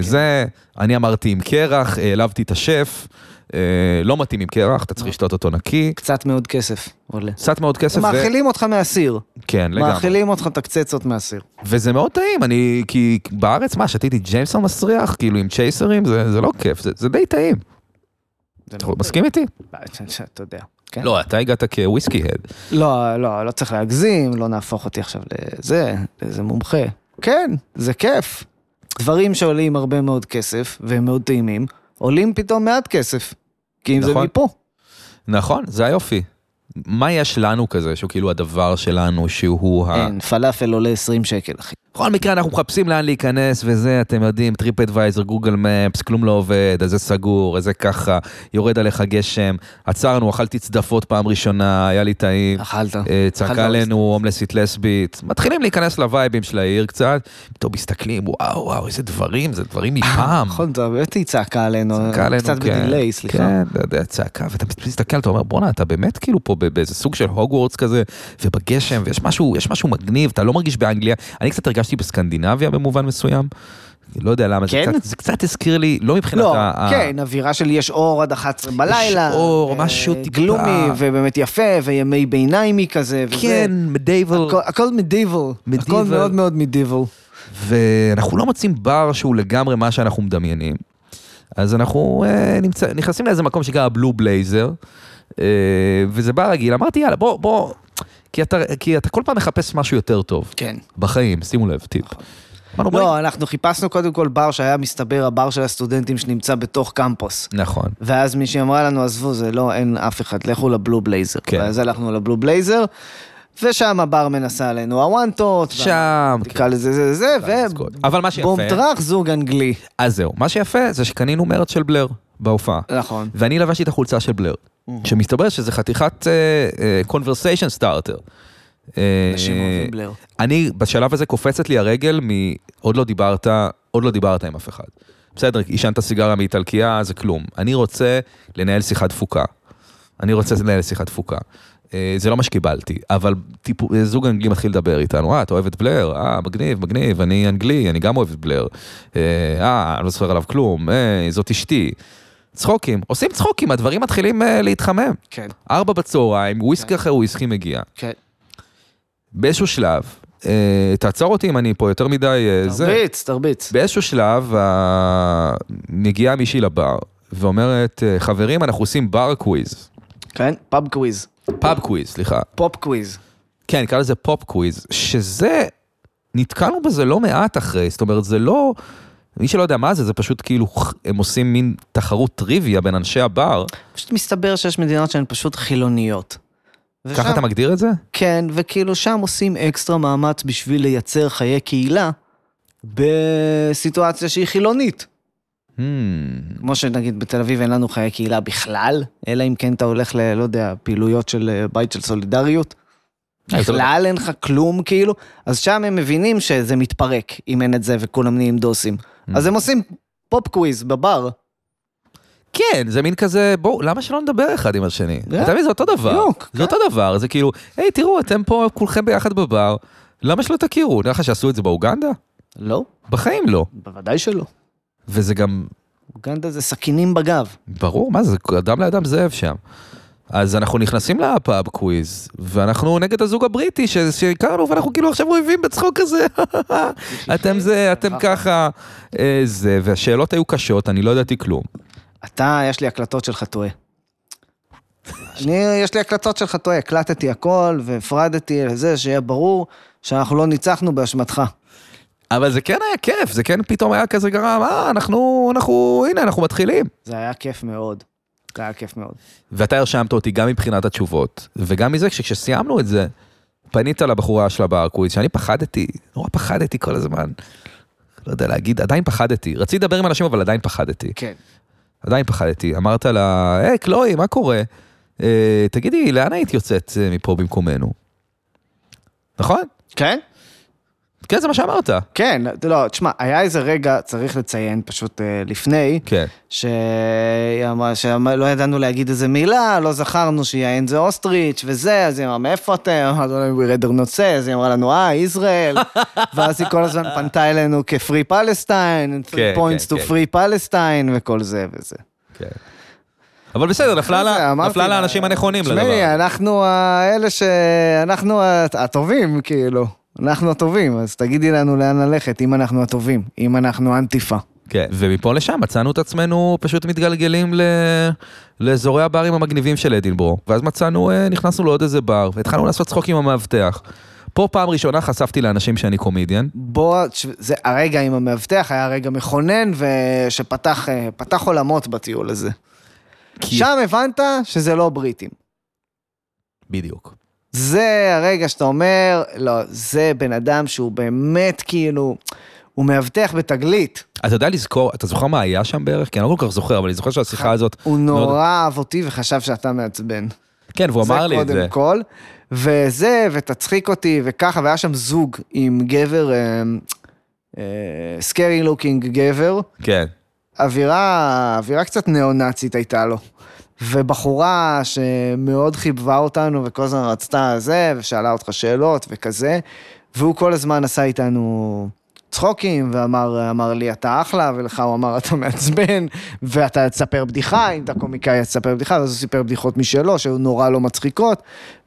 [SPEAKER 2] זה. אני אמרתי עם קרח, אה, העלבתי את השף. אה, לא מתאים עם קרח, אתה צריך לשתות אותו נקי.
[SPEAKER 4] קצת מאוד כסף עולה.
[SPEAKER 2] קצת מאוד כסף. ו-
[SPEAKER 4] מאכילים אותך מהסיר.
[SPEAKER 2] כן, לגמרי.
[SPEAKER 4] מאכילים אותך את הקצצות מהסיר.
[SPEAKER 2] וזה מאוד טעים, אני, כי בארץ, מה, שתיתי ג'יימסון מסריח, כאילו עם צ'ייסרים, זה, זה לא כיף, זה, זה די טעים.
[SPEAKER 4] זה
[SPEAKER 2] אתה
[SPEAKER 4] לא-
[SPEAKER 2] מסכים איתי?
[SPEAKER 4] אתה יודע. כן.
[SPEAKER 2] לא, אתה הגעת כוויסקי הד.
[SPEAKER 4] לא, לא, לא צריך להגזים, לא נהפוך אותי עכשיו לזה, לאיזה מומחה. כן, זה כיף. דברים שעולים הרבה מאוד כסף, והם מאוד טעימים, עולים פתאום מעט כסף. כי אם זה
[SPEAKER 2] נכון.
[SPEAKER 4] מפה.
[SPEAKER 2] נכון, זה היופי. מה יש לנו כזה, שהוא כאילו הדבר שלנו, שהוא ה...
[SPEAKER 4] אין, פלאפל עולה 20 שקל, אחי.
[SPEAKER 2] בכל מקרה, אנחנו מחפשים לאן להיכנס וזה, אתם יודעים, טריפ אדוויזר, גוגל מפס, כלום לא עובד, איזה סגור, איזה ככה, יורד עליך גשם, עצרנו, אכלתי צדפות פעם ראשונה, היה לי טעים.
[SPEAKER 4] אכלת.
[SPEAKER 2] אה,
[SPEAKER 4] אכלת
[SPEAKER 2] צעקה עלינו הומלסית לסבית, מתחילים להיכנס לווייבים של העיר קצת, פתאום מסתכלים, וואו, וואו, איזה דברים, זה דברים מפעם.
[SPEAKER 4] נכון, זה באמת היא צעקה עלינו,
[SPEAKER 2] צעקה עלינו,
[SPEAKER 4] קצת
[SPEAKER 2] כן.
[SPEAKER 4] בדיליי, סליחה.
[SPEAKER 2] כן, אתה יודע, צעקה, ואתה מסתכל, כן, אתה אומר, בואנה, אתה באמת כאילו פה ב- באיזה סוג של הוגוורטס כזה, ובגשם, ויש משהו, יש משהו מגניב, אתה לא מרגיש באנגליה. אני קצת הרגשתי בסקנדינביה במובן מסוים. לא יודע למה, זה
[SPEAKER 4] כן?
[SPEAKER 2] קצת- זה קצת הזכיר לי, לא מבחינת
[SPEAKER 4] לא,
[SPEAKER 2] ה... ה-
[SPEAKER 4] כן, אווירה של יש אור עד 11 בלילה.
[SPEAKER 2] אור,
[SPEAKER 4] אה,
[SPEAKER 2] משהו טיפה-
[SPEAKER 4] גלומי, ובאמת יפה, וימי ביניימי כזה, וזה.
[SPEAKER 2] כן, מדייבל,
[SPEAKER 4] הכל- הכל מדיבל. הכל
[SPEAKER 2] Medieval.
[SPEAKER 4] מאוד מאוד מדיבל.
[SPEAKER 2] ואנחנו לא מוצאים בר שהוא לגמרי מה שאנחנו מדמיינים. אז אנחנו אה, נמצא, נכנסים לאיזה מקום שנקרא הבלו בלייזר, אה, וזה בר רגיל, אמרתי יאללה בוא, בוא, כי אתה, כי אתה כל פעם מחפש משהו יותר טוב.
[SPEAKER 4] כן.
[SPEAKER 2] בחיים, שימו לב, טיפ. אמרנו, בואי-
[SPEAKER 4] לא, אנחנו חיפשנו קודם כל בר שהיה מסתבר הבר של הסטודנטים שנמצא בתוך קמפוס.
[SPEAKER 2] נכון.
[SPEAKER 4] ואז מישהי אמרה לנו, עזבו, זה לא, אין אף אחד, לכו לבלו בלייזר.
[SPEAKER 2] כן.
[SPEAKER 4] ואז הלכנו לבלו בלייזר, ושם הברמן עשה עלינו הוואנטות.
[SPEAKER 2] שם, כן.
[SPEAKER 4] תקרא לזה זה זה, זה,
[SPEAKER 2] לזכות. אבל מה שיפה,
[SPEAKER 4] ובומטראח זוג אנגלי.
[SPEAKER 2] אז זהו, מה שיפה זה שקנינו מרץ של בלר בהופעה.
[SPEAKER 4] נכון.
[SPEAKER 2] ואני לבשתי את החולצה של בלר, שמסתבר שזה חתיכת אה, אה, conversation starter. אה,
[SPEAKER 4] אנשים אוהבים בלר.
[SPEAKER 2] אני, בשלב הזה קופצת לי הרגל מ... עוד לא דיברת, עוד לא דיברת עם אף אחד. בסדר, עישנת סיגריה מאיטלקייה, זה כלום. אני רוצה לנהל שיחת תפוקה. אני רוצה לנהל שיחת תפוקה. אה, זה לא מה שקיבלתי, אבל טיפו, אה, זוג אנגלי מתחיל לדבר איתנו, אה, אתה אוהב את בלר? אה, מגניב, מגניב, אני אנגלי, אני גם אוהב את בלר. אה, אה, אני לא זוכר עליו כלום, אה, זאת אשתי. צחוקים, עושים צחוקים, הדברים מתחילים אה, להתחמם.
[SPEAKER 4] כן,
[SPEAKER 2] ארבע בצהריים, וויסקי אחרי וויסקי מגיע.
[SPEAKER 4] כן.
[SPEAKER 2] באיזשהו שלב, אה, תעצור אותי אם אני פה יותר מדי אה, זה.
[SPEAKER 4] תרביץ, תרביץ.
[SPEAKER 2] באיזשהו שלב אה, מגיעה מישהי לבר ואומרת, אה, חברים, אנחנו עושים בר קוויז,
[SPEAKER 4] כן, פאב קוויז.
[SPEAKER 2] פאב קוויז, סליחה.
[SPEAKER 4] פופ קוויז.
[SPEAKER 2] כן, נקרא לזה פופ קוויז, שזה, נתקלנו בזה לא מעט אחרי, זאת אומרת, זה לא, מי שלא יודע מה זה, זה פשוט כאילו, ח- הם עושים מין תחרות טריוויה בין אנשי הבר.
[SPEAKER 4] פשוט מסתבר שיש מדינות שהן פשוט חילוניות.
[SPEAKER 2] ככה אתה מגדיר את זה?
[SPEAKER 4] כן, וכאילו שם עושים אקסטרה מאמץ בשביל לייצר חיי קהילה בסיטואציה שהיא חילונית.
[SPEAKER 2] Hmm,
[SPEAKER 4] כמו שנגיד בתל אביב אין לנו חיי קהילה בכלל, אלא אם כן אתה הולך ל... לא יודע, פעילויות של אה, בית של סולידריות.
[SPEAKER 2] אה, אתה-
[SPEAKER 4] בכלל אין לך כלום כאילו, אז שם הם מבינים שזה מתפרק אם אין את זה וכולם נהיים דוסים.
[SPEAKER 2] Mm.
[SPEAKER 4] אז הם עושים פופ קוויז בבר.
[SPEAKER 2] כן, זה מין כזה, בואו, למה שלא נדבר אחד עם השני?
[SPEAKER 4] כן.
[SPEAKER 2] אתה מבין, זה אותו דבר.
[SPEAKER 4] בדיוק,
[SPEAKER 2] זה אותו דבר, זה כאילו, היי, תראו, אתם פה כולכם ביחד בבר, למה שלא תכירו? נראה לך שעשו את זה באוגנדה?
[SPEAKER 4] לא,
[SPEAKER 2] בחיים לא.
[SPEAKER 4] בוודאי שלא.
[SPEAKER 2] וזה גם,
[SPEAKER 4] אוגנדה זה סכינים בגב.
[SPEAKER 2] ברור, מה זה, אדם לאדם זאב שם. אז אנחנו נכנסים לפאב קוויז, ואנחנו נגד הזוג הבריטי ש- שהכרנו, ואנחנו כאילו עכשיו אויבים בצחוק כזה. אתם זה, אתם ככה, אה, זה, והשאלות היו קשות, אני לא ידעתי כלום.
[SPEAKER 4] אתה, יש לי הקלטות שלך טועה. אני, יש לי הקלטות שלך טועה, הקלטתי הכל והפרדתי לזה, שיהיה ברור שאנחנו לא ניצחנו באשמתך.
[SPEAKER 2] אבל זה כן היה כיף, זה כן פתאום היה כזה גרם, אה, אנחנו, אנחנו, הנה, אנחנו מתחילים.
[SPEAKER 4] זה היה כיף מאוד. זה היה כיף מאוד.
[SPEAKER 2] ואתה הרשמת אותי גם מבחינת התשובות, וגם מזה שכשסיימנו את זה, פנית לבחורה של הברקוויז, שאני פחדתי, נורא פחדתי כל הזמן. לא יודע להגיד, עדיין פחדתי. רציתי לדבר עם אנשים, אבל עדיין פחדתי.
[SPEAKER 4] כן.
[SPEAKER 2] עדיין פחדתי. אמרת לה, היי, קלוי, מה קורה? אה, תגידי, לאן היית יוצאת אה, מפה במקומנו? אה, נכון?
[SPEAKER 4] כן?
[SPEAKER 2] כן, זה מה שאמרת.
[SPEAKER 4] כן, לא, תשמע, היה איזה רגע, צריך לציין, פשוט אה, לפני,
[SPEAKER 2] כן.
[SPEAKER 4] שהיא אמרה, שלא לא ידענו להגיד איזה מילה, לא זכרנו שיען זה אוסטריץ' וזה, אז היא אמרה, "לא, מאיפה אתם? אמרנו להם, we rather not say, אז היא אמרה לנו, אה, ישראל, ואז היא כל הזמן פנתה אלינו כ-free
[SPEAKER 2] כן,
[SPEAKER 4] Palestine, three points
[SPEAKER 2] כן,
[SPEAKER 4] to free Palestine וכל זה וזה.
[SPEAKER 2] כן. אבל בסדר, נפלה לה-
[SPEAKER 4] אמרתי
[SPEAKER 2] נפלה
[SPEAKER 4] לה,
[SPEAKER 2] לאנשים הנכונים לדבר.
[SPEAKER 4] תשמעי, אה, אנחנו האלה ש... אנחנו הטובים, כאילו. אנחנו הטובים, אז תגידי לנו לאן ללכת, אם אנחנו הטובים, אם אנחנו אנטיפה.
[SPEAKER 2] כן, ומפה לשם מצאנו את עצמנו פשוט מתגלגלים ל... לאזורי הברים המגניבים של אדינבורו, ואז מצאנו, אה, נכנסנו לעוד איזה בר, והתחלנו לעשות צחוק עם המאבטח. פה פעם ראשונה חשפתי לאנשים שאני קומדיאן.
[SPEAKER 4] בוא, תש- זה הרגע עם המאבטח היה רגע מכונן ושפתח אה, פתח עולמות בטיול הזה.
[SPEAKER 2] כי-
[SPEAKER 4] שם הבנת שזה לא בריטים.
[SPEAKER 2] בדיוק.
[SPEAKER 4] זה הרגע שאתה אומר, לא, זה בן אדם שהוא באמת כאילו, הוא מאבטח בתגלית.
[SPEAKER 2] אתה יודע לזכור, אתה זוכר מה היה שם בערך? כי אני לא כל כך זוכר, אבל אני זוכר שהשיחה הזאת...
[SPEAKER 4] הוא
[SPEAKER 2] מאוד-
[SPEAKER 4] נורא אהב אותי וחשב שאתה מעצבן.
[SPEAKER 2] כן, והוא אמר לי את
[SPEAKER 4] זה
[SPEAKER 2] זה.
[SPEAKER 4] קודם כל. וזה, ותצחיק אותי, וככה, והיה שם זוג עם גבר, אה, סקרי לוקינג גבר,
[SPEAKER 2] כן.
[SPEAKER 4] אווירה, אווירה קצת ניאו-נאצית הייתה לו. ובחורה שמאוד חיבבה אותנו וכל הזמן רצתה זה, ושאלה אותך שאלות וכזה, והוא כל הזמן עשה איתנו צחוקים, ואמר אמר לי, אתה אחלה, ולך הוא אמר, אתה מעצבן, ואתה תספר בדיחה, אם אתה קומיקאי, אז תספר בדיחה, ואז הוא סיפר בדיחות משלו, שהיו נורא לא מצחיקות,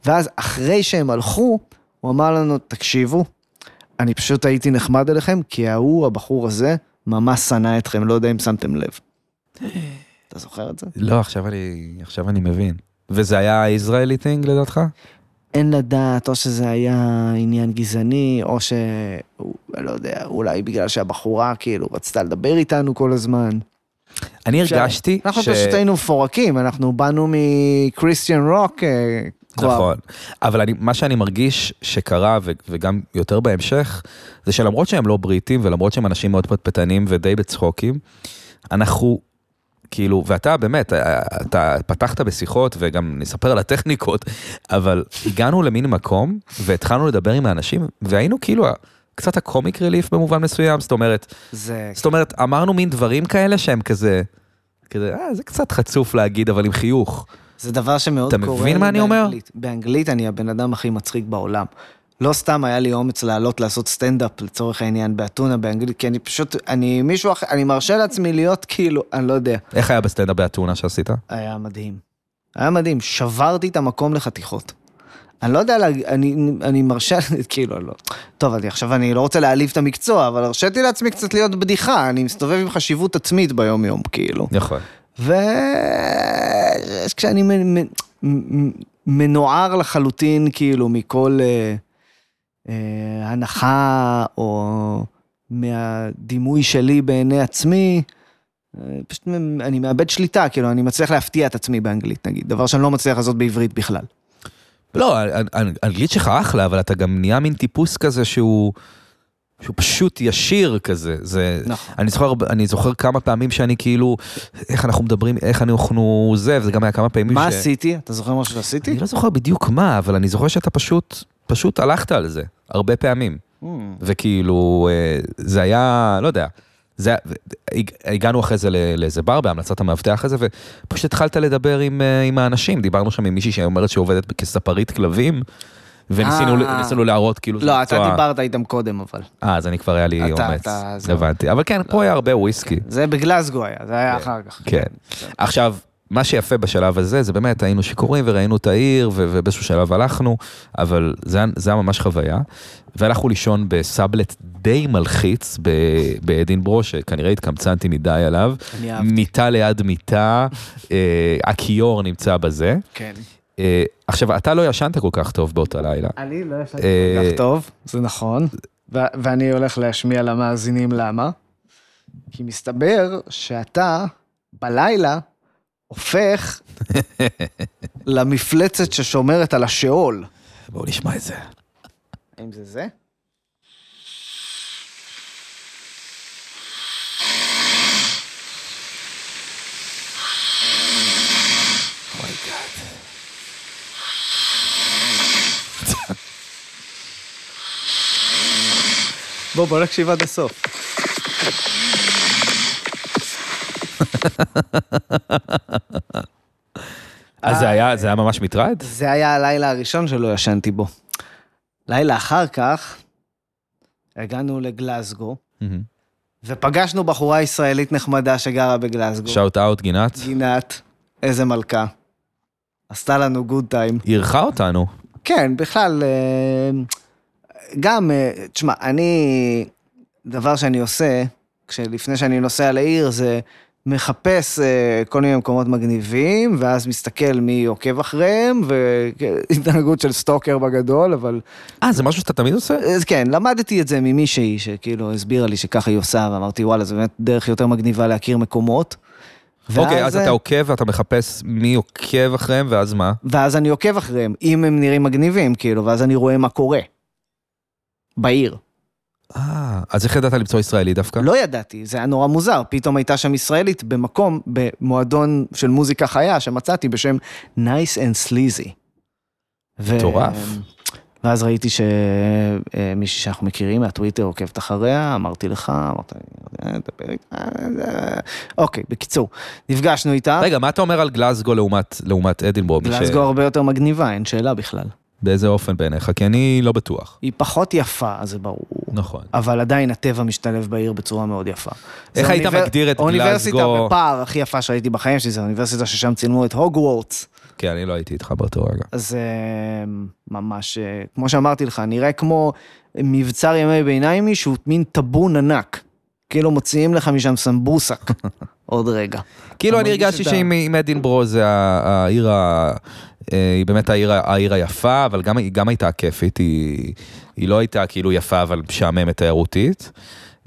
[SPEAKER 4] ואז אחרי שהם הלכו, הוא אמר לנו, תקשיבו, אני פשוט הייתי נחמד אליכם, כי ההוא, הבחור הזה, ממש שנא אתכם, לא יודע אם שמתם לב. אתה זוכר את זה?
[SPEAKER 2] לא, עכשיו אני, עכשיו אני מבין. וזה היה ישראלי טינג לדעתך?
[SPEAKER 4] אין לדעת, או שזה היה עניין גזעני, או ש... הוא- אני לא יודע, אולי בגלל שהבחורה כאילו רצתה לדבר איתנו כל הזמן.
[SPEAKER 2] אני הרגשתי
[SPEAKER 4] כן. אנחנו פשוט היינו מפורקים, אנחנו באנו מקריסטיאן רוק. אה, כבר.
[SPEAKER 2] נכון, אבל אני, מה שאני מרגיש שקרה, ו, וגם יותר בהמשך, זה שלמרות שהם לא בריטים, ולמרות שהם אנשים מאוד פטפטנים ודי בצחוקים, אנחנו, כאילו, ואתה באמת, אה, אתה פתחת בשיחות, וגם נספר על הטכניקות, אבל הגענו למין מקום, והתחלנו לדבר עם האנשים, והיינו כאילו... ה- קצת הקומיק רליף במובן מסוים, זאת אומרת,
[SPEAKER 4] זה...
[SPEAKER 2] זאת אומרת, אמרנו מין דברים כאלה שהם כזה, כזה, אה, זה קצת חצוף להגיד, אבל עם חיוך.
[SPEAKER 4] זה דבר שמאוד
[SPEAKER 2] אתה
[SPEAKER 4] קורה.
[SPEAKER 2] מבין
[SPEAKER 4] לי
[SPEAKER 2] מה אני אומר?
[SPEAKER 4] באנגלית. באנגלית אני הבן אדם הכי מצחיק בעולם. לא סתם היה לי אומץ לעלות לעשות סטנדאפ לצורך העניין באתונה באנגלית, כי אני פשוט, אני מישהו אחר, אני מרשה לעצמי להיות כאילו, אני לא יודע.
[SPEAKER 2] איך היה בסטנדאפ באתונה שעשית?
[SPEAKER 4] היה מדהים. היה מדהים, שברתי את המקום לחתיכות. אני לא יודע, להג- אני, אני מרשה, כאילו, לא. טוב, אני, עכשיו אני לא רוצה להעליב את המקצוע, אבל הרשיתי לעצמי קצת להיות בדיחה, אני מסתובב עם חשיבות עצמית ביום-יום, כאילו.
[SPEAKER 2] נכון.
[SPEAKER 4] וכשאני מנוער לחלוטין, כאילו, מכל אה, אה, הנחה או מהדימוי שלי בעיני עצמי, אה, פשוט מ- אני מאבד שליטה, כאילו, אני מצליח להפתיע את עצמי באנגלית, נגיד, דבר שאני לא מצליח לעשות בעברית בכלל.
[SPEAKER 2] לא, האנ- האנ- האנגלית שלך אחלה, אבל אתה גם נהיה מין טיפוס כזה שהוא, שהוא פשוט ישיר כזה. זה,
[SPEAKER 4] נכון.
[SPEAKER 2] אני זוכר, אני זוכר כמה פעמים שאני כאילו, איך אנחנו מדברים, איך אנחנו זה, וזה גם היה כמה פעמים
[SPEAKER 4] מה
[SPEAKER 2] ש...
[SPEAKER 4] עשיתי? אתה זוכר משהו שעשיתי?
[SPEAKER 2] אני לא זוכר בדיוק מה, אבל אני זוכר שאתה פשוט, פשוט הלכת על זה, הרבה פעמים.
[SPEAKER 4] Hmm.
[SPEAKER 2] וכאילו, אה, זה היה, לא יודע. זה, היה- הג- הגענו אחרי זה ל- לאיזה בר בהמלצת המאבטח הזה, ופשוט התחלת לדבר עם, אה, עם האנשים, דיברנו שם עם מישהי שאומרת שעובדת כספרית כלבים, וניסינו ל-
[SPEAKER 4] אה.
[SPEAKER 2] ניסינו להראות כאילו...
[SPEAKER 4] לא,
[SPEAKER 2] זה
[SPEAKER 4] אתה
[SPEAKER 2] מקצוע-
[SPEAKER 4] דיברת איתם קודם, אבל.
[SPEAKER 2] אה, אז אני כבר היה לי
[SPEAKER 4] אתה-
[SPEAKER 2] אומץ,
[SPEAKER 4] אתה- זהו.
[SPEAKER 2] הבנתי. אבל כן, פה היה הרבה וויסקי.
[SPEAKER 4] זה בגלזגו היה, זה היה אחר כך.
[SPEAKER 2] כן. עכשיו, מה שיפה בשלב הזה, זה באמת היינו שיכורים וראינו את העיר, ו- ובאיזשהו שלב הלכנו, אבל זה, היה- זה היה ממש חוויה. והלכנו לישון בסאבלט די מלחיץ ב- באדינברו, שכנראה התקמצנתי מדי עליו.
[SPEAKER 4] אני אהבתי.
[SPEAKER 2] מיטה ליד מיטה, אה, הכיור נמצא בזה.
[SPEAKER 4] כן.
[SPEAKER 2] אה, עכשיו, אתה לא ישנת כל כך טוב באותה לילה.
[SPEAKER 4] אני לא ישנתי
[SPEAKER 2] אה,
[SPEAKER 4] כל כך טוב, זה נכון, ו- ואני הולך להשמיע למאזינים למה. כי מסתבר שאתה בלילה הופך למפלצת ששומרת על השאול.
[SPEAKER 2] בואו נשמע את זה.
[SPEAKER 4] האם זה זה? בוא, בוא נקשיב עד הסוף.
[SPEAKER 2] אז זה היה, זה היה ממש מטרד?
[SPEAKER 4] זה היה הלילה הראשון שלא ישנתי בו. לילה אחר כך, הגענו לגלזגו, ופגשנו בחורה ישראלית נחמדה שגרה בגלזגו.
[SPEAKER 2] שאוט אאוט, גינת?
[SPEAKER 4] גינת, איזה מלכה. עשתה לנו גוד טיים.
[SPEAKER 2] היא אירחה אותנו.
[SPEAKER 4] כן, בכלל, אה, גם, אה, תשמע, אני, דבר שאני עושה, כשלפני שאני נוסע לעיר, זה מחפש אה, כל מיני מקומות מגניבים, ואז מסתכל מי עוקב אחריהם, והתנהגות של סטוקר בגדול, אבל...
[SPEAKER 2] אה, זה משהו שאתה תמיד עושה?
[SPEAKER 4] אז כן, למדתי את זה ממישהי שכאילו הסבירה לי שככה היא עושה, ואמרתי, וואלה, זו באמת דרך יותר מגניבה להכיר מקומות.
[SPEAKER 2] אוקיי,
[SPEAKER 4] ואז,
[SPEAKER 2] אז אתה
[SPEAKER 4] אה,
[SPEAKER 2] עוקב ואתה מחפש מי עוקב אחריהם, ואז מה?
[SPEAKER 4] ואז אני עוקב אחריהם, אם הם נראים מגניבים, כאילו, ואז אני רואה מה קורה. בעיר.
[SPEAKER 2] אה, אז איך ידעת למצוא ישראלי דווקא?
[SPEAKER 4] לא ידעתי, זה היה נורא מוזר. פתאום הייתה שם ישראלית במקום, במועדון של מוזיקה חיה שמצאתי בשם Nice and Sleazy. ו-
[SPEAKER 2] מטורף.
[SPEAKER 4] ואז ראיתי שמישהי שאנחנו מכירים מהטוויטר עוקבת אחריה, אמרתי לך, אמרת, "אה, דבר איתה, אה, אה." אוקיי, בקיצור, נפגשנו איתה.
[SPEAKER 2] רגע, מה אתה אומר על גלזגו לעומת- לעומת אדינבורג?
[SPEAKER 4] גלסגו הרבה יותר מגניבה, אין שאלה בכלל.
[SPEAKER 2] באיזה אופן בעיניך? כי אני לא בטוח.
[SPEAKER 4] היא פחות יפה, זה ברור.
[SPEAKER 2] נכון.
[SPEAKER 4] אבל עדיין הטבע משתלב בעיר בצורה מאוד יפה.
[SPEAKER 2] איך
[SPEAKER 4] זה
[SPEAKER 2] היית
[SPEAKER 4] אוניבר-
[SPEAKER 2] מגדיר את
[SPEAKER 4] האוניברסיטה
[SPEAKER 2] גלזגו?
[SPEAKER 4] בפער הכי יפה שראיתי בחיים שלי, זו האוניברסיטה ששם צילמו את הוגוורטס.
[SPEAKER 2] כן, אני לא הייתי איתך באותו רגע.
[SPEAKER 4] אז אה, ממש, אה, כמו שאמרתי לך, נראה כמו מבצר ימי ביניימי שהוא מין טאבון ענק. כאילו מוציאים לך משם סמבוסק עוד רגע.
[SPEAKER 2] כאילו
[SPEAKER 4] אתה
[SPEAKER 2] אני
[SPEAKER 4] מרגיש
[SPEAKER 2] הרגשתי
[SPEAKER 4] שאתה-
[SPEAKER 2] שאם אם אדינבורו זה ה- העיר ה... אה, היא באמת העיר, ה- העיר היפה, אבל גם, היא גם הייתה כיפית, היא, היא לא הייתה כאילו יפה, אבל משעממת תיירותית.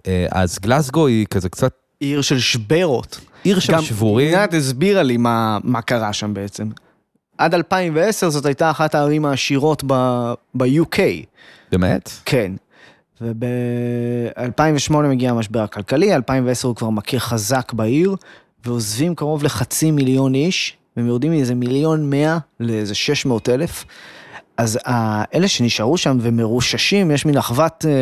[SPEAKER 2] אה, אז גלסגו היא כזה קצת
[SPEAKER 4] עיר של שברות.
[SPEAKER 2] עיר של שבורים.
[SPEAKER 4] רינת הסבירה לי מה, מה קרה שם בעצם. עד 2010 זאת הייתה אחת הערים העשירות ב- ב-UK.
[SPEAKER 2] באמת?
[SPEAKER 4] כן. וב-2008 מגיע המשבר הכלכלי, 2010 הוא כבר מכה חזק בעיר, ועוזבים קרוב לחצי מיליון איש, והם יורדים מאיזה מיליון מאה לאיזה 600 אלף. אז ה- אלה שנשארו שם ומרוששים, יש מין אחוות אה,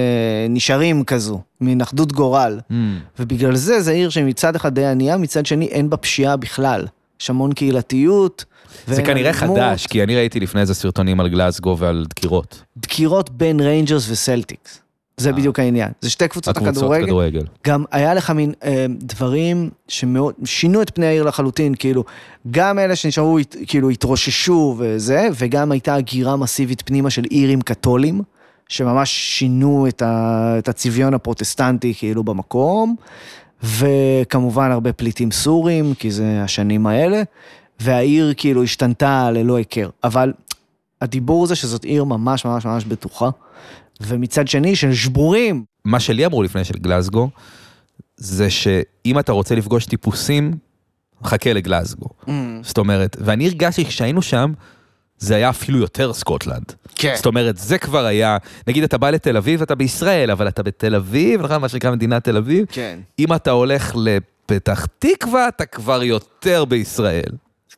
[SPEAKER 4] נשארים כזו, מין אחדות גורל.
[SPEAKER 2] Mm.
[SPEAKER 4] ובגלל זה זה עיר שמצד אחד די ענייה, מצד שני אין בה פשיעה בכלל. יש המון קהילתיות.
[SPEAKER 2] זה
[SPEAKER 4] ואין
[SPEAKER 2] כנראה
[SPEAKER 4] אלימות.
[SPEAKER 2] חדש, כי אני ראיתי לפני זה סרטונים על גלסגו ועל דקירות.
[SPEAKER 4] דקירות בין ריינג'רס וסלטיקס. זה בדיוק העניין. זה שתי קבוצות
[SPEAKER 2] הקבוצות
[SPEAKER 4] הכדורגל.
[SPEAKER 2] כדורגל.
[SPEAKER 4] גם היה לך מין אה, דברים שמאוד שינו את פני העיר לחלוטין, כאילו, גם אלה שנשארו, הת- כאילו, התרוששו וזה, וגם הייתה הגירה מסיבית פנימה של אירים קתולים, שממש שינו את, ה, את הצביון הפרוטסטנטי, כאילו, במקום, וכמובן הרבה פליטים סורים, כי זה השנים האלה, והעיר כאילו השתנתה ללא היכר, אבל הדיבור זה שזאת עיר ממש ממש ממש בטוחה, ומצד שני של שבורים.
[SPEAKER 2] מה שלי אמרו לפני של גלסגו, זה שאם אתה רוצה לפגוש טיפוסים, חכה לגלסגו. זאת אומרת, ואני הרגשתי שכשהיינו שם, זה היה אפילו יותר סקוטלנד.
[SPEAKER 4] כן.
[SPEAKER 2] זאת אומרת, זה כבר היה, נגיד אתה בא לתל אביב, אתה בישראל, אבל אתה בתל אביב, נכון? מה שנקרא מדינת תל אביב.
[SPEAKER 4] כן.
[SPEAKER 2] אם אתה הולך לפתח תקווה, אתה כבר יותר בישראל.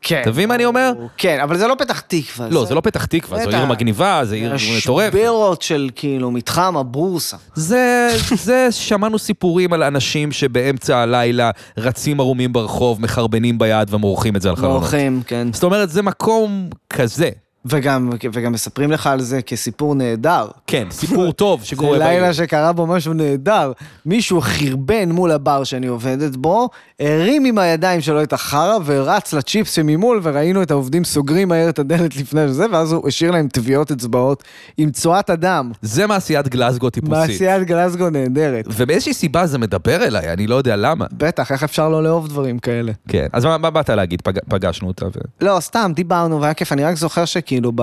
[SPEAKER 4] כן.
[SPEAKER 2] אתה מבין מה אני אומר?
[SPEAKER 4] הוא- כן, אבל זה לא פתח תקווה.
[SPEAKER 2] לא, זה לא פתח תקווה, זו
[SPEAKER 4] בטח.
[SPEAKER 2] עיר מגניבה, זו עיר מטורפת.
[SPEAKER 4] השברות של כאילו מתחם הבורסה.
[SPEAKER 2] זה, זה, שמענו סיפורים על אנשים שבאמצע הלילה רצים ערומים ברחוב, מחרבנים ביד ומורחים את זה על חלונות.
[SPEAKER 4] מורחים, כן.
[SPEAKER 2] זאת אומרת, זה מקום כזה.
[SPEAKER 4] וגם, וגם מספרים לך על זה כסיפור נהדר.
[SPEAKER 2] כן, סיפור טוב
[SPEAKER 4] זה
[SPEAKER 2] שקורה בעיר.
[SPEAKER 4] לילה שקרה בו משהו נהדר. מישהו חרבן מול הבר שאני עובדת בו, הרים עם הידיים שלו את החרא ורץ לצ'יפס שממול, וראינו את העובדים סוגרים מהר את הדלת לפני זה, ואז הוא השאיר להם טביעות אצבעות עם צואת אדם.
[SPEAKER 2] זה מעשיית גלזגו טיפוסית.
[SPEAKER 4] מעשיית גלסגו נהדרת.
[SPEAKER 2] ובאיזושהי סיבה זה מדבר אליי, אני לא יודע למה.
[SPEAKER 4] בטח, איך אפשר לא לאהוב דברים כאלה?
[SPEAKER 2] כן, אז מה, מה באת להגיד? פג, פגשנו אותה ו...
[SPEAKER 4] לא, סתם, דיברנו, והיה כיף, אני רק זוכר שכאילו ב...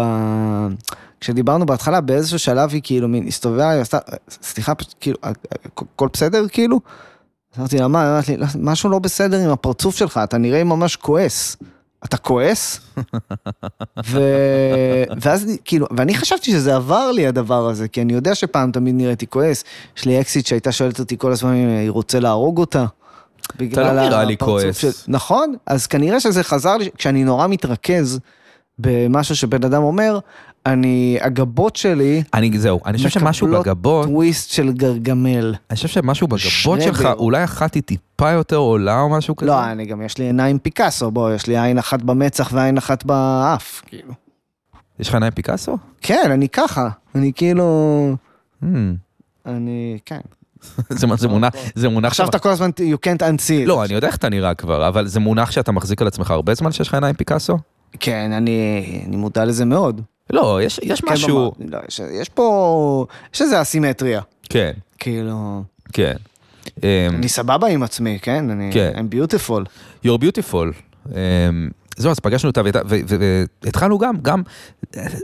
[SPEAKER 4] כשדיברנו בהתחלה, באיזשהו שלב היא כאילו מין הסתובבה, היא עשתה, סליחה, פשוט, כאילו, הכל בסדר כאילו? אז אמרתי לה, מה? היא אמרת לי, "לא, משהו לא בסדר עם הפרצוף שלך, אתה נראה ממש כועס. אתה כועס? ו... ואז אני- כאילו, ואני חשבתי שזה עבר לי הדבר הזה, כי אני יודע שפעם תמיד נראיתי כועס. יש לי אקסיט שהייתה שואלת אותי כל הזמן אם היא רוצה להרוג אותה. בגלל
[SPEAKER 2] לא נראה לי
[SPEAKER 4] הפרצוף
[SPEAKER 2] כועס.
[SPEAKER 4] נכון, אז כנראה שזה חזר לי, כשאני נורא מתרכז במשהו שבן אדם אומר, אני, הגבות שלי,
[SPEAKER 2] אני, זהו, אני חושב שמשהו
[SPEAKER 4] מקבלות
[SPEAKER 2] בגבות,
[SPEAKER 4] טוויסט של גרגמל.
[SPEAKER 2] אני חושב שמשהו בגבות
[SPEAKER 4] שרדר.
[SPEAKER 2] שלך, אולי אחת היא טיפה יותר עולה או משהו כזה.
[SPEAKER 4] לא, אני גם, יש לי עיניים פיקאסו, בוא, יש לי עין אחת במצח ועין אחת באף, כאילו.
[SPEAKER 2] יש לך עיניים פיקאסו?
[SPEAKER 4] כן, אני ככה, אני כאילו,
[SPEAKER 2] Hmm.
[SPEAKER 4] אני, כן.
[SPEAKER 2] זה מה- זה מונח, זה מונח
[SPEAKER 4] עכשיו
[SPEAKER 2] שאתה-
[SPEAKER 4] אתה כל הזמן, you can't unsee. it.
[SPEAKER 2] לא, אני יודע איך אתה נראה כבר, אבל זה מונח שאתה מחזיק על עצמך הרבה זמן שיש לך עיניים פיקאסו?
[SPEAKER 4] כן, אני, אני מודע לזה מאוד.
[SPEAKER 2] לא, יש, יש
[SPEAKER 4] כן,
[SPEAKER 2] משהו...
[SPEAKER 4] במה- לא, יש, יש פה, יש איזה אסימטריה.
[SPEAKER 2] כן,
[SPEAKER 4] כאילו,
[SPEAKER 2] כן. אמ,
[SPEAKER 4] אני סבבה עם עצמי, כן? אני,
[SPEAKER 2] כן.
[SPEAKER 4] I'm beautiful.
[SPEAKER 2] You're beautiful. אמ, זהו, אז פגשנו אותה והייתה- ו- ו- והתחלנו גם, גם,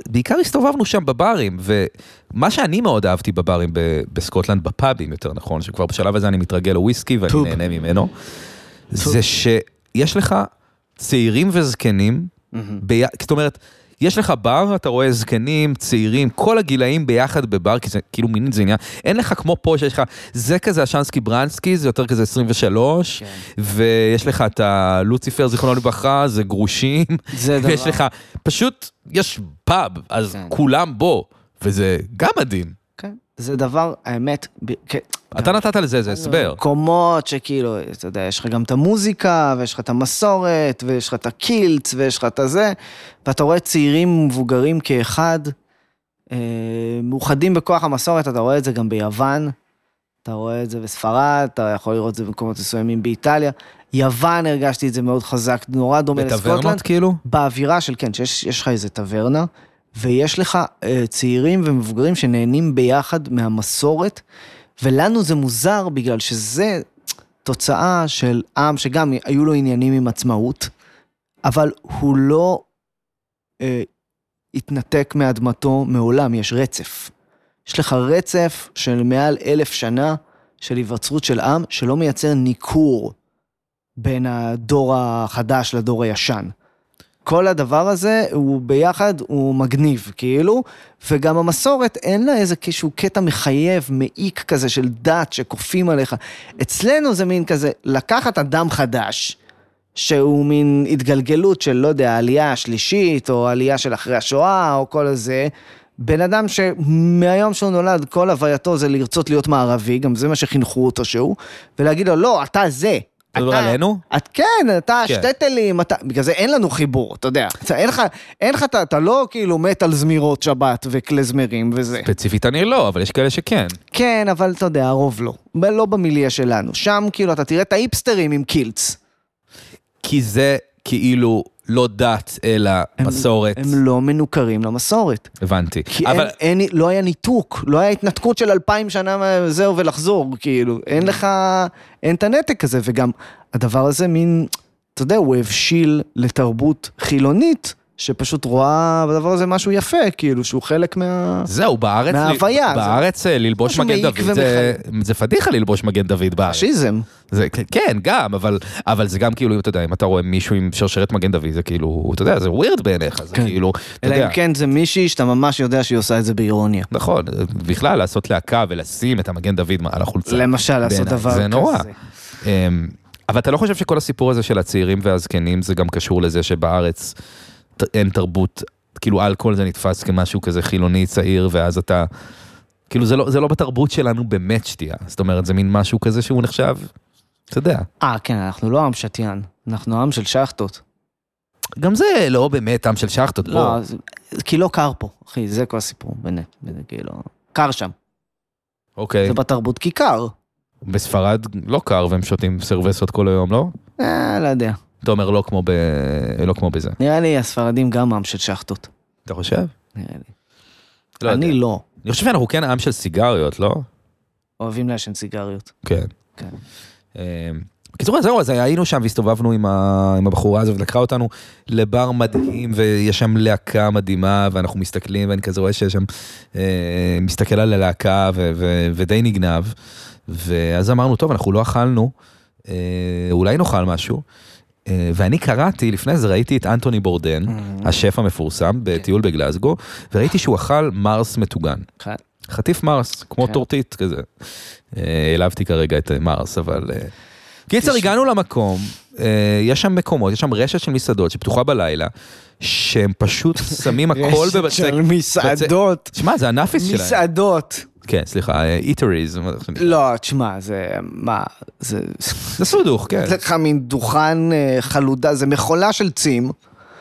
[SPEAKER 2] בעיקר הסתובבנו שם בברים, ומה שאני מאוד אהבתי בברים ב- בסקוטלנד, בפאבים יותר נכון, שכבר בשלב הזה אני מתרגל לוויסקי ואני
[SPEAKER 4] פוב.
[SPEAKER 2] נהנה ממנו, זה שיש לך צעירים וזקנים, בי- זאת אומרת, יש לך בר, אתה רואה זקנים, צעירים, כל הגילאים ביחד בבר, כי זה כאילו מין זה עניין, אין לך כמו פה שיש לך, זה כזה השנסקי ברנסקי, זה יותר כזה 23,
[SPEAKER 4] כן.
[SPEAKER 2] ויש לך את הלוציפר, זיכרונו לברכה, זה גרושים,
[SPEAKER 4] זה דבר.
[SPEAKER 2] ויש לך, פשוט, יש פאב, אז
[SPEAKER 4] כן.
[SPEAKER 2] כולם בו, וזה גם מדהים.
[SPEAKER 4] כן. זה דבר, האמת, ב, כן. לא
[SPEAKER 2] אתה נתת לזה איזה הסבר.
[SPEAKER 4] מקומות שכאילו, אתה יודע, יש לך גם את המוזיקה, ויש לך את המסורת, ויש לך את הקילץ, ויש לך את הזה, ואתה רואה צעירים ומבוגרים כאחד, אה, מאוחדים בכוח המסורת, אתה רואה את זה גם ביוון, אתה רואה את זה בספרד, אתה יכול לראות את זה במקומות מסוימים באיטליה. יוון, הרגשתי את זה מאוד חזק, נורא דומה לסקוטלנד.
[SPEAKER 2] בטברנות כאילו?
[SPEAKER 4] באווירה של כן, שיש יש לך איזה טברנה, ויש לך אה, צעירים ומבוגרים שנהנים ביחד מהמסורת, ולנו זה מוזר בגלל שזה תוצאה של עם שגם היו לו עניינים עם עצמאות, אבל הוא לא אה, התנתק מאדמתו מעולם, יש רצף. יש לך רצף של מעל אלף שנה של היווצרות של עם שלא מייצר ניכור בין הדור החדש לדור הישן. כל הדבר הזה הוא ביחד, הוא מגניב, כאילו, וגם המסורת אין לה איזה איזשהו קטע מחייב, מעיק כזה של דת שכופים עליך. אצלנו זה מין כזה, לקחת אדם חדש, שהוא מין התגלגלות של, לא יודע, העלייה השלישית, או העלייה של אחרי השואה, או כל הזה. בן אדם שמהיום שהוא נולד, כל הווייתו זה לרצות להיות מערבי, גם זה מה שחינכו אותו שהוא, ולהגיד לו, לא, אתה זה.
[SPEAKER 2] אתה מדבר עלינו?
[SPEAKER 4] את כן, אתה
[SPEAKER 2] כן.
[SPEAKER 4] שטטלים, אתה... בגלל זה אין לנו חיבור, אתה יודע. אתה- אין לך, אין לך, אתה- אתה לא כאילו מת על זמירות שבת וכלזמרים וזה.
[SPEAKER 2] ספציפית אני לא, אבל יש כאלה שכן.
[SPEAKER 4] כן, אבל אתה יודע, הרוב לא. ב- לא במיליה שלנו. שם כאילו אתה תראה את האיפסטרים עם קילץ.
[SPEAKER 2] כי זה כאילו לא דת, אלא מסורת.
[SPEAKER 4] הם לא מנוכרים למסורת.
[SPEAKER 2] הבנתי.
[SPEAKER 4] כי
[SPEAKER 2] אבל
[SPEAKER 4] אין, אין, לא היה ניתוק, לא היה התנתקות של אלפיים שנה וזהו ולחזור, כאילו, אין לך, אין את הנתק הזה, וגם הדבר הזה מין, אתה יודע, הוא הבשיל לתרבות חילונית, שפשוט רואה בדבר הזה משהו יפה, כאילו, שהוא חלק מה...
[SPEAKER 2] זהו, בארץ...
[SPEAKER 4] מההוויה, זה-
[SPEAKER 2] בארץ אה, ללבוש
[SPEAKER 4] משהו
[SPEAKER 2] מגן
[SPEAKER 4] מעיק
[SPEAKER 2] דוד, זה- זה פדיחה ללבוש מגן דוד בארץ.
[SPEAKER 4] פשיזם.
[SPEAKER 2] זה, כן, גם, אבל, אבל זה גם כאילו, אם אתה יודע, אם אתה רואה מישהו עם שרשרת מגן דוד, זה כאילו, אתה יודע, זה ווירד בעיניך, זה
[SPEAKER 4] כן.
[SPEAKER 2] כאילו, אתה
[SPEAKER 4] אלא
[SPEAKER 2] יודע.
[SPEAKER 4] אם כן זה מישהי שאתה ממש יודע שהיא עושה את זה באירוניה.
[SPEAKER 2] נכון, בכלל, לעשות להקה ולשים את המגן דוד על החולצה.
[SPEAKER 4] למשל, לעשות
[SPEAKER 2] בעיניי,
[SPEAKER 4] דבר כזה.
[SPEAKER 2] זה נורא. אמ, אבל אתה לא חושב שכל הסיפור הזה של הצעירים והזקנים, זה גם קשור לזה שבארץ ת- אין תרבות, כאילו אלכוהול זה נתפס כמשהו כזה חילוני צעיר, ואז אתה... כאילו זה לא, זה לא בתרבות שלנו באמת שתייה, זאת אומרת זה מין משהו כזה שהוא נחשב, אתה יודע,
[SPEAKER 4] אה, כן, אנחנו לא עם שתיין, אנחנו עם של שחטות.
[SPEAKER 2] גם זה לא באמת עם של שחטות, בוא.
[SPEAKER 4] לא, זה- כי לא קר פה, אחי, זה כל הסיפור, באמת, באמת, כאילו, קר שם.
[SPEAKER 2] אוקיי.
[SPEAKER 4] זה בתרבות כי קר.
[SPEAKER 2] בספרד לא קר והם שותים סרבסות כל היום, לא?
[SPEAKER 4] אה, לא יודע.
[SPEAKER 2] אתה אומר לא כמו, ב... לא כמו בזה.
[SPEAKER 4] נראה לי הספרדים גם עם של שחטות.
[SPEAKER 2] אתה חושב?
[SPEAKER 4] נראה לי.
[SPEAKER 2] לא
[SPEAKER 4] אני
[SPEAKER 2] יודע.
[SPEAKER 4] לא.
[SPEAKER 2] אני חושב שאנחנו כן עם של סיגריות, לא?
[SPEAKER 4] אוהבים לעשן סיגריות.
[SPEAKER 2] כן.
[SPEAKER 4] כן.
[SPEAKER 2] אמ, בקיצור, אז זהו, אז היינו שם והסתובבנו עם, ה... עם הבחורה הזו ולקחה אותנו לבר מדהים ויש שם להקה מדהימה ואנחנו מסתכלים ואני כזה רואה שיש שם, אה, מסתכל על הלהקה ו... ו... ודי נגנב. ואז אמרנו, טוב, אנחנו לא אכלנו, אה, אולי נאכל משהו. אה, ואני קראתי, לפני זה ראיתי את אנטוני בורדן, השף המפורסם, בטיול בגלזגו, וראיתי שהוא אכל מרס מטוגן.
[SPEAKER 4] אחד.
[SPEAKER 2] חטיף מרס, כמו
[SPEAKER 4] כן.
[SPEAKER 2] טורטית כזה. אה, העלבתי כרגע את אה, מרס, אבל... אה, קיצר, הגענו למקום, אה, יש שם מקומות, יש שם רשת של מסעדות שפתוחה בלילה, שהם פשוט שמים הכל
[SPEAKER 4] רשת
[SPEAKER 2] בבצק.
[SPEAKER 4] של מסעדות.
[SPEAKER 2] שמע, זה הנאפיס שלהם.
[SPEAKER 4] מסעדות.
[SPEAKER 2] כן, סליחה, איטריז.
[SPEAKER 4] לא, תשמע, זה... מה? זה...
[SPEAKER 2] זה סודוך, כן.
[SPEAKER 4] זה לך מין דוכן אה, חלודה, זה מכולה של צים,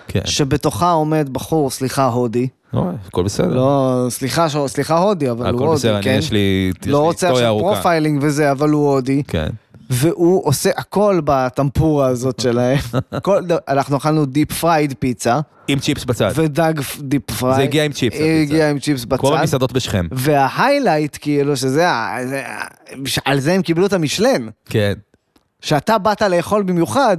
[SPEAKER 2] כן.
[SPEAKER 4] שבתוכה עומד בחור, סליחה, הודי.
[SPEAKER 2] לא, הכל בסדר.
[SPEAKER 4] לא, סליחה, ש- סליחה, הודי, אבל הוא
[SPEAKER 2] הכל
[SPEAKER 4] הודי,
[SPEAKER 2] בסדר, אני-
[SPEAKER 4] כן?
[SPEAKER 2] יש לי יש לי
[SPEAKER 4] לא רוצה
[SPEAKER 2] היסטוריה
[SPEAKER 4] עכשיו
[SPEAKER 2] ארוכה.
[SPEAKER 4] פרופיילינג וזה, אבל הוא הודי.
[SPEAKER 2] כן.
[SPEAKER 4] והוא עושה הכל בטמפורה הזאת שלהם. כל דבר, אנחנו אכלנו דיפ פרייד פיצה,
[SPEAKER 2] עם צ'יפס בצד.
[SPEAKER 4] ודג דיפ פריי.
[SPEAKER 2] אה. זה הגיע עם צ'יפס,
[SPEAKER 4] היא
[SPEAKER 2] הפיצה.
[SPEAKER 4] הגיעה עם צ'יפס אה, בצד.
[SPEAKER 2] כל המסעדות בשכם.
[SPEAKER 4] וההיילייט, כאילו, שזה ה... זה ה- על זה הם קיבלו את המשלן.
[SPEAKER 2] כן.
[SPEAKER 4] שאתה באת לאכול במיוחד,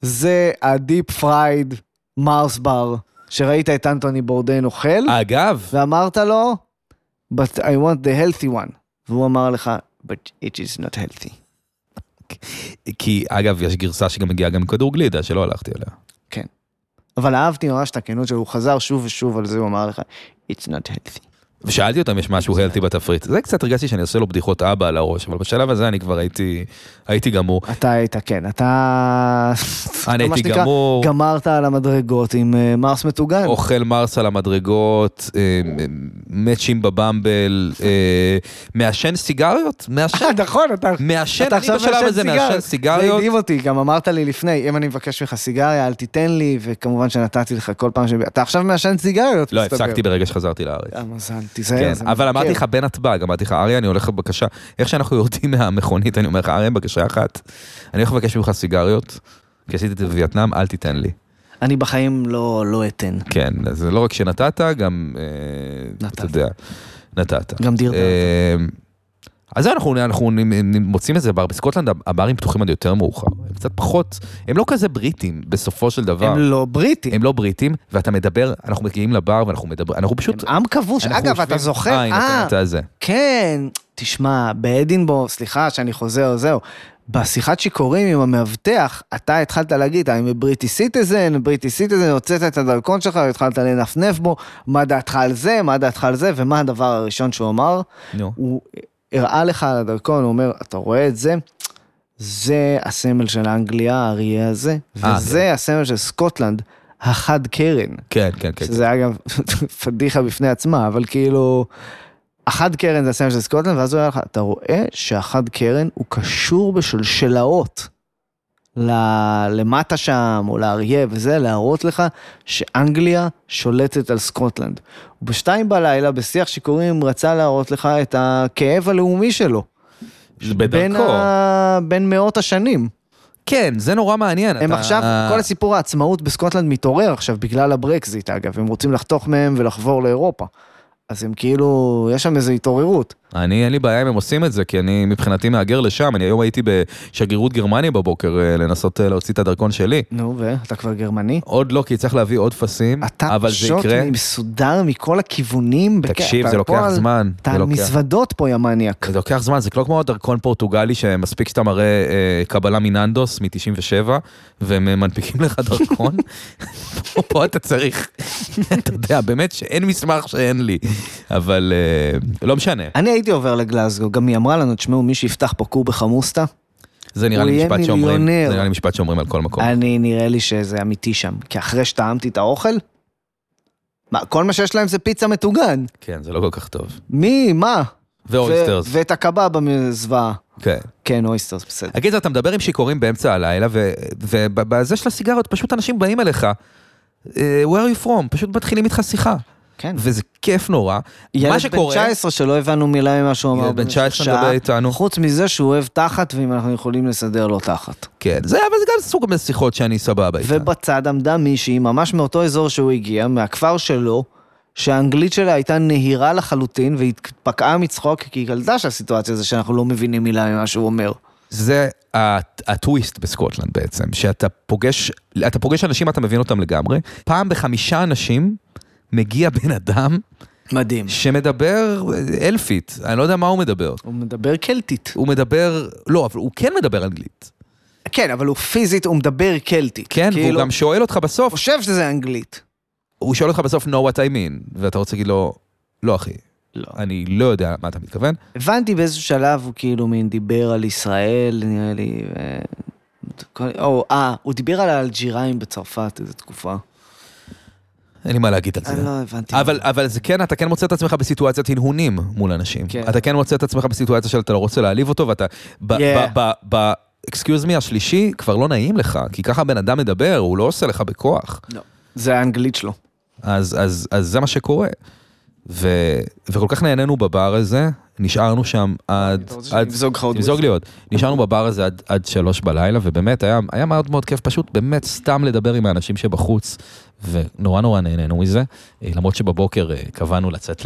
[SPEAKER 4] זה הדיפ פרייד מאוס בר, שראית את אנטוני בורדן אוכל,
[SPEAKER 2] אגב,
[SPEAKER 4] ואמרת לו, but I want the healthy one. והוא אמר לך, but it is not healthy.
[SPEAKER 2] כי אגב, יש גרסה שגם מגיעה גם עם כדור גלידה, שלא הלכתי עליה.
[SPEAKER 4] כן. אבל אהבתי ממש את הכנות שלו, הוא חזר שוב ושוב על זה, הוא אמר לך, it's not healthy.
[SPEAKER 2] ושאלתי אותם אם יש משהו הלטי בתפריט. זה קצת הרגשתי שאני עושה לו בדיחות אבא על הראש, אבל בשלב הזה אני כבר הייתי, הייתי גמור.
[SPEAKER 4] אתה היית, כן, אתה...
[SPEAKER 2] אני
[SPEAKER 4] מה
[SPEAKER 2] הייתי
[SPEAKER 4] שנקרא,
[SPEAKER 2] גמור.
[SPEAKER 4] גמרת על המדרגות עם אה, מרס מטוגן.
[SPEAKER 2] אוכל מרס על המדרגות, אה, מאצ'ים בבמבל, אה, מעשן סיגריות, מעשן,
[SPEAKER 4] אה, נכון, אתה...
[SPEAKER 2] מעשן,
[SPEAKER 4] אתה
[SPEAKER 2] אני
[SPEAKER 4] עכשיו
[SPEAKER 2] בשלב
[SPEAKER 4] מעשן
[SPEAKER 2] הזה
[SPEAKER 4] סיגריות.
[SPEAKER 2] מעשן
[SPEAKER 4] זה
[SPEAKER 2] סיגריות.
[SPEAKER 4] הדהים אותי, גם אמרת לי לפני, אם אני מבקש ממך סיגריה, אל תיתן לי, וכמובן שנתתי לך כל פעם ש... אתה עכשיו מעשן סיגריות,
[SPEAKER 2] לא,
[SPEAKER 4] מסתבר.
[SPEAKER 2] הפסקתי ברגע שחזרתי לארץ.
[SPEAKER 4] אה, מזל,
[SPEAKER 2] כן,
[SPEAKER 4] תיזהר. זה
[SPEAKER 2] אבל
[SPEAKER 4] מכיר.
[SPEAKER 2] אמרתי לך בנתב"ג, אמרתי לך, אריה, אני הולך לבקשה, איך שאנחנו יורדים מהמכונית, אני אומר לך, אריה, בקשה אחת, אני הולך לבקש ממך סיגריות, כי עשיתי את זה בווייטנאם, אל תיתן לי.
[SPEAKER 4] אני בחיים לא לא אתן.
[SPEAKER 2] כן, אז זה לא רק שנתת, גם, אה,
[SPEAKER 4] נתת.
[SPEAKER 2] אתה יודע, נתת.
[SPEAKER 4] גם דיר.
[SPEAKER 2] אה, אז אנחנו, אנחנו נ- נ- מוצאים את זה בר, בסקוטלנד הברים פתוחים עד יותר מאוחר, הם קצת פחות, הם לא כזה בריטים בסופו של דבר,
[SPEAKER 4] הם לא בריטים.
[SPEAKER 2] הם לא בריטים, ואתה מדבר, אנחנו מגיעים לבר ואנחנו מדברים, אנחנו
[SPEAKER 4] הם
[SPEAKER 2] פשוט,
[SPEAKER 4] עם כבוש.
[SPEAKER 2] אנחנו
[SPEAKER 4] אגב, אתה
[SPEAKER 2] יושבים-
[SPEAKER 4] זוכר,
[SPEAKER 2] אה, הנה, אתה-
[SPEAKER 4] אה,
[SPEAKER 2] אתה זה.
[SPEAKER 4] כן, תשמע, באדינבורג, סליחה שאני חוזר, זהו. בשיחת שיכורים עם המאבטח, אתה התחלת להגיד, I'm a British citizen, British citizen, הוצאת את הדרכון שלך והתחלת לנפנף בו, מה דעתך על זה, מה דעתך על זה, ומה הדבר הראשון שהוא אמר?
[SPEAKER 2] נו.
[SPEAKER 4] הוא הראה לך על הדרכון, הוא אומר, אתה רואה את זה? זה הסמל של אנגליה, האריה הזה,
[SPEAKER 2] אה,
[SPEAKER 4] וזה הסמל של סקוטלנד, החד קרן.
[SPEAKER 2] כן, כן, כן.
[SPEAKER 4] שזה אגב פדיחה בפני עצמה, אבל כאילו, החד קרן זה הסמל של סקוטלנד, ואז הוא היה לך, אתה רואה שהחד קרן הוא קשור בשלשלאות ל- למטה שם, או לאריה וזה, להראות לך שאנגליה שולטת על סקוטלנד. בשתיים בלילה, בשיח שיכורים, רצה להראות לך את הכאב הלאומי שלו.
[SPEAKER 2] זה
[SPEAKER 4] בין,
[SPEAKER 2] בדרכו.
[SPEAKER 4] ה... בין מאות השנים.
[SPEAKER 2] כן, זה נורא מעניין.
[SPEAKER 4] הם
[SPEAKER 2] אתה- אה,
[SPEAKER 4] עכשיו, כל הסיפור העצמאות בסקוטלנד מתעורר עכשיו בגלל הברקזיט אגב, הם רוצים לחתוך מהם ולחבור לאירופה. אז הם כאילו, יש שם איזו התעוררות.
[SPEAKER 2] אני, אין לי בעיה אם הם עושים את זה, כי אני מבחינתי מהגר לשם. אני היום הייתי בשגרירות גרמניה בבוקר אה, לנסות אה, להוציא את הדרכון שלי.
[SPEAKER 4] נו, ואתה כבר גרמני?
[SPEAKER 2] עוד לא, כי צריך להביא עוד טפסים,
[SPEAKER 4] אתה
[SPEAKER 2] אבל זה
[SPEAKER 4] פשוט
[SPEAKER 2] יקרה.
[SPEAKER 4] מסודר מכל הכיוונים. בק-
[SPEAKER 2] תקשיב,
[SPEAKER 4] אתה
[SPEAKER 2] זה לוקח
[SPEAKER 4] פה על-
[SPEAKER 2] זמן.
[SPEAKER 4] אתה
[SPEAKER 2] זה
[SPEAKER 4] על
[SPEAKER 2] לוקח.
[SPEAKER 4] מזוודות פה, יא מניאק.
[SPEAKER 2] זה לוקח זמן, זה לא כמו הדרכון פורטוגלי, שמספיק שאתה מראה אה, קבלה מננדוס מ-97, והם אה, מנפיקים לך דרכון. פה- פה אתה צריך, אתה יודע, באמת שאין מסמך שאין לי, אבל אה, לא משנה,
[SPEAKER 4] אני הייתי עובר לגלזגו, גם היא אמרה לנו, תשמעו, מי שיפתח פה קור בחמוסטה,
[SPEAKER 2] זה נראה
[SPEAKER 4] הוא
[SPEAKER 2] לי
[SPEAKER 4] יהיה
[SPEAKER 2] משפט שאומרים,
[SPEAKER 4] מיליונר. אה.
[SPEAKER 2] זה נראה לי משפט שאומרים על כל מקום.
[SPEAKER 4] אני, נראה לי שזה אמיתי שם. כי אחרי שטעמתי את האוכל, מה, כל מה שיש להם זה פיצה מטוגן.
[SPEAKER 2] כן, זה לא כל כך טוב.
[SPEAKER 4] מי, מה?
[SPEAKER 2] ואויסטרס,
[SPEAKER 4] ו- ואת הקבב המזוועה.
[SPEAKER 2] כן.
[SPEAKER 4] כן, אויסטרס, בסדר.
[SPEAKER 2] הקיצר, אתה מדבר עם שיכורים באמצע הלילה, ו- ובזה של הסיגריות, פשוט אנשים באים אליך, אה, where are you from, פשוט מתחילים איתך שיחה.
[SPEAKER 4] כן.
[SPEAKER 2] וזה כיף נורא. מה
[SPEAKER 4] ילד בן
[SPEAKER 2] שקורה,
[SPEAKER 4] 19 שלא הבנו מילה ממה שהוא אמר.
[SPEAKER 2] ילד בן
[SPEAKER 4] במשך
[SPEAKER 2] 19
[SPEAKER 4] שעה,
[SPEAKER 2] מדבר איתנו.
[SPEAKER 4] חוץ מזה שהוא אוהב תחת, ואם אנחנו יכולים לסדר לו תחת.
[SPEAKER 2] כן, זה, אבל זה גם סוג משיחות שאני סבבה איתה.
[SPEAKER 4] ובצד עמדה מישהי, ממש מאותו אזור שהוא הגיע, מהכפר שלו, שהאנגלית שלה הייתה נהירה לחלוטין, והיא התפקעה מצחוק, כי היא קלטה שהסיטואציה זה שאנחנו לא מבינים מילה ממה שהוא אומר.
[SPEAKER 2] זה הט- הטוויסט בסקוטלנד בעצם, שאתה פוגש, אתה פוגש אנשים, אתה מבין אותם לגמרי. פעם בחמישה אנשים מגיע בן אדם
[SPEAKER 4] מדהים.
[SPEAKER 2] שמדבר אלפית, אני לא יודע מה הוא מדבר.
[SPEAKER 4] הוא מדבר קלטית.
[SPEAKER 2] הוא מדבר, לא, אבל הוא כן מדבר אנגלית.
[SPEAKER 4] כן, אבל הוא פיזית, הוא מדבר קלטית.
[SPEAKER 2] כן, והוא
[SPEAKER 4] כאילו,
[SPEAKER 2] גם שואל אותך בסוף,
[SPEAKER 4] הוא חושב שזה אנגלית.
[SPEAKER 2] הוא שואל אותך בסוף, no what I mean, ואתה רוצה להגיד לו, לא אחי,
[SPEAKER 4] לא.
[SPEAKER 2] אני לא יודע מה אתה מתכוון.
[SPEAKER 4] הבנתי באיזשהו שלב הוא כאילו מין דיבר על ישראל, נראה לי, ו... כל- או, אה, הוא דיבר על האלג'יראים בצרפת איזו תקופה.
[SPEAKER 2] אין לי מה להגיד על
[SPEAKER 4] אני
[SPEAKER 2] זה.
[SPEAKER 4] לא הבנתי.
[SPEAKER 2] אבל, אבל זה כן, אתה כן מוצא את עצמך בסיטואציית הנהונים מול אנשים.
[SPEAKER 4] כן.
[SPEAKER 2] אתה כן מוצא את עצמך בסיטואציה שאתה לא רוצה להעליב אותו, ואתה... ב-
[SPEAKER 4] Yeah.
[SPEAKER 2] ב- ב- ב- אקסקיוז מי השלישי, כבר לא נעים לך, כי ככה בן אדם מדבר, הוא לא עושה לך בכוח.
[SPEAKER 4] לא. זה האנגלית שלו.
[SPEAKER 2] אז, אז, אז זה מה שקורה. ו, וכל כך נהנינו בבר הזה, נשארנו שם עד...
[SPEAKER 4] אתה רוצה
[SPEAKER 2] עד
[SPEAKER 4] שנמזוג לך עוד
[SPEAKER 2] תמזוג לי עוד. נשארנו בבר הזה עד, עד שלוש בלילה, ובאמת היה, היה מאוד מאוד כיף, פשוט באמת סתם לדבר עם האנשים שבחוץ, ונורא נורא נהנינו מזה, אה, למרות שבבוקר אה, קבענו לצאת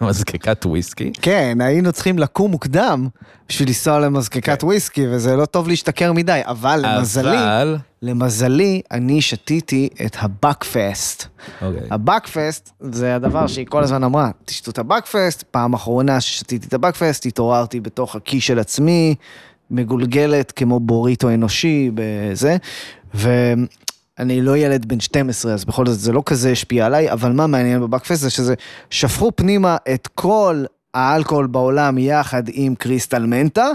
[SPEAKER 2] למזקקת וויסקי.
[SPEAKER 4] כן, היינו צריכים לקום מוקדם בשביל לנסוע למזקקת וויסקי, וזה לא טוב להשתכר מדי, אבל למזלי,
[SPEAKER 2] אבל...
[SPEAKER 4] למזלי, אני שתיתי את הבאקפסט.
[SPEAKER 2] אוקיי.
[SPEAKER 4] הבאקפסט זה הדבר שהיא כל הזמן אמרה, תשתו את הבאקפסט, פעם אחרונה ששתיתי את הבאקפסט, התעוררתי בתוך הקיא של עצמי, מגולגלת כמו בוריטו אנושי, בזה, ואני לא ילד בן 12, אז בכל זאת זה לא כזה השפיע עליי, אבל מה מעניין בבאקפסט זה שזה, שפכו פנימה את כל האלכוהול בעולם יחד עם קריסטל מנטה,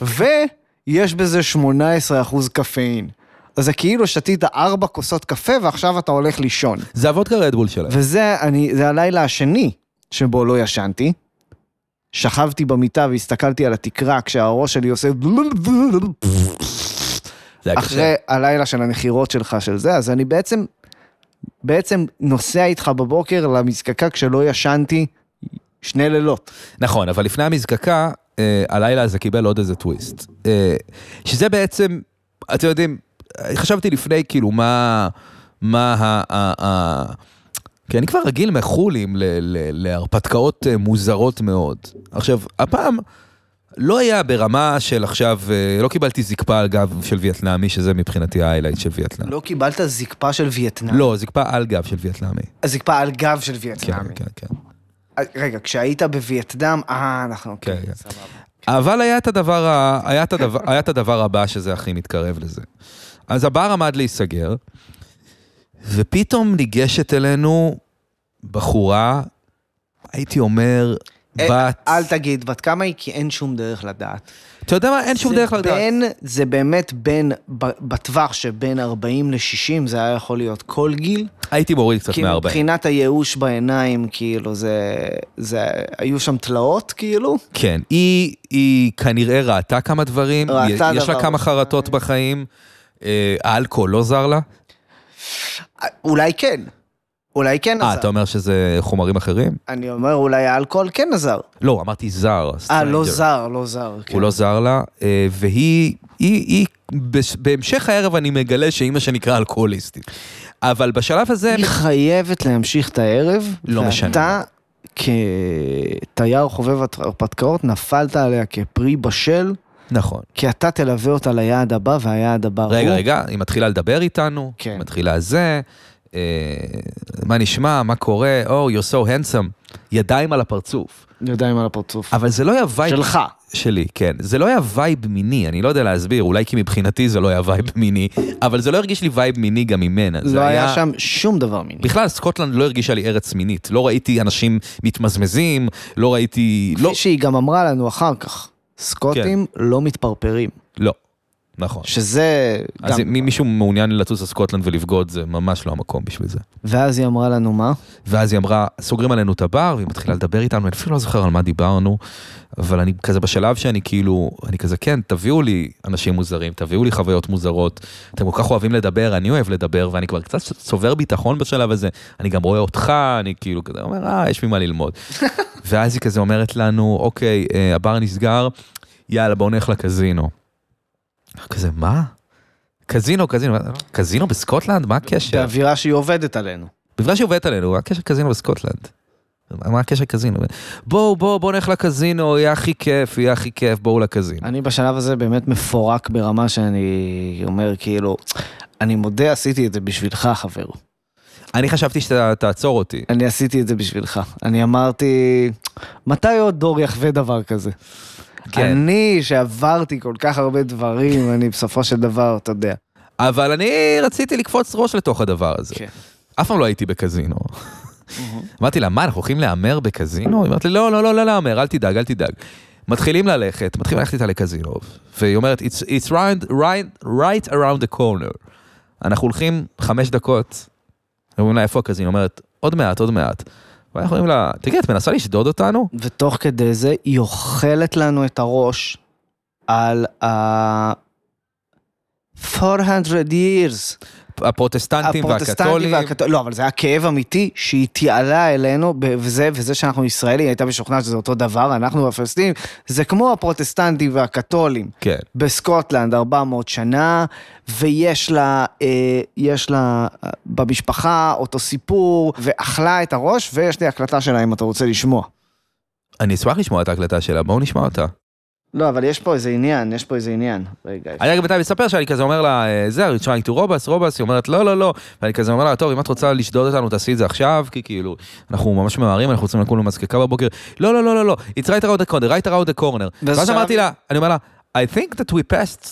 [SPEAKER 4] ויש בזה 18% קפאין. אז זה כאילו שתית ארבע כוסות קפה ועכשיו אתה הולך לישון.
[SPEAKER 2] זה הוודקה רדבול שלהם.
[SPEAKER 4] וזה אני, זה הלילה השני שבו לא ישנתי. שכבתי במיטה והסתכלתי על התקרה כשהראש שלי עושה
[SPEAKER 2] זה היה קשה.
[SPEAKER 4] אחרי הלילה של הנחירות שלך של זה, אז אני בעצם, בעצם נוסע איתך בבוקר למזקקה כשלא ישנתי שני לילות.
[SPEAKER 2] נכון, אבל לפני המזקקה, אה, הלילה הזה קיבל עוד איזה טוויסט. אה, שזה בעצם, אתם יודעים, אה, חשבתי לפני, כאילו, מה... מה ה... ה, ה כי אני כבר רגיל מחולים ל- ל- להרפתקאות אה, מוזרות מאוד. עכשיו, הפעם לא היה ברמה של עכשיו, אה, לא קיבלתי זקפה על גב של וייטנאמי, שזה מבחינתי ההיילייט של וייטנאמי.
[SPEAKER 4] לא קיבלת זקפה של וייטנאם.
[SPEAKER 2] לא, זקפה על גב של וייטנאמי.
[SPEAKER 4] זקפה על גב של
[SPEAKER 2] כן,
[SPEAKER 4] וייטנאמי. אה,
[SPEAKER 2] כן, כן.
[SPEAKER 4] רגע, כשהיית בווייטנאם, אה, אנחנו...
[SPEAKER 2] כן, כן.
[SPEAKER 4] סבבה.
[SPEAKER 2] אבל היה את הדבר, ה- היה את הדבר, היה את הדבר הבא שזה הכי מתקרב לזה. אז הבר עמד להיסגר, ופתאום ניגשת אלינו בחורה, הייתי אומר,
[SPEAKER 4] אה,
[SPEAKER 2] בת...
[SPEAKER 4] אל תגיד בת כמה היא, כי אין שום דרך לדעת.
[SPEAKER 2] אתה יודע מה? אין שום
[SPEAKER 4] זה
[SPEAKER 2] דרך לא לדעת.
[SPEAKER 4] בין, זה באמת בין, ב- בטווח שבין 40 ל-60, זה היה יכול להיות כל גיל.
[SPEAKER 2] הייתי מוריד קצת
[SPEAKER 4] כי
[SPEAKER 2] מהארבעים.
[SPEAKER 4] כאילו מבחינת הייאוש בעיניים, כאילו, זה, זה, היו שם תלאות, כאילו.
[SPEAKER 2] כן, היא, היא כנראה ראתה כמה דברים,
[SPEAKER 4] ראתה
[SPEAKER 2] יש לה
[SPEAKER 4] דבר.
[SPEAKER 2] כמה חרטות בחיים, אה, האלכוהול לא זר לה.
[SPEAKER 4] אה, אולי כן. אולי כן
[SPEAKER 2] אה,
[SPEAKER 4] עזר.
[SPEAKER 2] אתה אומר שזה חומרים אחרים?
[SPEAKER 4] אני אומר, אולי האלכוהול כן עזר.
[SPEAKER 2] לא, אמרתי זר.
[SPEAKER 4] אה, לא
[SPEAKER 2] stranger.
[SPEAKER 4] זר, לא זר. כן.
[SPEAKER 2] הוא לא זר לה, אה, והיא, היא, היא, בש- בהמשך הערב אני מגלה שאימא שנקרא אלכוהוליסטית. אבל בשלב הזה,
[SPEAKER 4] היא חייבת להמשיך את הערב.
[SPEAKER 2] לא משנה.
[SPEAKER 4] ואתה, כתייר חובב הרפתקאות, נפלת עליה כפרי בשל,
[SPEAKER 2] נכון.
[SPEAKER 4] כי אתה תלווה אותה ליעד הבא, והיעד הבא
[SPEAKER 2] רגע,
[SPEAKER 4] הוא...
[SPEAKER 2] רגע, היא מתחילה לדבר איתנו,
[SPEAKER 4] כן.
[SPEAKER 2] היא מתחילה זה, אה, מה נשמע, מה קורה, או, oh, you're so handsome, ידיים על הפרצוף.
[SPEAKER 4] ידיים על הפרצוף.
[SPEAKER 2] אבל זה לא היה וייב...
[SPEAKER 4] שלך.
[SPEAKER 2] שלי, כן. זה לא היה וייב מיני, אני לא יודע להסביר, אולי כי מבחינתי זה לא היה וייב מיני, אבל זה לא הרגיש לי וייב מיני גם ממנה. זה
[SPEAKER 4] לא היה שם שום דבר מיני.
[SPEAKER 2] בכלל, סקוטלנד לא הרגישה לי ארץ מינית. לא ראיתי אנשים מתמזמזים, לא ראיתי... לא. כן.
[SPEAKER 4] כפי שהיא גם אמרה לנו אחר כך, סקוטים לא מתפרפרים.
[SPEAKER 2] לא. נכון.
[SPEAKER 4] שזה גם...
[SPEAKER 2] אז אם מישהו מעוניין לטוס לסקוטלנד ולבגוד, זה ממש לא המקום בשביל זה.
[SPEAKER 4] ואז היא אמרה לנו מה?
[SPEAKER 2] ואז היא אמרה, סוגרים עלינו את הבר, והיא מתחילה לדבר איתנו, אני אפילו לא זוכר על מה דיברנו, אבל אני כזה בשלב שאני כאילו, אני כזה, כן, תביאו לי אנשים מוזרים, תביאו לי חוויות מוזרות, אתם כל כך אוהבים לדבר, אני אוהב לדבר, ואני כבר קצת צובר ביטחון בשלב הזה, אני גם רואה אותך, אני כאילו כזה אומר, אה, יש ממה ללמוד. ואז היא כזה אומרת לנו, אוקיי, אה, הבר נסגר, יאללה, בואו נלך לקזינו. כזה, מה? קזינו, קזינו, קזינו בסקוטלנד? מה הקשר?
[SPEAKER 4] באווירה שהיא עובדת עלינו.
[SPEAKER 2] בגלל שהיא עובדת עלינו, הקשר קזינו בסקוטלנד. מה הקשר קזינו? בואו, בואו, בואו נלך לקזינו, יהיה הכי כיף, יהיה הכי כיף, בואו לקזינו.
[SPEAKER 4] אני בשלב הזה באמת מפורק ברמה שאני אומר כאילו, אני מודה עשיתי את זה בשבילך חבר.
[SPEAKER 2] אני חשבתי שאתה תעצור אותי.
[SPEAKER 4] אני עשיתי את זה בשבילך. אני אמרתי, מתי עוד דור יחווה דבר כזה?
[SPEAKER 2] כן.
[SPEAKER 4] אני שעברתי כל כך הרבה דברים, אני בסופו של דבר, אתה יודע.
[SPEAKER 2] אבל אני רציתי לקפוץ ראש לתוך הדבר הזה.
[SPEAKER 4] כן.
[SPEAKER 2] אף פעם לא הייתי בקזינו. אמרתי לה, מה, אנחנו הולכים להמר בקזינו? היא אומרת לי, לא, לא, לא, לא להמר, אל תדאג, אל תדאג. מתחילים ללכת, מתחילים ללכת איתה לקזינו, והיא אומרת, it's, it's round, right, right around the corner. אנחנו הולכים חמש דקות, אומרים לה, איפה הקזינו? היא אומרת, עוד מעט, עוד מעט. ואנחנו אומרים לה, תגידי, את מנסה לשדוד אותנו?
[SPEAKER 4] ותוך כדי זה היא אוכלת לנו את הראש על ה... 400 years.
[SPEAKER 2] הפרוטסטנטים והקתולים.
[SPEAKER 4] והקתולים. לא, אבל זה היה כאב אמיתי שהיא תיעלה אלינו, ב- וזה, וזה שאנחנו ישראלים, היא הייתה משוכנעת שזה אותו דבר, אנחנו הפלסטינים, זה כמו הפרוטסטנטים והקתולים.
[SPEAKER 2] כן.
[SPEAKER 4] בסקוטלנד 400 שנה, ויש לה, אה, יש לה אה, במשפחה אותו סיפור, ואכלה את הראש, ויש לי הקלטה שלה אם אתה רוצה לשמוע.
[SPEAKER 2] אני אשמח לשמוע את ההקלטה שלה, בואו נשמע אותה.
[SPEAKER 4] לא, אבל יש פה איזה עניין, יש פה איזה עניין. רגע.
[SPEAKER 2] אני רק בינתיים מספר שאני כזה אומר לה, אה, זה, are you trying to rob us, rob us, היא אומרת לא, לא, לא, ואני כזה אומר לה, טוב, אם את רוצה לשדוד אותנו, תעשי את זה עכשיו, כי כאילו, אנחנו ממש ממהרים, אנחנו רוצים לקום למזקקה בבוקר, לא, לא, לא, לא, לא, it's right around the corner, right around the corner.
[SPEAKER 4] ואז
[SPEAKER 2] ואז
[SPEAKER 4] שם-
[SPEAKER 2] אמרתי לה, אני אומר לה, I think that we passed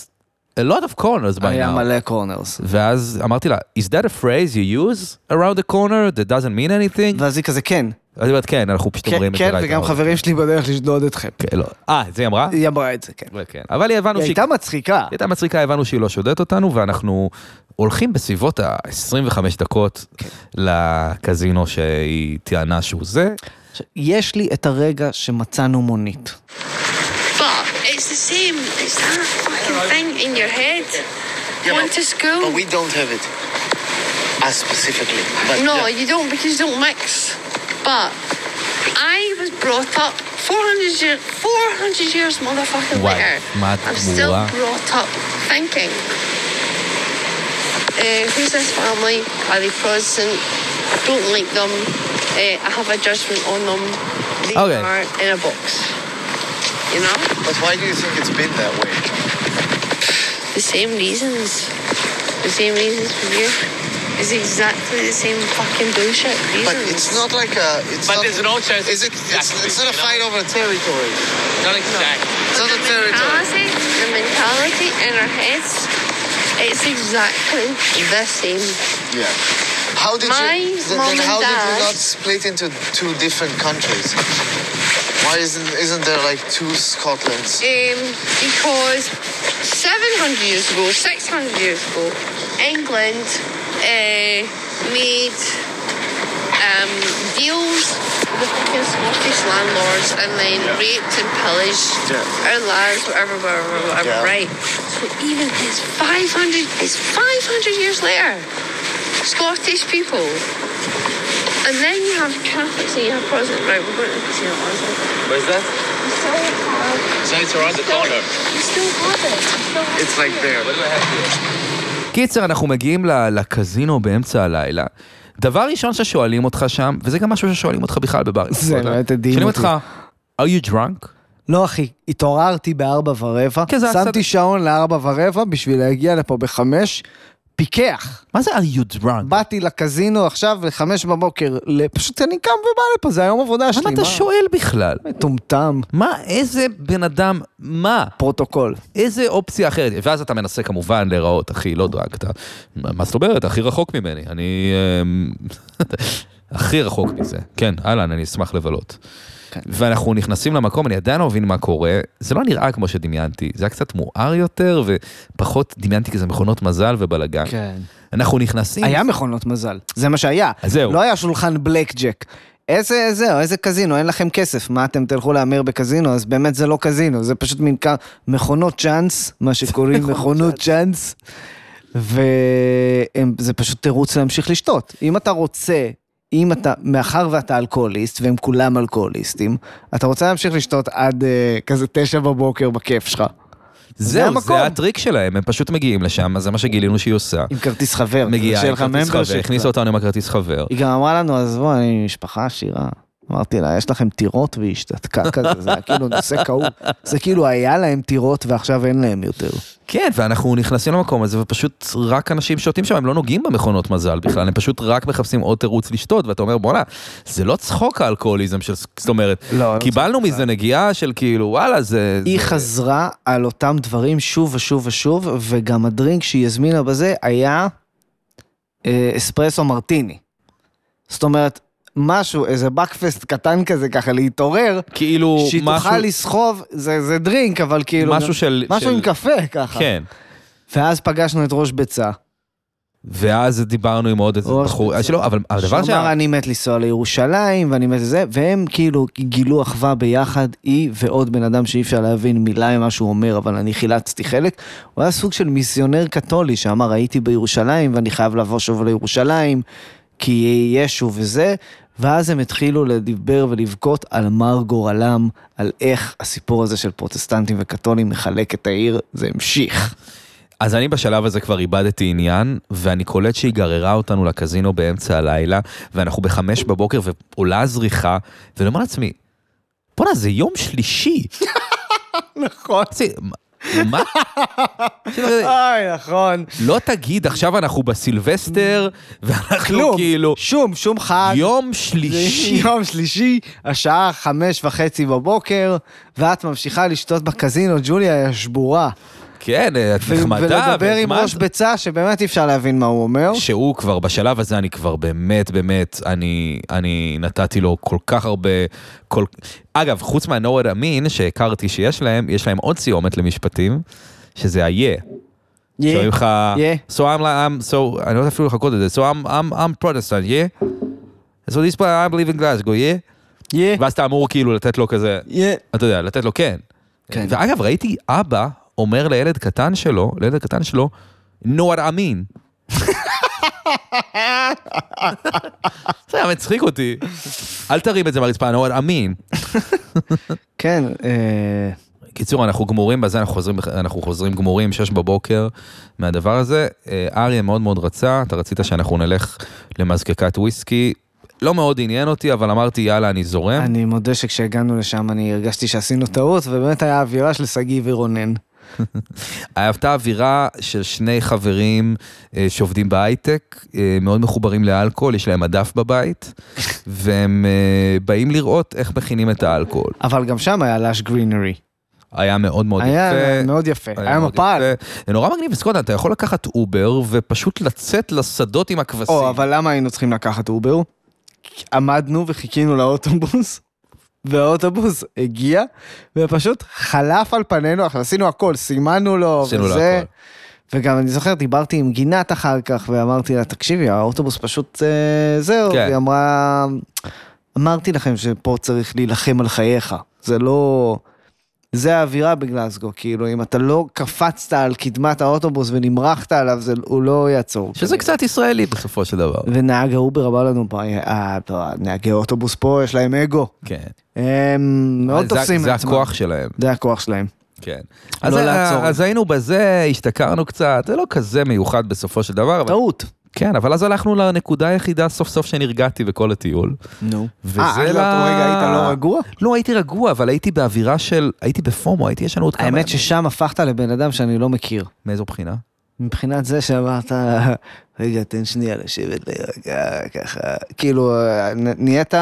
[SPEAKER 2] a lot of corners by
[SPEAKER 4] היה
[SPEAKER 2] now.
[SPEAKER 4] מלא קורנרס.
[SPEAKER 2] ואז אמרתי לה, is that a phrase you use around the corner that doesn't mean anything?
[SPEAKER 4] ואז היא כזה, כן,
[SPEAKER 2] אז היא אומרת, כן, אנחנו פשוט אומרים
[SPEAKER 4] כן,
[SPEAKER 2] את זה
[SPEAKER 4] כן,
[SPEAKER 2] right
[SPEAKER 4] וגם
[SPEAKER 2] around."
[SPEAKER 4] חברים שלי בדרך לשדוד אתכם.
[SPEAKER 2] כן, לא. אה, את זה היא אמרה?
[SPEAKER 4] היא אמרה את זה, כן.
[SPEAKER 2] כן. אבל היא הבנו
[SPEAKER 4] היא
[SPEAKER 2] שהיא
[SPEAKER 4] הייתה מצחיקה.
[SPEAKER 2] היא הייתה מצחיקה, הבנו שהיא לא שודדת אותנו, ואנחנו הולכים בסביבות ה-25 דקות
[SPEAKER 4] כן.
[SPEAKER 2] לקזינו שהיא טענה שהוא זה.
[SPEAKER 4] יש לי את הרגע שמצאנו מונית.
[SPEAKER 5] But it's the same. It's that fucking thing in your head. Going to school.
[SPEAKER 6] But we don't have it. Us specifically. But
[SPEAKER 5] no,
[SPEAKER 6] yeah.
[SPEAKER 5] you don't because you don't mix. But I was brought up 400 years, 400 years motherfucking
[SPEAKER 2] Wow,
[SPEAKER 5] later.
[SPEAKER 2] mad
[SPEAKER 5] I'm still
[SPEAKER 2] wow.
[SPEAKER 5] brought up thinking. Uh, who's this family? Are they Protestant? I don't like them. Uh, I have a judgment on them. They
[SPEAKER 2] Okay.
[SPEAKER 5] are in a box. You know?
[SPEAKER 6] but why do you think it's been that way?
[SPEAKER 5] The same reasons. The same reasons for you. It's exactly the same fucking bullshit reasons.
[SPEAKER 6] But it's not like a. It's
[SPEAKER 7] But
[SPEAKER 6] not,
[SPEAKER 7] there's no chance
[SPEAKER 6] Is it, it's,
[SPEAKER 7] exactly,
[SPEAKER 6] it's not a
[SPEAKER 7] you know?
[SPEAKER 6] fight over territory.
[SPEAKER 7] Not exactly.
[SPEAKER 6] It's not a territory.
[SPEAKER 5] Mentality, the mentality in our heads, it's exactly the same.
[SPEAKER 6] Yeah. How did
[SPEAKER 5] My
[SPEAKER 6] you? Then,
[SPEAKER 5] mom
[SPEAKER 6] then
[SPEAKER 5] and
[SPEAKER 6] how did you
[SPEAKER 5] dad-
[SPEAKER 6] not split into two different countries? Why isn't isn't there like two Scotlands?
[SPEAKER 5] Um, because 700 years ago, 600 years ago, England uh, made um, deals with fucking Scottish landlords and then raped and pillaged
[SPEAKER 6] Yeah.
[SPEAKER 5] our lands, whatever, whatever, whatever,
[SPEAKER 6] Yeah.
[SPEAKER 5] right? So even it's 500, it's 500 years later, Scottish people. And then you have Catholics and you have Protestants, right? We're going to see that.
[SPEAKER 7] Where's that? So it's around the corner.
[SPEAKER 5] You still have it. You still have
[SPEAKER 6] It's like there.
[SPEAKER 7] What do I have here?
[SPEAKER 2] קיצר, אנחנו מגיעים ל- לקזינו באמצע הלילה. דבר ראשון ששואלים אותך שם, וזה גם משהו ששואלים אותך בכלל בבר.
[SPEAKER 4] זה באמת הדהים
[SPEAKER 2] שואלים
[SPEAKER 4] אותי.
[SPEAKER 2] אותך, are you drunk?
[SPEAKER 4] לא אחי, התעוררתי בארבע ורבע,
[SPEAKER 2] כן, זה היה
[SPEAKER 4] שמתי
[SPEAKER 2] קצת-
[SPEAKER 4] שעון לארבע ורבע בשביל להגיע לפה בחמש, פיקח.
[SPEAKER 2] מה זה are you drunk?
[SPEAKER 4] באתי לקזינו עכשיו לחמש בבוקר, ל- פשוט אני קם ובא לפה, זה היום עבודה שלי,
[SPEAKER 2] למה אתה שואל בכלל?
[SPEAKER 4] מטומטם,
[SPEAKER 2] מה, איזה בן אדם, מה?
[SPEAKER 4] פרוטוקול.
[SPEAKER 2] איזה אופציה אחרת? ואז אתה מנסה כמובן להיראות, אחי, לא דרג, אתה... מה מה זאת אומרת? הכי רחוק ממני. אני... אמ, הכי רחוק מזה. כן, אהלן, אני אשמח לבלות.
[SPEAKER 4] כן.
[SPEAKER 2] ואנחנו נכנסים למקום, אני עדיין לא מבין מה קורה, זה לא נראה כמו שדמיינתי, זה היה קצת מואר יותר, ופחות דמיינתי כזה מכונות מזל ובלאגן.
[SPEAKER 4] כן.
[SPEAKER 2] אנחנו נכנסים...
[SPEAKER 4] היה מכונות מזל, זה מה שהיה.
[SPEAKER 2] אז זהו.
[SPEAKER 4] לא היה שולחן בלק ג'ק. איזה, זהו, איזה קזינו, אין לכם כסף, מה אתם תלכו להמר בקזינו? אז באמת זה לא קזינו, זה פשוט מין כ... מכונות צ'אנס, מה שקוראים מכונות צ'אנס, וזה פשוט תירוץ להמשיך לשתות. אם אתה רוצה, אם אתה, מאחר ואתה אלכוהוליסט, והם כולם אלכוהוליסטים, אתה רוצה להמשיך לשתות עד אה, כזה תשע בבוקר בכיף שלך, זה
[SPEAKER 2] זהו,
[SPEAKER 4] המקום.
[SPEAKER 2] זה הטריק שלהם, הם פשוט מגיעים לשם, אז זה מה שגילינו שהיא עושה.
[SPEAKER 4] עם כרטיס חבר.
[SPEAKER 2] מגיעה, עם
[SPEAKER 4] שיהיה לך
[SPEAKER 2] כרטיס חבר,
[SPEAKER 4] membership.
[SPEAKER 2] הכניסה אותנו עם הכרטיס חבר.
[SPEAKER 4] היא גם אמרה לנו, עזבו, אני משפחה עשירה. אמרתי לה, יש לכם טירות והיא השתתקה כזה, זה היה כאילו נושא כאוב. זה כאילו היה להם טירות ועכשיו אין להם יותר.
[SPEAKER 2] כן, ואנחנו נכנסים למקום הזה, ופשוט רק אנשים שותים שם, הם לא נוגעים במכונות מזל בכלל, הם פשוט רק מחפשים עוד תירוץ לשתות, ואתה אומר, בואנה, זה לא צחוק האלכוהוליזם של... זאת אומרת,
[SPEAKER 4] לא, לא
[SPEAKER 2] קיבלנו מזה נגיעה של כאילו, וואלה, זה...
[SPEAKER 4] היא
[SPEAKER 2] זה-
[SPEAKER 4] חזרה על אותם דברים שוב ושוב ושוב, וגם הדרינק שהיא הזמינה בזה היה אה, אספרסו מרטיני. זאת אומרת, משהו, איזה בקפסט קטן כזה, ככה להתעורר,
[SPEAKER 2] כאילו,
[SPEAKER 4] שהיא
[SPEAKER 2] משהו...
[SPEAKER 4] תוכל לסחוב, זה זה דרינק, אבל כאילו...
[SPEAKER 2] משהו של- כן.
[SPEAKER 4] משהו
[SPEAKER 2] של-
[SPEAKER 4] עם קפה, ככה.
[SPEAKER 2] כן.
[SPEAKER 4] ואז פגשנו את ראש ביצה.
[SPEAKER 2] ואז דיברנו עם עוד איזה
[SPEAKER 4] ראש
[SPEAKER 2] בחור, אה,
[SPEAKER 4] בצד.
[SPEAKER 2] שלא, אבל הדבר
[SPEAKER 4] שהוא אמר,
[SPEAKER 2] שה...
[SPEAKER 4] אני מת לנסוע לירושלים, ואני מת לזה, והם כאילו גילו אחווה ביחד, היא ועוד בן אדם שאי אפשר להבין מילה ממה שהוא אומר, אבל אני חילצתי חלק. הוא היה סוג של מיסיונר קתולי, שאמר, הייתי בירושלים, ואני חייב לבוא שוב לירושלים, כי ישו וזה. ואז הם התחילו לדבר ולבכות על מר גורלם, על איך הסיפור הזה של פרוטסטנטים וקתולים מחלק את העיר, זה המשיך.
[SPEAKER 2] אז אני בשלב הזה כבר איבדתי עניין, ואני קולט שהיא גררה אותנו לקזינו באמצע הלילה, ואנחנו בחמש בבוקר ועולה הזריחה, ואני אומר לעצמי, בואנה, זה יום שלישי.
[SPEAKER 4] נכון.
[SPEAKER 2] זה- מה?
[SPEAKER 4] אוי, נכון.
[SPEAKER 2] לא תגיד, עכשיו אנחנו בסילבסטר, ואנחנו
[SPEAKER 4] כלום,
[SPEAKER 2] כאילו...
[SPEAKER 4] שום, שום חג.
[SPEAKER 2] יום
[SPEAKER 4] זה
[SPEAKER 2] שלישי.
[SPEAKER 4] יום שלישי, השעה חמש וחצי בבוקר, ואת ממשיכה לשתות בקזינו, ג'וליה היא שבורה.
[SPEAKER 2] כן, את
[SPEAKER 4] ו-
[SPEAKER 2] נחמדה,
[SPEAKER 4] ולדבר עם
[SPEAKER 2] והזמנת.
[SPEAKER 4] ראש ביצה, שבאמת אי אפשר להבין מה הוא אומר.
[SPEAKER 2] שהוא כבר, בשלב הזה אני כבר באמת, באמת, אני, אני נתתי לו כל כך הרבה... כל... אגב, חוץ מהנורד אמין שהכרתי שיש להם, יש להם עוד סיומת למשפטים, שזה ה-yeah.
[SPEAKER 4] יה,
[SPEAKER 2] שואלים לך,
[SPEAKER 4] יה.
[SPEAKER 2] so I'm like, I'm so, אני לא יודע אפילו לחכות את זה, so I'm, I'm, I'm Protestant, yeah? So this part I believe in Glasgow, yeah?
[SPEAKER 4] יה,
[SPEAKER 2] ואז אתה אמור כאילו לתת לו כזה,
[SPEAKER 4] יה.
[SPEAKER 2] אתה יודע, לתת לו כן.
[SPEAKER 4] כן.
[SPEAKER 2] ואגב, ראיתי אבא אומר לילד קטן שלו, לילד קטן שלו, נוער אמין. זה היה מצחיק אותי. אל תרים את זה מהרצפה, נוער אמין.
[SPEAKER 4] כן, אה,
[SPEAKER 2] קיצור, אנחנו גמורים בזה, אנחנו חוזרים, אנחנו חוזרים גמורים, שש בבוקר מהדבר הזה. אה, אריה מאוד מאוד רצה, אתה רצית שאנחנו נלך למזקקת וויסקי. לא מאוד עניין אותי, אבל אמרתי, יאללה, אני זורם.
[SPEAKER 4] אני מודה שכשהגענו לשם אני הרגשתי שעשינו טעות, ובאמת היה אווירה של שגיא ורונן.
[SPEAKER 2] הייתה אווירה של שני חברים אה, שעובדים בהייטק, אה, מאוד מחוברים לאלכוהול, יש להם מדף בבית, והם אה, באים לראות איך מכינים את האלכוהול.
[SPEAKER 4] אבל גם שם היה לאש גרינרי.
[SPEAKER 2] היה מאוד מאוד
[SPEAKER 4] היה
[SPEAKER 2] יפה.
[SPEAKER 4] מאוד יפה, היה
[SPEAKER 2] מאוד
[SPEAKER 4] מפל.
[SPEAKER 2] יפה. זה נורא מגניב, סקוט, לא, אתה יכול לקחת אובר ופשוט לצאת לשדות עם הכבשים.
[SPEAKER 4] או, אבל למה היינו צריכים לקחת אובר? עמדנו וחיכינו לאוטובוס, והאוטובוס הגיע, ופשוט חלף על פנינו, אנחנו עשינו הכל, סימנו לו,
[SPEAKER 2] עשינו לו
[SPEAKER 4] וזה...
[SPEAKER 2] הכל.
[SPEAKER 4] וגם אני זוכר, דיברתי עם גינת אחר כך, ואמרתי לה, תקשיבי, האוטובוס פשוט אה, זהו,
[SPEAKER 2] כן.
[SPEAKER 4] והיא אמרה, אמרתי לכם שפה צריך להילחם על חייך, זה לא... זה האווירה בגלסגו, כאילו, אם אתה לא קפצת על קדמת האוטובוס ונמרחת עליו, זה, הוא לא יעצור.
[SPEAKER 2] שזה קצת ישראלי בסופו של דבר.
[SPEAKER 4] ונהג האובר אמר לנו, "בוא, אה, בוא, נהגי אוטובוס פה, יש להם אגו.
[SPEAKER 2] כן.
[SPEAKER 4] הם מאוד
[SPEAKER 2] אה, זה-
[SPEAKER 4] תופסים את
[SPEAKER 2] זה
[SPEAKER 4] עצמם.
[SPEAKER 2] הכוח שלהם.
[SPEAKER 4] זה הכוח שלהם.
[SPEAKER 2] כן. אז,
[SPEAKER 4] לא
[SPEAKER 2] אה,
[SPEAKER 4] לעצור.
[SPEAKER 2] אז היינו בזה, השתכרנו קצת, זה לא כזה מיוחד בסופו של דבר, אבל
[SPEAKER 4] טעות.
[SPEAKER 2] כן, אבל אז הלכנו לנקודה היחידה סוף סוף שנרגעתי בכל הטיול.
[SPEAKER 4] נו.
[SPEAKER 2] וזה
[SPEAKER 4] אה, אז באותו רגע היית לא רגוע?
[SPEAKER 2] לא, הייתי רגוע, אבל הייתי באווירה של... הייתי בפומו, הייתי ישן עוד כמה...
[SPEAKER 4] האמת
[SPEAKER 2] ימים.
[SPEAKER 4] ששם הפכת לבן אדם שאני לא מכיר.
[SPEAKER 2] מאיזו בחינה?
[SPEAKER 4] מבחינת זה שאמרת, רגע, תן שנייה לשבת להירגע, ככה. כאילו, אה, נ- נהיית,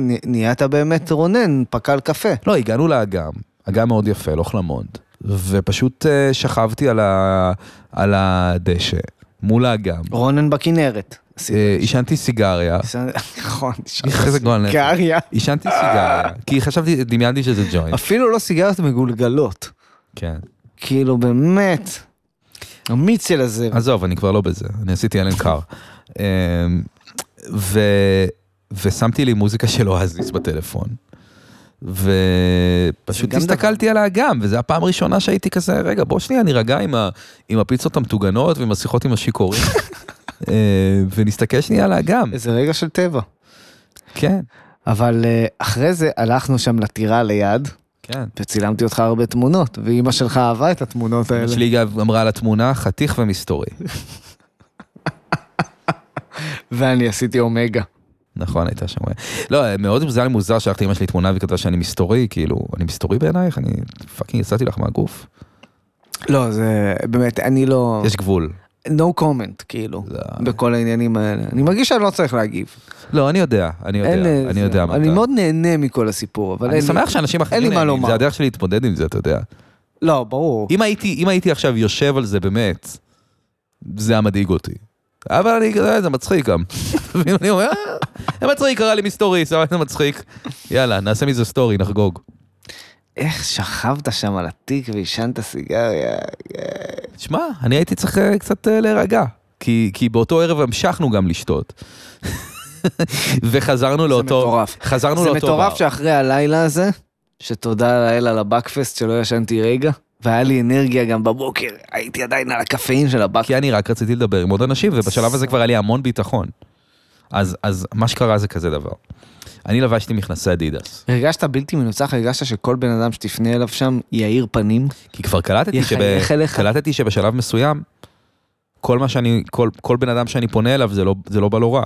[SPEAKER 4] נ- נהיית באמת רונן, פקל קפה.
[SPEAKER 2] לא, הגענו לאגם, אגם מאוד יפה, לא חלמונד, ופשוט אה, שכבתי על, ה... על הדשא, מול האגם.
[SPEAKER 4] רונן בכנרת.
[SPEAKER 2] אה, עישנתי סיגריה.
[SPEAKER 4] נכון,
[SPEAKER 2] איזה גועל נפש.
[SPEAKER 4] סיגריה.
[SPEAKER 2] עישנתי סיגריה, כי חשבתי, דמיינתי שזה ג'וינט.
[SPEAKER 4] אפילו לא סיגריות מגולגלות.
[SPEAKER 2] כן.
[SPEAKER 4] כאילו באמת, אמיץ של הזבל.
[SPEAKER 2] עזוב, אני כבר לא בזה, אני עשיתי אלן קאר. אמ, ו... ושמתי לי מוזיקה של אוהזיס בטלפון. ופשוט
[SPEAKER 4] זה גם
[SPEAKER 2] הסתכלתי על האגם, וזו הפעם הראשונה שהייתי כזה, רגע, בוא שנייה נירגע עם, ה... עם הפיצות המטוגנות ועם השיחות עם השיכורים. אה, ונסתכל שנייה על האגם,
[SPEAKER 4] איזה רגע של טבע.
[SPEAKER 2] כן,
[SPEAKER 4] אבל אה, אחרי זה הלכנו שם לטירה ליד,
[SPEAKER 2] כן.
[SPEAKER 4] וצילמתי אותך הרבה תמונות, ואימא שלך אהבה את התמונות האלה.
[SPEAKER 2] שלי גם אמרה על התמונה, חתיך ומסתורי.
[SPEAKER 4] ואני עשיתי אומגה.
[SPEAKER 2] נכון, הייתה שם. לא, מאוד זה היה לי מוזר שלחתי לאמא שלי תמונה וכתבה שאני מסתורי, כאילו, אני מסתורי בעינייך? אני פאקינג יצאתי לך מהגוף.
[SPEAKER 4] לא, זה באמת, אני לא...
[SPEAKER 2] יש גבול.
[SPEAKER 4] no comment, כאילו,
[SPEAKER 2] לא.
[SPEAKER 4] בכל העניינים האלה. אני מרגיש שאני לא צריך להגיב.
[SPEAKER 2] לא, אני יודע, אני
[SPEAKER 4] אין,
[SPEAKER 2] יודע,
[SPEAKER 4] אה,
[SPEAKER 2] אני
[SPEAKER 4] זה-
[SPEAKER 2] יודע מה
[SPEAKER 4] אני
[SPEAKER 2] אתה-
[SPEAKER 4] מאוד נהנה מכל הסיפור, אבל אין
[SPEAKER 2] אני
[SPEAKER 4] לי...
[SPEAKER 2] שמח שאנשים אחרים
[SPEAKER 4] אין לי מה
[SPEAKER 2] נהנים,
[SPEAKER 4] לומר.
[SPEAKER 2] זה הדרך שלי להתמודד עם זה, אתה יודע.
[SPEAKER 4] לא, ברור.
[SPEAKER 2] אם הייתי, אם הייתי עכשיו יושב על זה באמת, זה היה מדאיג אותי. אבל אני, אתה יודע, זה מצחיק גם. ואם אני אומר, "אה, זה מצחיק, קרה לי מסתורי, סבבה, זה מצחיק. יאללה, נעשה מזה סטורי, נחגוג.
[SPEAKER 4] איך שכבת שם על התיק ועישנת סיגריה?
[SPEAKER 2] שמע, אני הייתי צריך אה, קצת אה, להירגע. כי, כי באותו ערב המשכנו גם לשתות. וחזרנו לאותו...
[SPEAKER 4] מטורף.
[SPEAKER 2] חזרנו
[SPEAKER 4] זה
[SPEAKER 2] לאותו
[SPEAKER 4] מטורף
[SPEAKER 2] בר.
[SPEAKER 4] שאחרי הלילה הזה, שתודה לאל על הבקפסט שלא ישנתי רגע, והיה לי אנרגיה גם בבוקר, הייתי עדיין על הקפאין של הבקפסט.
[SPEAKER 2] כי אני רק רציתי לדבר עם עוד אנשים, ובשלב הזה כבר היה לי המון ביטחון. אז, אז מה שקרה זה כזה דבר. אני לבשתי מכנסי אדידס,
[SPEAKER 4] הרגשת בלתי מנוצח, הרגשת שכל בן אדם שתפנה אליו שם יאיר פנים.
[SPEAKER 2] כי כבר קלטתי,
[SPEAKER 4] יחייך אליך.
[SPEAKER 2] קלטתי שבשלב מסוים, כל מה שאני, כל, כל בן אדם שאני פונה אליו זה לא, זה לא בא לו רע.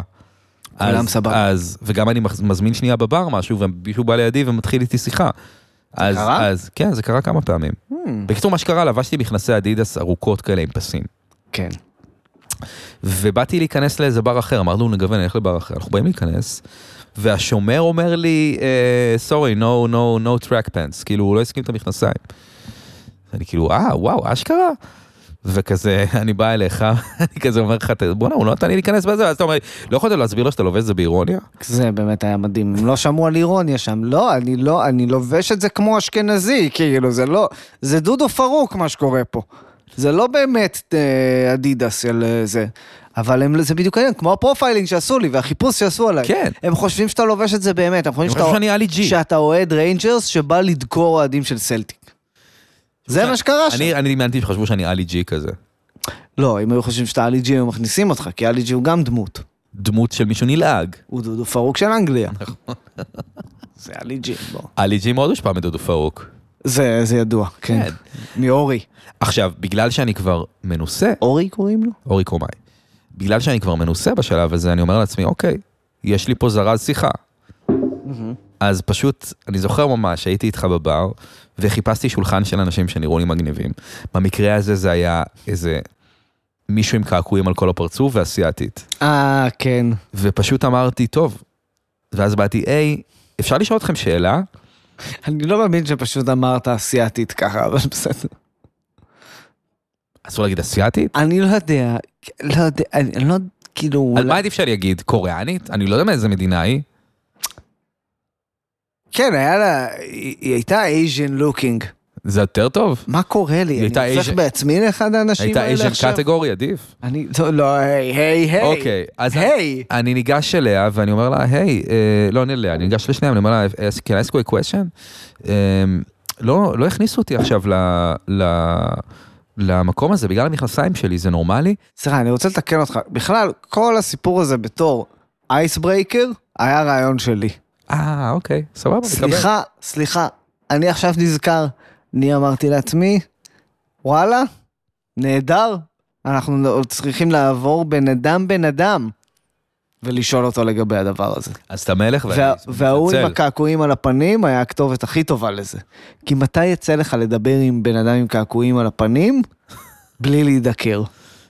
[SPEAKER 4] כולם
[SPEAKER 2] אז-
[SPEAKER 4] סבבה.
[SPEAKER 2] אז, וגם אני מח- מזמין שנייה בבר משהו, ומישהו בא לידי ומתחיל איתי שיחה. אז,
[SPEAKER 4] קרה? Hmm.
[SPEAKER 2] אז, כן, זה קרה כמה פעמים. בקיצור, מה שקרה, לבשתי מכנסי אדידס ארוכות כאלה עם פסים.
[SPEAKER 4] כן.
[SPEAKER 2] ובאתי להיכנס לאיזה בר אחר, אמרנו נגוון, נלך לבר אחר, אנחנו באים להיכנס, והשומר אומר לי, סורי, no, no, no track pants, כאילו הוא לא הסכים את המכנסיים. אני כאילו, אה, וואו, אשכרה? וכזה, אני בא אליך, אני כזה אומר לך, "ת- בואנה, הוא לא נתן לי להיכנס בזה, אז אתה אומר, לי, לא יכולת להסביר לו שאתה לובש את זה באירוניה?
[SPEAKER 4] זה באמת היה מדהים, הם לא שמעו על אירוניה שם, לא, אני לא, אני לובש את זה כמו אשכנזי, כאילו, זה לא, זה דודו פרוק מה שקורה פה. זה לא באמת אה, אדידס של אה, זה, אבל הם, זה בדיוק העניין, כמו הפרופיילינג שעשו לי והחיפוש שעשו עליי.
[SPEAKER 2] כן.
[SPEAKER 4] הם חושבים שאתה לובש את זה באמת, הם חושבים
[SPEAKER 2] הם
[SPEAKER 4] שאתה,
[SPEAKER 2] חושבים שאני עלי ג'י.
[SPEAKER 4] שאתה אוהד ריינג'רס שבא לדקור אוהדים של סלטיק. זה מה שקרה שם.
[SPEAKER 2] אוקיי. אני אני דמיינתי שחשבו שאני עלי ג'י כזה.
[SPEAKER 4] לא, אם היו חושבים שאתה אלי ג'י, היו מכניסים אותך, כי אלי ג'י הוא גם דמות.
[SPEAKER 2] דמות של מישהו נלעג.
[SPEAKER 4] הוא דודו פרוק של אנגליה. נכון. זה אלי ג'י, בוא.
[SPEAKER 2] עלי ג'י מאוד הושפע מדודו פרוק.
[SPEAKER 4] זה, זה ידוע, כן. מאורי.
[SPEAKER 2] עכשיו, בגלל שאני כבר מנוסה,
[SPEAKER 4] אורי קוראים לו?
[SPEAKER 2] אורי קומאי. בגלל שאני כבר מנוסה בשלב הזה, אני אומר לעצמי, אוקיי, יש לי פה זרז שיחה.
[SPEAKER 4] Mm-hmm.
[SPEAKER 2] אז פשוט, אני זוכר ממש, הייתי איתך בבר, וחיפשתי שולחן של אנשים שנראו לי מגניבים. במקרה הזה זה היה איזה מישהו עם קעקועים על כל הפרצוף ואסייתית.
[SPEAKER 4] אה, כן.
[SPEAKER 2] ופשוט אמרתי, טוב. ואז באתי, היי, אפשר לשאול אתכם שאלה?
[SPEAKER 4] אני לא מאמין שפשוט אמרת אסיאתית ככה, אבל בסדר.
[SPEAKER 2] אסור להגיד אסייתית?
[SPEAKER 4] אני לא יודע, לא יודע, אני לא, כאילו...
[SPEAKER 2] על
[SPEAKER 4] אולי-
[SPEAKER 2] מה עדיף שאני אגיד? קוריאנית? אני לא יודע מאיזה מדינה היא.
[SPEAKER 4] כן, היה לה, היא היא הייתה אייז'ן לוקינג.
[SPEAKER 2] זה יותר טוב?
[SPEAKER 4] מה קורה לי?
[SPEAKER 2] הייתה
[SPEAKER 4] אני הופך
[SPEAKER 2] Asian-
[SPEAKER 4] בעצמי לאחד האנשים
[SPEAKER 2] הייתה
[SPEAKER 4] האלה עכשיו?
[SPEAKER 2] אייז'ן קטגורי, עדיף.
[SPEAKER 4] אני, לא, לא, היי, היי, היי.
[SPEAKER 2] אוקיי, אז
[SPEAKER 4] היי.
[SPEAKER 2] אני ניגש אליה ואני אומר לה, היי, אה, לא, אני אליה, אני ניגש לשניהם, אני אומר לה, "Ask- can I ask you a question? אה, לא, לא הכניסו אותי עכשיו ל- ל- למקום הזה בגלל המכנסיים שלי, זה נורמלי?
[SPEAKER 4] סליחה, אני רוצה לתקן אותך. בכלל, כל הסיפור הזה בתור אייסברייקר היה רעיון שלי.
[SPEAKER 2] אה, אוקיי, סבבה, מקבל."
[SPEAKER 4] סליחה, סליחה, אני עכשיו נזכר. אני אמרתי לעצמי, וואלה, נהדר, אנחנו לא- צריכים לעבור בן אדם בן אדם ולשאול אותו לגבי הדבר הזה.
[SPEAKER 2] אז אתה מלך ואני
[SPEAKER 4] וה- וההוא עם
[SPEAKER 2] מתנצל.
[SPEAKER 4] הקעקועים על הפנים היה הכתובת הכי טובה לזה. כי מתי יצא לך לדבר עם בן אדם עם קעקועים על הפנים בלי להידקר?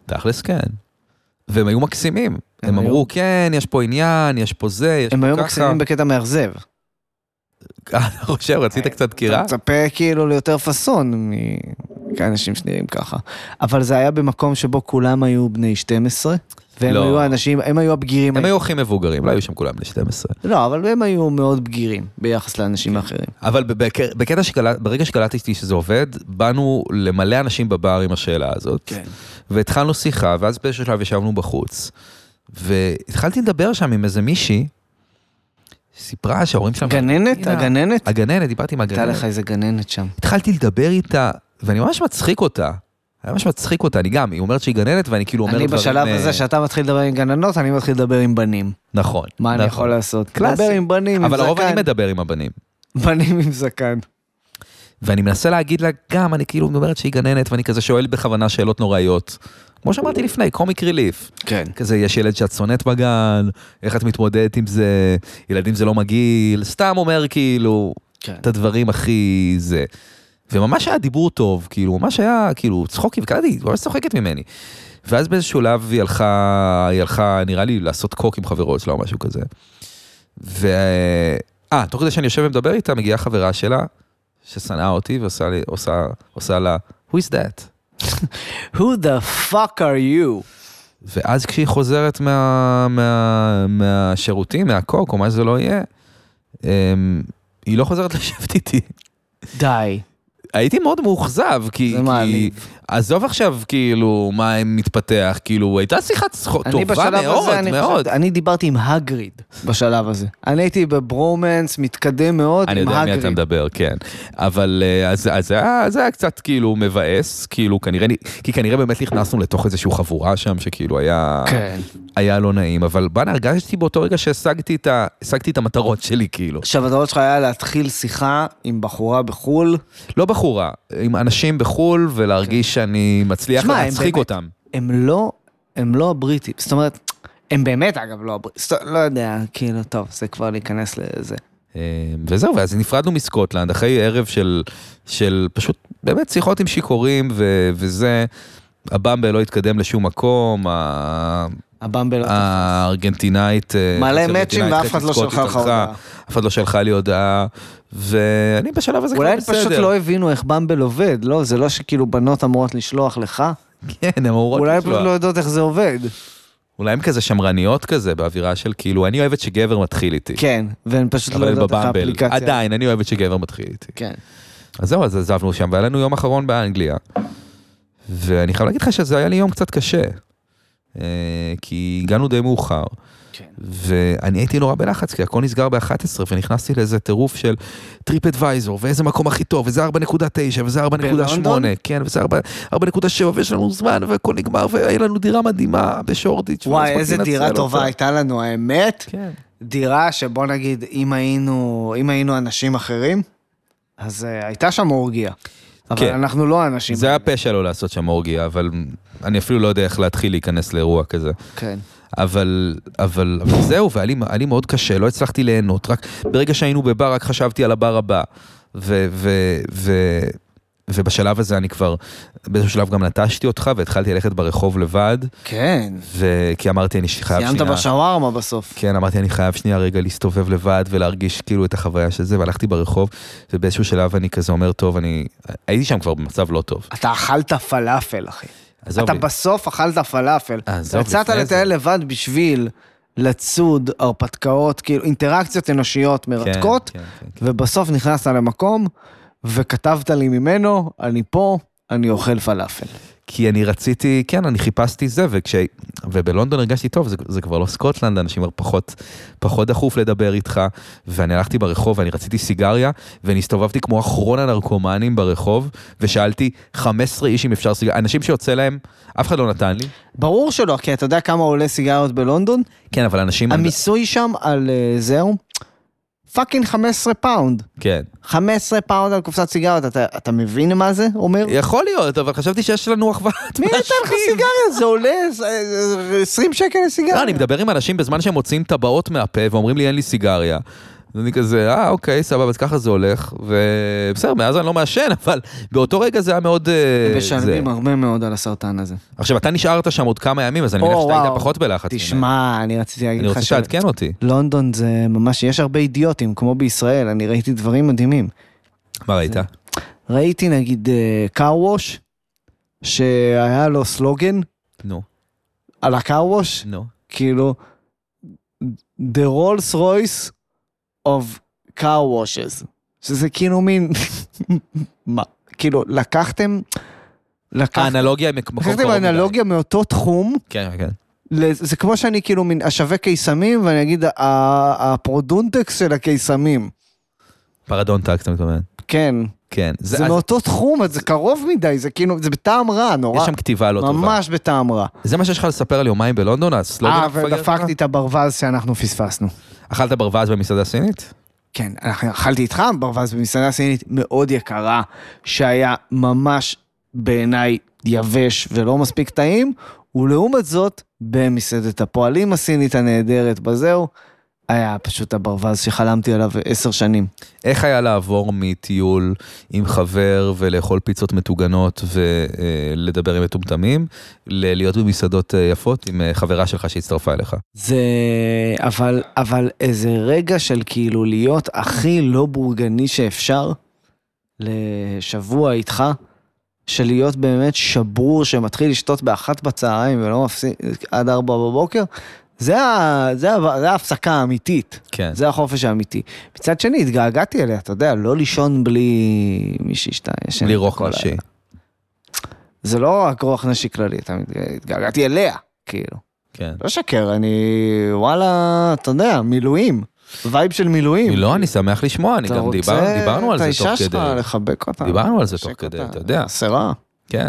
[SPEAKER 2] תכלס כן. והם היו מקסימים,
[SPEAKER 4] הם
[SPEAKER 2] הם
[SPEAKER 4] היו-
[SPEAKER 2] אמרו, כן, יש פה עניין, יש פה זה, יש פה ככה.
[SPEAKER 4] הם היו מקסימים בקטע מאכזב.
[SPEAKER 2] אתה חושב, רצית
[SPEAKER 4] אה,
[SPEAKER 2] קצת דקירה?
[SPEAKER 4] אתה מצפה כאילו ליותר פאסון מאנשים שנראים ככה. אבל זה היה במקום שבו כולם היו בני 12, והם
[SPEAKER 2] לא.
[SPEAKER 4] היו האנשים, הם היו הבגירים.
[SPEAKER 2] הם היו הכי מבוגרים, לא היו שם כולם בני 12.
[SPEAKER 4] לא, אבל הם היו מאוד בגירים ביחס לאנשים האחרים.
[SPEAKER 2] אבל בק- בקטע שקלט, ברגע שקלטתי שזה עובד, באנו למלא אנשים בבר עם השאלה הזאת.
[SPEAKER 4] כן.
[SPEAKER 2] והתחלנו שיחה, ואז באיזשהו שלב ישבנו בחוץ. והתחלתי לדבר שם עם איזה מישהי, סיפרה שההורים שם...
[SPEAKER 4] גננת?
[SPEAKER 2] הנה,
[SPEAKER 4] הגננת?
[SPEAKER 2] הגננת, דיברתי עם
[SPEAKER 4] הייתה
[SPEAKER 2] הגננת.
[SPEAKER 4] לך איזה גננת שם.
[SPEAKER 2] התחלתי לדבר איתה, ואני ממש מצחיק אותה. אני ממש מצחיק אותה, אני גם, היא אומרת שהיא גננת, ואני כאילו אומר
[SPEAKER 4] אני
[SPEAKER 2] דברים...
[SPEAKER 4] בשלב
[SPEAKER 2] אה,
[SPEAKER 4] הזה שאתה מתחיל לדבר עם גננות, אני מתחיל לדבר עם בנים.
[SPEAKER 2] נכון.
[SPEAKER 4] מה אני
[SPEAKER 2] נכון.
[SPEAKER 4] יכול לעשות?
[SPEAKER 2] קלאסי.
[SPEAKER 4] לדבר עם בנים, עם
[SPEAKER 2] אבל לרוב אני
[SPEAKER 4] זקן.
[SPEAKER 2] מדבר עם הבנים.
[SPEAKER 4] בנים עם זקן.
[SPEAKER 2] ואני מנסה להגיד לה גם, אני כאילו אומרת שהיא גננת, ואני כזה שואל בכוונה שאלות נוראיות. כמו שאמרתי לפני, קומיק ריליף.
[SPEAKER 4] כן.
[SPEAKER 2] כזה, יש ילד שאת שונאת בגן, איך את מתמודדת עם זה, ילדים זה לא מגעיל, סתם אומר כאילו,
[SPEAKER 4] כן.
[SPEAKER 2] את הדברים הכי זה. וממש היה דיבור טוב, כאילו, ממש היה, כאילו, צחוקים, וקלטתי, היא ממש צוחקת ממני. ואז באיזשהו שלב היא הלכה, היא הלכה, נראה לי, לעשות קוק עם חברות שלה או משהו כזה. ו... אה, תוך כדי שאני יושב ומדבר איתה, מגיעה חברה שלה, ששנאה אותי ועושה לי, עושה, עושה לה, who is that?
[SPEAKER 4] Who the fuck are you?
[SPEAKER 2] ואז כשהיא חוזרת מה, מה, מהשירותים, מהקוק, או מה שזה לא יהיה, אמ, היא לא חוזרת לשבת איתי.
[SPEAKER 4] די.
[SPEAKER 2] הייתי מאוד מאוכזב, כי...
[SPEAKER 4] זה
[SPEAKER 2] כי
[SPEAKER 4] מעליב.
[SPEAKER 2] עזוב עכשיו, כאילו, מה אם מתפתח, כאילו, הייתה שיחה צחוק-
[SPEAKER 4] אני
[SPEAKER 2] טובה
[SPEAKER 4] בשלב
[SPEAKER 2] מאוד,
[SPEAKER 4] הזה, אני
[SPEAKER 2] מאוד.
[SPEAKER 4] חושב, אני דיברתי עם הגריד בשלב הזה. אני הייתי בברומנס מתקדם מאוד
[SPEAKER 2] אני
[SPEAKER 4] עם
[SPEAKER 2] יודע על מי אתה
[SPEAKER 4] הגריד.
[SPEAKER 2] מדבר, כן. אבל אה, אז, אז זה היה- זה היה קצת כאילו מבאס, כאילו כנראה, נ- כי כנראה באמת נכנסנו לתוך איזושהי חבורה שם, שכאילו היה,
[SPEAKER 4] כן.
[SPEAKER 2] היה לא נעים, אבל בואנה, הרגשתי באותו רגע שהשגתי את, ה, השגתי את המטרות שלי, כאילו.
[SPEAKER 4] עכשיו, הדבר שלך היה להתחיל שיחה עם בחורה בחו"ל.
[SPEAKER 2] לא בחורה, עם אנשים בחו"ל, ולהרגיש שאני מצליח
[SPEAKER 4] כן. שמע, הם
[SPEAKER 2] להצחיק
[SPEAKER 4] באמת-
[SPEAKER 2] אותם.
[SPEAKER 4] הם לא, הם לא הבריטים. זאת אומרת, הם באמת, אגב, לא הבריטים. זאת- לא יודע, כאילו, טוב, זה כבר להיכנס לזה.
[SPEAKER 2] אה, וזהו, ואז נפרדנו מסקוטלנד, אחרי ערב של, של פשוט באמת שיחות עם שיכורים ו, וזה, הבמבה לא התקדם לשום מקום, ה-
[SPEAKER 4] הבמבל...
[SPEAKER 2] אה, הארגנטינאית... אה,
[SPEAKER 4] לא מלא
[SPEAKER 2] הארגנטינאית
[SPEAKER 4] מאצ'ים ואף
[SPEAKER 2] חצי
[SPEAKER 4] אחד לא
[SPEAKER 2] סקוטית
[SPEAKER 4] שלחה לך
[SPEAKER 2] הלכה,
[SPEAKER 4] הודעה.
[SPEAKER 2] אף אחד לא שלחה לי הודעה, ואני בשלב הזה
[SPEAKER 4] אולי
[SPEAKER 2] כבר
[SPEAKER 4] הם
[SPEAKER 2] בסדר.
[SPEAKER 4] פשוט לא הבינו איך במבל עובד, לא? זה לא שכאילו בנות אמורות לשלוח לך,
[SPEAKER 2] כן, הם אמורות
[SPEAKER 4] אולי הם
[SPEAKER 2] לשלוח.
[SPEAKER 4] פשוט לא יודעות איך זה עובד.
[SPEAKER 2] אולי הם כזה שמרניות כזה, באווירה של כאילו, אני אוהבת שגבר מתחיל איתי.
[SPEAKER 4] כן, והן פשוט לא
[SPEAKER 2] אבל הם
[SPEAKER 4] יודעות איך
[SPEAKER 2] בבמבל,
[SPEAKER 4] האפליקציה.
[SPEAKER 2] עדיין, אני אוהבת שגבר מתחיל איתי.
[SPEAKER 4] כן.
[SPEAKER 2] אז זהו, אז עזבנו שם, והיה לנו יום אחרון באנגליה. ואני חייב להגיד לך שזה היה לי יום קצת קשה. אה, כי הגענו די מאוחר.
[SPEAKER 4] כן.
[SPEAKER 2] ואני הייתי נורא בלחץ, כי הכל נסגר ב-11, ונכנסתי לאיזה טירוף של טריפ אדוויזור, ואיזה מקום הכי טוב, וזה 4.9, וזה 4.8,
[SPEAKER 4] בלונדון?
[SPEAKER 2] כן, וזה 4- 4.7, ויש לנו זמן, והכל נגמר, והיה לנו דירה מדהימה בשורדיץ'. ולא
[SPEAKER 4] וואי,
[SPEAKER 2] הספקתי
[SPEAKER 4] איזה
[SPEAKER 2] לנצל
[SPEAKER 4] דירה
[SPEAKER 2] אותה.
[SPEAKER 4] טובה הייתה לנו, האמת.
[SPEAKER 2] לא כן.
[SPEAKER 4] דירה שבוא נגיד, אם היינו, אם היינו אנשים אחרים, אז אה, הייתה שם אורגיה. אבל
[SPEAKER 2] כן.
[SPEAKER 4] אנחנו לא אנשים.
[SPEAKER 2] זה היה פשע לא לעשות שם אורגיה, אבל אני אפילו לא יודע איך להתחיל להיכנס לאירוע כזה.
[SPEAKER 4] כן.
[SPEAKER 2] אבל, אבל, אבל זהו, והיה לי, היה לי מאוד קשה, לא הצלחתי ליהנות, רק ברגע שהיינו בבר, רק חשבתי על הבר הבא. ו, ו, ו, ובשלב הזה אני כבר, באיזשהו שלב גם נטשתי אותך, והתחלתי ללכת ברחוב לבד,
[SPEAKER 4] כן.
[SPEAKER 2] ו, כי אמרתי, אני חייב שנייה...
[SPEAKER 4] סיימת בשווארמה בסוף.
[SPEAKER 2] כן, אמרתי, אני חייב שנייה רגע להסתובב לבד ולהרגיש כאילו את החוויה של זה, והלכתי ברחוב, ובאיזשהו שלב אני כזה אומר, טוב, אני... הייתי שם כבר במצב לא טוב.
[SPEAKER 4] אתה אכלת פלאפל, אחי.
[SPEAKER 2] עזוב
[SPEAKER 4] אתה
[SPEAKER 2] לי.
[SPEAKER 4] בסוף אכלת פלאפל.
[SPEAKER 2] עזוב,
[SPEAKER 4] יצאת
[SPEAKER 2] לפני
[SPEAKER 4] לטייל
[SPEAKER 2] זה.
[SPEAKER 4] לבד בשביל לצוד הרפתקאות, כאילו אינטראקציות אנושיות מרתקות,
[SPEAKER 2] כן, כן, כן.
[SPEAKER 4] ובסוף נכנסת למקום, וכתבת לי ממנו, אני פה, אני אוכל פלאפל.
[SPEAKER 2] כי אני רציתי, כן, אני חיפשתי זה, וכש... ובלונדון הרגשתי טוב, זה, זה כבר לא סקוטלנד, אנשים כבר פחות, פחות דחוף לדבר איתך, ואני הלכתי ברחוב ואני רציתי סיגריה, ואני הסתובבתי כמו אחרון הנרקומנים ברחוב, ושאלתי 15 איש אם אפשר סיגריה, אנשים שיוצא להם, אף אחד לא נתן לי,
[SPEAKER 4] ברור שלא, כי אתה יודע כמה עולה סיגריות בלונדון?
[SPEAKER 2] כן, אבל אנשים...
[SPEAKER 4] המיסוי שם על אה, זהו, פאקינג 15 פאונד.
[SPEAKER 2] כן.
[SPEAKER 4] 15 פאונד על קופסת סיגריות, אתה, אתה מבין מה זה אומר?
[SPEAKER 2] יכול להיות, אבל חשבתי שיש לנו אחוות
[SPEAKER 4] מי נתן לך סיגריה? זה עולה אה, 20 שקל לסיגריה.
[SPEAKER 2] לא, אני מדבר עם אנשים בזמן שהם מוציאים טבעות מהפה ואומרים לי אין לי סיגריה. אז אני כזה, אה, אוקיי, סבבה, אז ככה זה הולך, ובסדר, מאז אני לא מעשן, אבל באותו רגע זה היה מאוד... אה, זה.
[SPEAKER 4] משלמים הרבה מאוד על הסרטן הזה.
[SPEAKER 2] עכשיו, אתה נשארת שם עוד כמה ימים, אז אני
[SPEAKER 4] או,
[SPEAKER 2] מניח שאתה
[SPEAKER 4] וואו.
[SPEAKER 2] היית פחות בלחץ. ממני.
[SPEAKER 4] תשמע, אני רציתי להגיד
[SPEAKER 2] אני
[SPEAKER 4] לך
[SPEAKER 2] רוצה שתעדכן אותי.
[SPEAKER 4] לונדון זה ממש, יש הרבה אידיוטים, כמו בישראל, אני ראיתי דברים מדהימים.
[SPEAKER 2] מה ראית?
[SPEAKER 4] ראיתי נגיד קארוווש, שהיה לו סלוגן
[SPEAKER 2] נו,
[SPEAKER 4] על הקארוווש,
[SPEAKER 2] נו.
[SPEAKER 4] כאילו, The Rolls Royce of car washes, שזה כאילו מין, מה, כאילו, לקחתם, לקח-
[SPEAKER 2] האנלוגיה אה, עם מקום קרוב
[SPEAKER 4] לקחתם
[SPEAKER 2] מדי.
[SPEAKER 4] אנלוגיה מאותו תחום,
[SPEAKER 2] כן, כן.
[SPEAKER 4] ל- זה כמו שאני כאילו מין אשווה קיסמים, ואני אגיד, "ה- הפרודונטקס של הקיסמים.
[SPEAKER 2] פרדון טקס, אתה מתכוון.
[SPEAKER 4] כן,
[SPEAKER 2] כן.
[SPEAKER 4] זה
[SPEAKER 2] אז-
[SPEAKER 4] מאותו תחום, אז זה קרוב מדי, זה כאילו, זה בטעם רע, נורא.
[SPEAKER 2] יש שם כתיבה לא טובה.
[SPEAKER 4] ממש בטעם רע.
[SPEAKER 2] זה מה שיש לך לספר על יומיים בלונדון, לא הסלוגן
[SPEAKER 4] אה,
[SPEAKER 2] המפגר שלך?
[SPEAKER 4] ודפקתי את הברווז שאנחנו פספסנו.
[SPEAKER 2] אכלת ברווז במסעדה סינית?
[SPEAKER 4] כן, אנחנו- אכלתי איתך ברווז במסעדה סינית מאוד יקרה, שהיה ממש בעיניי יבש ולא מספיק טעים, ולעומת זאת, במסעדת הפועלים הסינית הנהדרת בזהו, היה פשוט הברווז שחלמתי עליו עשר שנים.
[SPEAKER 2] איך היה לעבור מטיול עם חבר ולאכול פיצות מטוגנות ולדבר עם מטומטמים, ללהיות במסעדות אה, יפות עם אה, חברה שלך שהצטרפה אליך?
[SPEAKER 4] זה, אבל, אבל איזה רגע של כאילו להיות הכי לא בורגני שאפשר לשבוע איתך, של להיות באמת שברור שמתחיל לשתות באחת בצהריים ולא מפסיק עד ארבע בבוקר, זה, ה, זה, ה, זה ההפסקה האמיתית,
[SPEAKER 2] כן.
[SPEAKER 4] זה החופש האמיתי. מצד שני, התגעגעתי אליה, אתה יודע, לא לישון בלי מישהי שאתה ישן.
[SPEAKER 2] בלי
[SPEAKER 4] איתה
[SPEAKER 2] רוך
[SPEAKER 4] כל
[SPEAKER 2] ראשי.
[SPEAKER 4] הלילה. זה לא רק רוח נשי כללית, אני התגעגעתי אליה, כאילו.
[SPEAKER 2] כן.
[SPEAKER 4] לא שקר, אני, וואלה, אתה יודע, מילואים. וייב של מילואים.
[SPEAKER 2] לא, אני שמח לשמוע, אני
[SPEAKER 4] אתה
[SPEAKER 2] גם
[SPEAKER 4] רוצה
[SPEAKER 2] דיבר- דיברנו על
[SPEAKER 4] את
[SPEAKER 2] זה תוך
[SPEAKER 4] האישה שלך,
[SPEAKER 2] כדי.
[SPEAKER 4] לחבק אותה.
[SPEAKER 2] דיברנו על זה תוך
[SPEAKER 4] לחשק
[SPEAKER 2] כדי,
[SPEAKER 4] אותה.
[SPEAKER 2] אתה יודע.
[SPEAKER 4] סירה.
[SPEAKER 2] כן.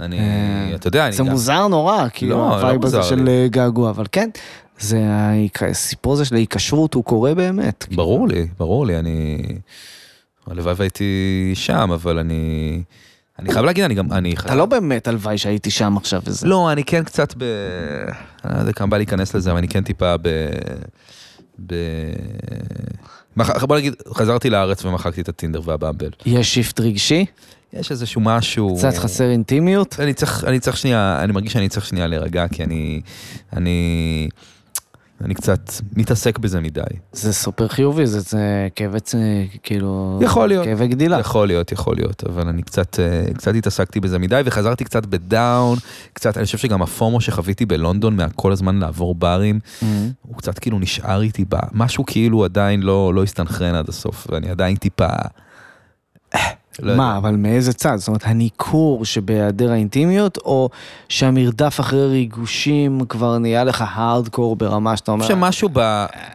[SPEAKER 2] אני,
[SPEAKER 4] אה,
[SPEAKER 2] אתה יודע, אני
[SPEAKER 4] זה
[SPEAKER 2] גם...
[SPEAKER 4] מוזר נורא,
[SPEAKER 2] לא,
[SPEAKER 4] כאילו,
[SPEAKER 2] לא
[SPEAKER 4] הווייב הזה
[SPEAKER 2] מוזר
[SPEAKER 4] של
[SPEAKER 2] לי.
[SPEAKER 4] אה, געגוע, אבל כן, זה ההיק- הסיפור הזה של ההיקשרות, הוא קורה באמת.
[SPEAKER 2] ברור לי, ברור לי, אני... הלוואי והייתי שם, אבל אני... אני חייב להגיד, אני גם... אני
[SPEAKER 4] אתה לא באמת הלוואי שהייתי שם עכשיו וזה.
[SPEAKER 2] לא, אני כן קצת ב... אני לא יודע כמה בא להיכנס לזה, אבל אני כן טיפה ב... ב... מח- בוא נגיד, חזרתי לארץ ומחקתי את הטינדר והבמבל.
[SPEAKER 4] יש שיפט רגשי,
[SPEAKER 2] יש איזשהו משהו...
[SPEAKER 4] קצת חסר אינטימיות.
[SPEAKER 2] אני צריך, אני צריך שנייה, אני מרגיש שאני צריך שנייה להירגע, כי אני... אני... אני קצת מתעסק בזה מדי.
[SPEAKER 4] זה סופר חיובי, זה- זה כאבץ, אה, כאילו...
[SPEAKER 2] יכול להיות.
[SPEAKER 4] כאבי גדילה.
[SPEAKER 2] יכול להיות, יכול להיות, אבל אני קצת, אה, קצת התעסקתי בזה מדי, וחזרתי קצת בדאון, קצת, אני חושב שגם הפומו שחוויתי בלונדון, מהכל הזמן לעבור ברים, הוא קצת כאילו נשאר איתי בה, משהו כאילו עדיין לא, לא הסתנכרן עד הסוף, ואני עדיין טיפה... אה, לא
[SPEAKER 4] מה,
[SPEAKER 2] יודע.
[SPEAKER 4] אבל מאיזה צד? זאת אומרת, הניכור שבהיעדר האינטימיות, או שהמרדף אחרי ריגושים כבר נהיה לך הארדקור ברמה שאתה
[SPEAKER 2] אני
[SPEAKER 4] אומר,
[SPEAKER 2] חושב שמשהו ב...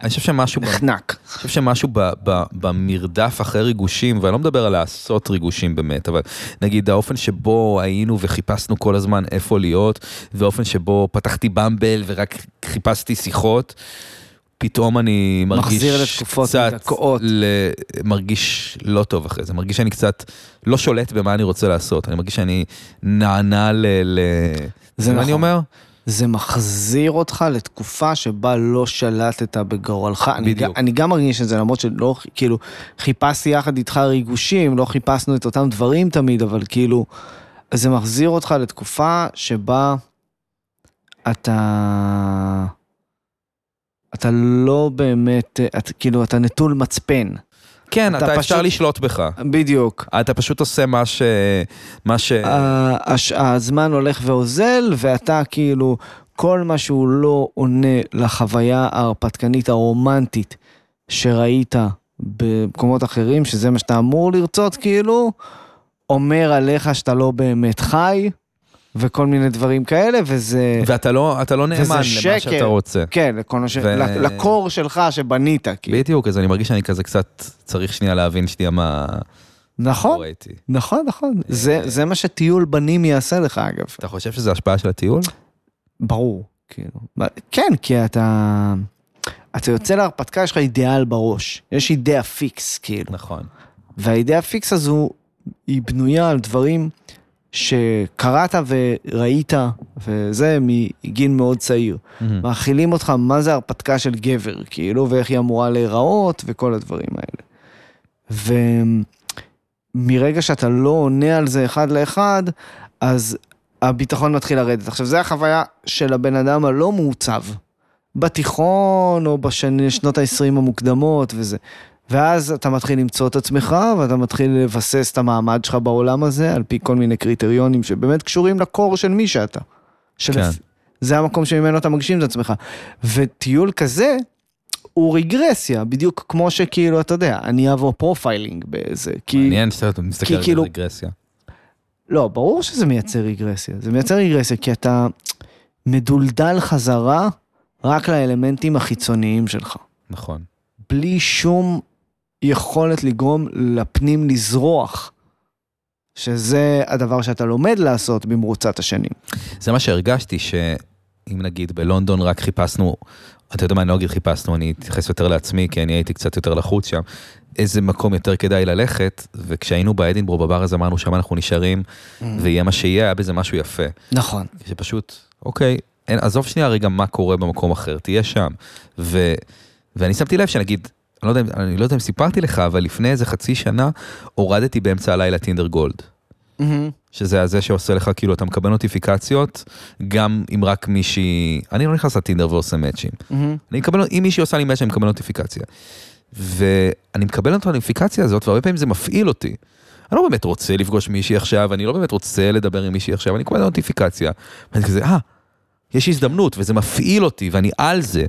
[SPEAKER 2] אני חושב שמשהו ב...
[SPEAKER 4] נחנק.
[SPEAKER 2] אני חושב שמשהו ב, ב, במרדף אחרי ריגושים, ואני לא מדבר על לעשות ריגושים באמת, אבל נגיד האופן שבו היינו וחיפשנו כל הזמן איפה להיות, והאופן שבו פתחתי במבל ורק חיפשתי שיחות, פתאום אני מרגיש
[SPEAKER 4] מחזיר לתקופות
[SPEAKER 2] קצת
[SPEAKER 4] מדכאות.
[SPEAKER 2] ל... מרגיש לא טוב אחרי זה, מרגיש שאני קצת לא שולט במה אני רוצה לעשות, אני מרגיש שאני נענה ל... ל...
[SPEAKER 4] זה
[SPEAKER 2] מה
[SPEAKER 4] נכון.
[SPEAKER 2] אני אומר?
[SPEAKER 4] זה מחזיר אותך לתקופה שבה לא שלטת בגורלך. אני
[SPEAKER 2] בדיוק.
[SPEAKER 4] גם- אני גם מרגיש את זה, למרות שלא, כאילו, חיפשתי יחד איתך ריגושים, לא חיפשנו את אותם דברים תמיד, אבל כאילו, זה מחזיר אותך לתקופה שבה אתה... אתה לא באמת, אתה, כאילו, אתה נטול מצפן.
[SPEAKER 2] כן,
[SPEAKER 4] אתה
[SPEAKER 2] אתה, אתה אפשר
[SPEAKER 4] פשוט-
[SPEAKER 2] לשלוט בך.
[SPEAKER 4] בדיוק.
[SPEAKER 2] אתה פשוט עושה מה ש... מה ש...
[SPEAKER 4] אה, ה- הש- הזמן הולך ואוזל, ואתה כאילו, כל מה שהוא לא עונה לחוויה ההרפתקנית הרומנטית שראית במקומות אחרים, שזה מה שאתה אמור לרצות, כאילו, אומר עליך שאתה לא באמת חי, וכל מיני דברים כאלה, וזה...
[SPEAKER 2] ואתה לא, אתה לא נאמן
[SPEAKER 4] וזה
[SPEAKER 2] למה
[SPEAKER 4] שקר.
[SPEAKER 2] שאתה רוצה.
[SPEAKER 4] כן, לכל מה ש...
[SPEAKER 2] ו-
[SPEAKER 4] ו... לקור שלך שבנית, כאילו.
[SPEAKER 2] בדיוק, אז אני מרגיש שאני כזה קצת צריך שנייה להבין שנייה מה
[SPEAKER 4] נכון,
[SPEAKER 2] קורה איתי.
[SPEAKER 4] נכון, נכון. זה, זה מה שטיול בנים יעשה לך, אגב.
[SPEAKER 2] אתה חושב שזה השפעה של הטיול?
[SPEAKER 4] ברור, כאילו. מה- כן, כי אתה... אתה יוצא להרפתקה, יש לך אידיאל בראש. יש אידאה פיקס, כאילו.
[SPEAKER 2] נכון.
[SPEAKER 4] והאידאה פיקס הזו, היא בנויה על דברים שקראת וראית, וזה מגיל מאוד צעיר. מאכילים אותך מה זה הרפתקה של גבר, כאילו, ואיך היא אמורה להיראות, וכל הדברים האלה. ומרגע שאתה לא עונה על זה אחד לאחד, אז הביטחון מתחיל לרדת. עכשיו, זה החוויה של הבן אדם הלא מעוצב, בתיכון או בשנות ה-20 המוקדמות וזה. ואז אתה מתחיל למצוא את עצמך, ואתה מתחיל לבסס את המעמד שלך בעולם הזה, על פי כל מיני קריטריונים שבאמת קשורים לקור של מי שאתה. של...
[SPEAKER 2] כן.
[SPEAKER 4] זה המקום שממנו אתה מגשים את עצמך. וטיול כזה, הוא רגרסיה, בדיוק כמו שכאילו, אתה יודע, אני אעבור פרופיילינג באיזה, כי...
[SPEAKER 2] מעניין שאתה מסתכל
[SPEAKER 4] כי
[SPEAKER 2] על זה
[SPEAKER 4] כאילו-
[SPEAKER 2] ברגרסיה.
[SPEAKER 4] לא, ברור שזה מייצר רגרסיה. זה מייצר רגרסיה כי אתה מדולדל חזרה רק לאלמנטים החיצוניים שלך.
[SPEAKER 2] נכון.
[SPEAKER 4] בלי שום יכולת לגרום לפנים לזרוח, שזה הדבר שאתה לומד לעשות במרוצת השנים.
[SPEAKER 2] זה מה שהרגשתי שאם נגיד בלונדון רק חיפשנו, אתה יודע מה, אני לא אגיד חיפשנו, אני אתייחס יותר לעצמי, כי אני הייתי קצת יותר לחוץ שם, איזה מקום יותר כדאי ללכת, וכשהיינו באדינבורו בבר אז אמרנו שם אנחנו נשארים,
[SPEAKER 4] Mm.
[SPEAKER 2] ויהיה מה שיהיה, היה בזה משהו יפה.
[SPEAKER 4] נכון.
[SPEAKER 2] שפשוט, אוקיי, אין, עזוב שנייה רגע מה קורה במקום אחר, תהיה שם. ו, ואני שמתי לב שנגיד, אני לא, יודע, אם- אני לא יודע אם סיפרתי לך, אבל לפני איזה חצי שנה הורדתי באמצע הלילה טינדר גולד. שזה הזה שעושה לך, כאילו, אתה מקבל נוטיפיקציות, גם אם רק מישהי... אני לא נכנס לטינדר ועושה מאצ'ים. אני מקבל, אם מישהי עושה לי מאצ' אני מקבל נוטיפיקציה. ואני מקבל את הנוטיפיקציה הזאת, והרבה פעמים זה מפעיל אותי. אני לא באמת רוצה לפגוש מישהי עכשיו, אני לא באמת רוצה לדבר עם מישהי עכשיו, אני קורא נוטיפיקציה. ואני כזה, אה, יש הזדמנות, וזה מפעיל אותי, ואני על זה.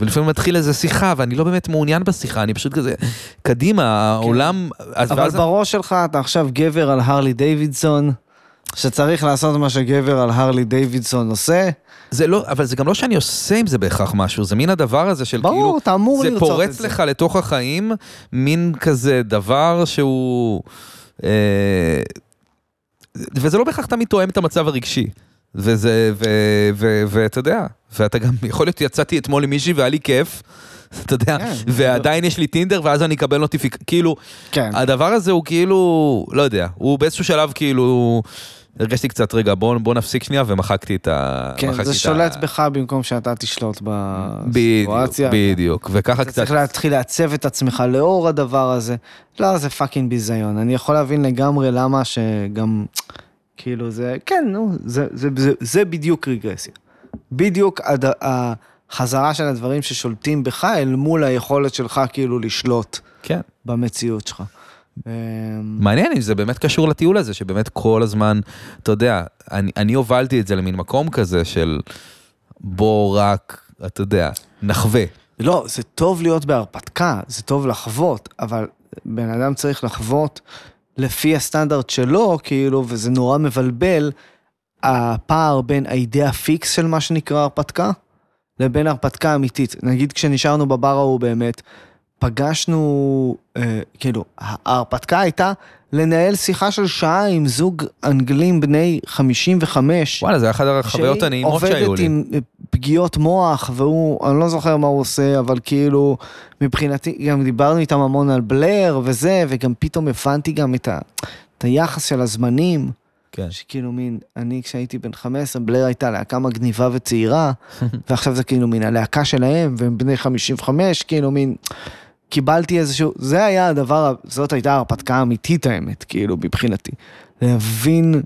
[SPEAKER 2] ולפעמים מתחיל איזה שיחה, ואני לא באמת מעוניין בשיחה, אני פשוט כזה, קדימה, העולם... אז
[SPEAKER 4] אבל
[SPEAKER 2] ואז-
[SPEAKER 4] בראש שלך אתה עכשיו גבר על הרלי דיווידסון, שצריך לעשות מה שגבר על הרלי דיווידסון עושה.
[SPEAKER 2] זה לא, אבל זה גם לא שאני עושה עם זה בהכרח משהו, זה מין הדבר הזה של
[SPEAKER 4] ברור,
[SPEAKER 2] כאילו...
[SPEAKER 4] אתה אמור לרצות
[SPEAKER 2] זה
[SPEAKER 4] את
[SPEAKER 2] פורץ
[SPEAKER 4] זה.
[SPEAKER 2] לך לתוך החיים, מין כזה דבר שהוא... אה, וזה לא בהכרח תמיד תואם את המצב הרגשי. וזה, ו- ו- ואתה יודע, ואתה גם, יכול להיות יצאתי אתמול עם מישהי והיה לי כיף, אתה יודע,
[SPEAKER 4] כן,
[SPEAKER 2] ועדיין יש לי טינדר ואז אני אקבל נוטיפיק, כאילו,
[SPEAKER 4] כן.
[SPEAKER 2] הדבר הזה הוא כאילו, לא יודע, הוא באיזשהו שלב כאילו, הרגשתי קצת, רגע, בוא, בוא נפסיק שנייה, ומחקתי את ה...
[SPEAKER 4] כן,
[SPEAKER 2] מחקתי
[SPEAKER 4] זה
[SPEAKER 2] את
[SPEAKER 4] שולט
[SPEAKER 2] ה...
[SPEAKER 4] בך במקום שאתה תשלוט
[SPEAKER 2] בדיוק,
[SPEAKER 4] בסיטואציה.
[SPEAKER 2] בדיוק, וככה
[SPEAKER 4] אתה
[SPEAKER 2] קצת,
[SPEAKER 4] צריך להתחיל לעצב את עצמך לאור הדבר הזה. לא, זה פאקינג ביזיון. אני יכול להבין לגמרי למה שגם, כאילו זה, כן, נו, זה, זה, זה, זה בדיוק רגרסיה. בדיוק הד, החזרה של הדברים ששולטים בך אל מול היכולת שלך כאילו לשלוט
[SPEAKER 2] כן.
[SPEAKER 4] במציאות שלך. אמ,
[SPEAKER 2] מעניין אם זה באמת קשור לטיול הזה, שבאמת כל הזמן, אתה יודע, אני, אני הובלתי את זה למין מקום כזה של בוא רק, אתה יודע, נחווה.
[SPEAKER 4] לא, זה טוב להיות בהרפתקה, זה טוב לחוות, אבל בן אדם צריך לחוות לפי הסטנדרט שלו, כאילו, וזה נורא מבלבל, הפער בין האידאה פיקס של מה שנקרא הרפתקה, לבין הרפתקה אמיתית. נגיד כשנשארנו בבר ההוא באמת, פגשנו, אה, כאילו, ההרפתקה הייתה לנהל שיחה של שעה עם זוג אנגלים בני 55.
[SPEAKER 2] וואלה, זה היה אחת החוויות הנעימות שהיו לי.
[SPEAKER 4] שהיא עובדת עם אה, פגיעות מוח, והוא, אני לא זוכר מה הוא עושה, אבל כאילו, מבחינתי, גם דיברנו איתם המון על בלר וזה, וגם פתאום הבנתי גם את, ה, את היחס של הזמנים.
[SPEAKER 2] כן.
[SPEAKER 4] שכאילו מין, אני כשהייתי בן 15, בלר הייתה להקה מגניבה וצעירה, ועכשיו זה כאילו מין הלהקה שלהם, והם בני 55, כאילו מין, קיבלתי איזשהו, זה היה הדבר, ה- זאת הייתה ההרפתקה האמיתית האמת, כאילו, מבחינתי. להבין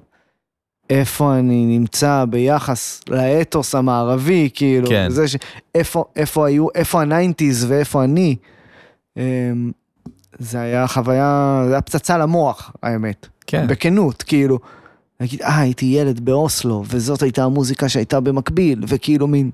[SPEAKER 4] איפה אני נמצא ביחס לאתוס המערבי, כאילו,
[SPEAKER 2] כן.
[SPEAKER 4] זה ש... איפה, איפה היו, איפה הניינטיז ואיפה אני. אמ, זה היה חוויה, זה היה פצצה למוח, האמת.
[SPEAKER 2] כן.
[SPEAKER 4] בכנות, כאילו. נגיד, אה, הייתי ילד באוסלו, וזאת הייתה המוזיקה שהייתה במקביל, וכאילו מין...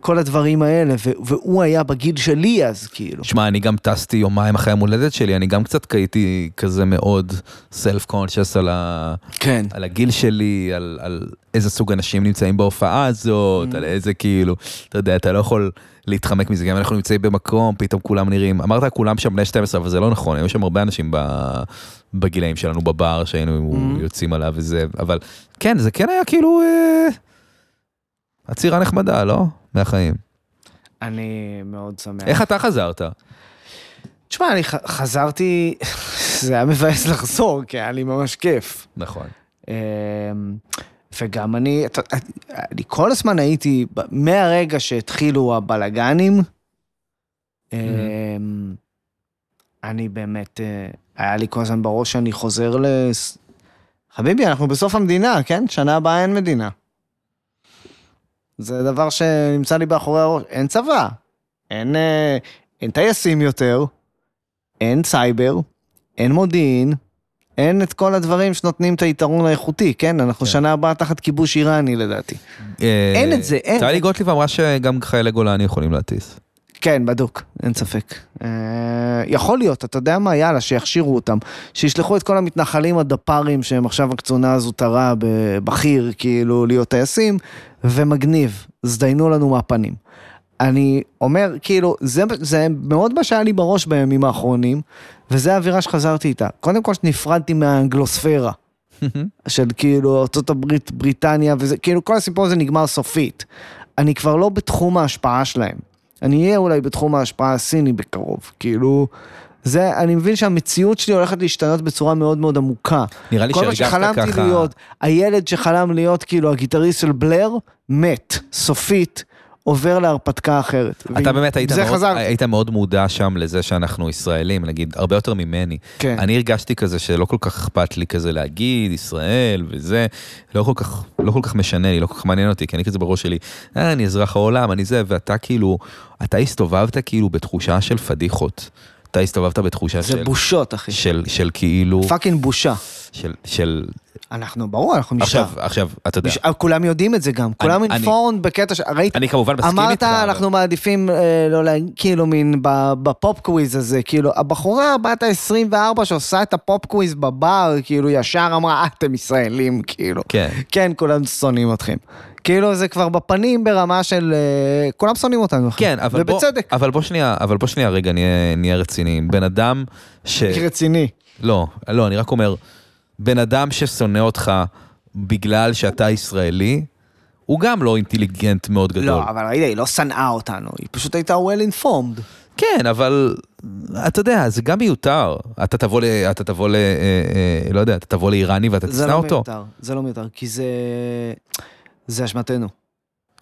[SPEAKER 4] כל הדברים האלה, ו- והוא היה בגיל שלי אז, כאילו.
[SPEAKER 2] שמע, אני גם טסתי יומיים אחרי יום הולדת שלי, אני גם קצת הייתי כזה מאוד self conscious על, ה...
[SPEAKER 4] כן.
[SPEAKER 2] על הגיל שלי, על, על איזה סוג אנשים נמצאים בהופעה הזאת,
[SPEAKER 4] Mm.
[SPEAKER 2] על איזה כאילו, אתה יודע, אתה לא יכול להתחמק מזה, גם אנחנו נמצאים במקום, פתאום כולם נראים, אמרת כולם שם בני 12, אבל זה לא נכון, היו שם הרבה אנשים ב... בגילאים שלנו בבר שהיינו
[SPEAKER 4] Mm.
[SPEAKER 2] יוצאים עליו וזה, אבל כן, זה כן היה כאילו אה, עצירה נחמדה, לא? מהחיים.
[SPEAKER 4] אני מאוד שמח.
[SPEAKER 2] איך אתה חזרת?
[SPEAKER 4] תשמע, אני ח- חזרתי, זה היה מבאס לחזור, כי היה לי ממש כיף.
[SPEAKER 2] נכון.
[SPEAKER 4] אמ, וגם אני, אתה- אני כל הזמן הייתי, ב- מהרגע שהתחילו הבלגנים, אמ, אני באמת, אה, היה לי כל הזמן בראש שאני חוזר ל... חביבי, אנחנו בסוף המדינה, כן? שנה הבאה אין מדינה. זה דבר שנמצא לי מאחורי הראש. אין צבא, אין, אה, אין טייסים יותר, אין סייבר, אין מודיעין, אין את כל הדברים שנותנים את היתרון האיכותי, כן? אנחנו כן. שנה הבאה תחת כיבוש איראני לדעתי. אין את זה, אין.
[SPEAKER 2] אה, טלי גוטליב אמרה שגם חיילי גולני יכולים להטיס.
[SPEAKER 4] כן, בדוק, אין ספק. אה, יכול להיות, אתה יודע מה, יאללה, שיכשירו אותם. שישלחו את כל המתנחלים הדפ"רים שהם עכשיו הקצונה הזוטרה בבכיר, כאילו, להיות טייסים, ומגניב, הזדיינו לנו מהפנים. אני אומר, כאילו, זה, זה מאוד מה שהיה לי בראש בימים האחרונים, וזה האווירה שחזרתי איתה. קודם כל, שנפרדתי מהאנגלוספירה. של כאילו ארצות הברית, בריטניה, וזה, כאילו כל הסיפור הזה נגמר סופית. אני כבר לא בתחום ההשפעה שלהם. אני אהיה אולי בתחום ההשפעה הסיני בקרוב, כאילו... זה, אני מבין שהמציאות שלי הולכת להשתנות בצורה מאוד מאוד עמוקה.
[SPEAKER 2] נראה לי
[SPEAKER 4] כל מה
[SPEAKER 2] שהרגשת
[SPEAKER 4] שחלמתי
[SPEAKER 2] ככה-
[SPEAKER 4] להיות, הילד שחלם להיות כאילו הגיטריסט של בלר, מת, סופית, עובר להרפתקה אחרת.
[SPEAKER 2] אתה
[SPEAKER 4] ועם-
[SPEAKER 2] באמת היית
[SPEAKER 4] זה
[SPEAKER 2] מאוד- אה,
[SPEAKER 4] חזר,
[SPEAKER 2] היית מאוד מודע שם לזה שאנחנו ישראלים, נגיד, הרבה יותר ממני.
[SPEAKER 4] כן.
[SPEAKER 2] אני הרגשתי כזה שלא כל כך אכפת לי כזה להגיד, ישראל וזה, לא כל כך, לא כל כך משנה לי, לא כל כך מעניין אותי, כי אני כזה בראש שלי, אה, אני אזרח העולם, אני זה, ואתה כאילו, אתה הסתובבת כאילו בתחושה של פדיחות. אתה הסתובבת בתחושה
[SPEAKER 4] זה
[SPEAKER 2] של...
[SPEAKER 4] בושות, אחי.
[SPEAKER 2] של, של כאילו...
[SPEAKER 4] פאקינג בושה.
[SPEAKER 2] של, של...
[SPEAKER 4] אנחנו, ברור, אנחנו נשאר.
[SPEAKER 2] עכשיו, עכשיו, אתה יודע.
[SPEAKER 4] נשאר- אה, כולם יודעים את זה גם, כולם
[SPEAKER 2] אני-
[SPEAKER 4] אינפורנד בקטע ש... ראית,
[SPEAKER 2] אני כמובן מסכים
[SPEAKER 4] אמרת,
[SPEAKER 2] איתך, אבל-
[SPEAKER 4] אנחנו מעדיפים אה, לא ל... כאילו מין ב- בפופ קוויז הזה, כאילו, הבחורה בת ה-24 שעושה את הפופ קוויז בבר, כאילו, ישר אמרה, "אה, אתם ישראלים, כאילו.
[SPEAKER 2] כן.
[SPEAKER 4] כן, כולם שונאים אתכם. כאילו, זה כבר בפנים ברמה של... אה, כולם שונאים אותנו. אחי.
[SPEAKER 2] כן, אבל בוא,
[SPEAKER 4] ובצדק.
[SPEAKER 2] אבל בוא שנייה, אבל בוא שנייה רגע נהיה, נהיה רציניים. בן אדם ש...
[SPEAKER 4] רציני.
[SPEAKER 2] לא, לא, אני רק אומר, בן אדם ששונא אותך בגלל שאתה ישראלי, הוא גם לא אינטליגנט מאוד גדול.
[SPEAKER 4] לא, אבל ראית, היא לא שנאה אותנו, היא פשוט הייתה well informed.
[SPEAKER 2] כן, אבל אתה יודע, זה גם מיותר. אתה תבוא ל... אתה תבוא ל... אה, אה, לא יודע, אתה תבוא לאיראני ואתה
[SPEAKER 4] זה
[SPEAKER 2] תשנא
[SPEAKER 4] לא
[SPEAKER 2] אותו.
[SPEAKER 4] מיותר, זה לא מיותר, כי זה... זה אשמתנו,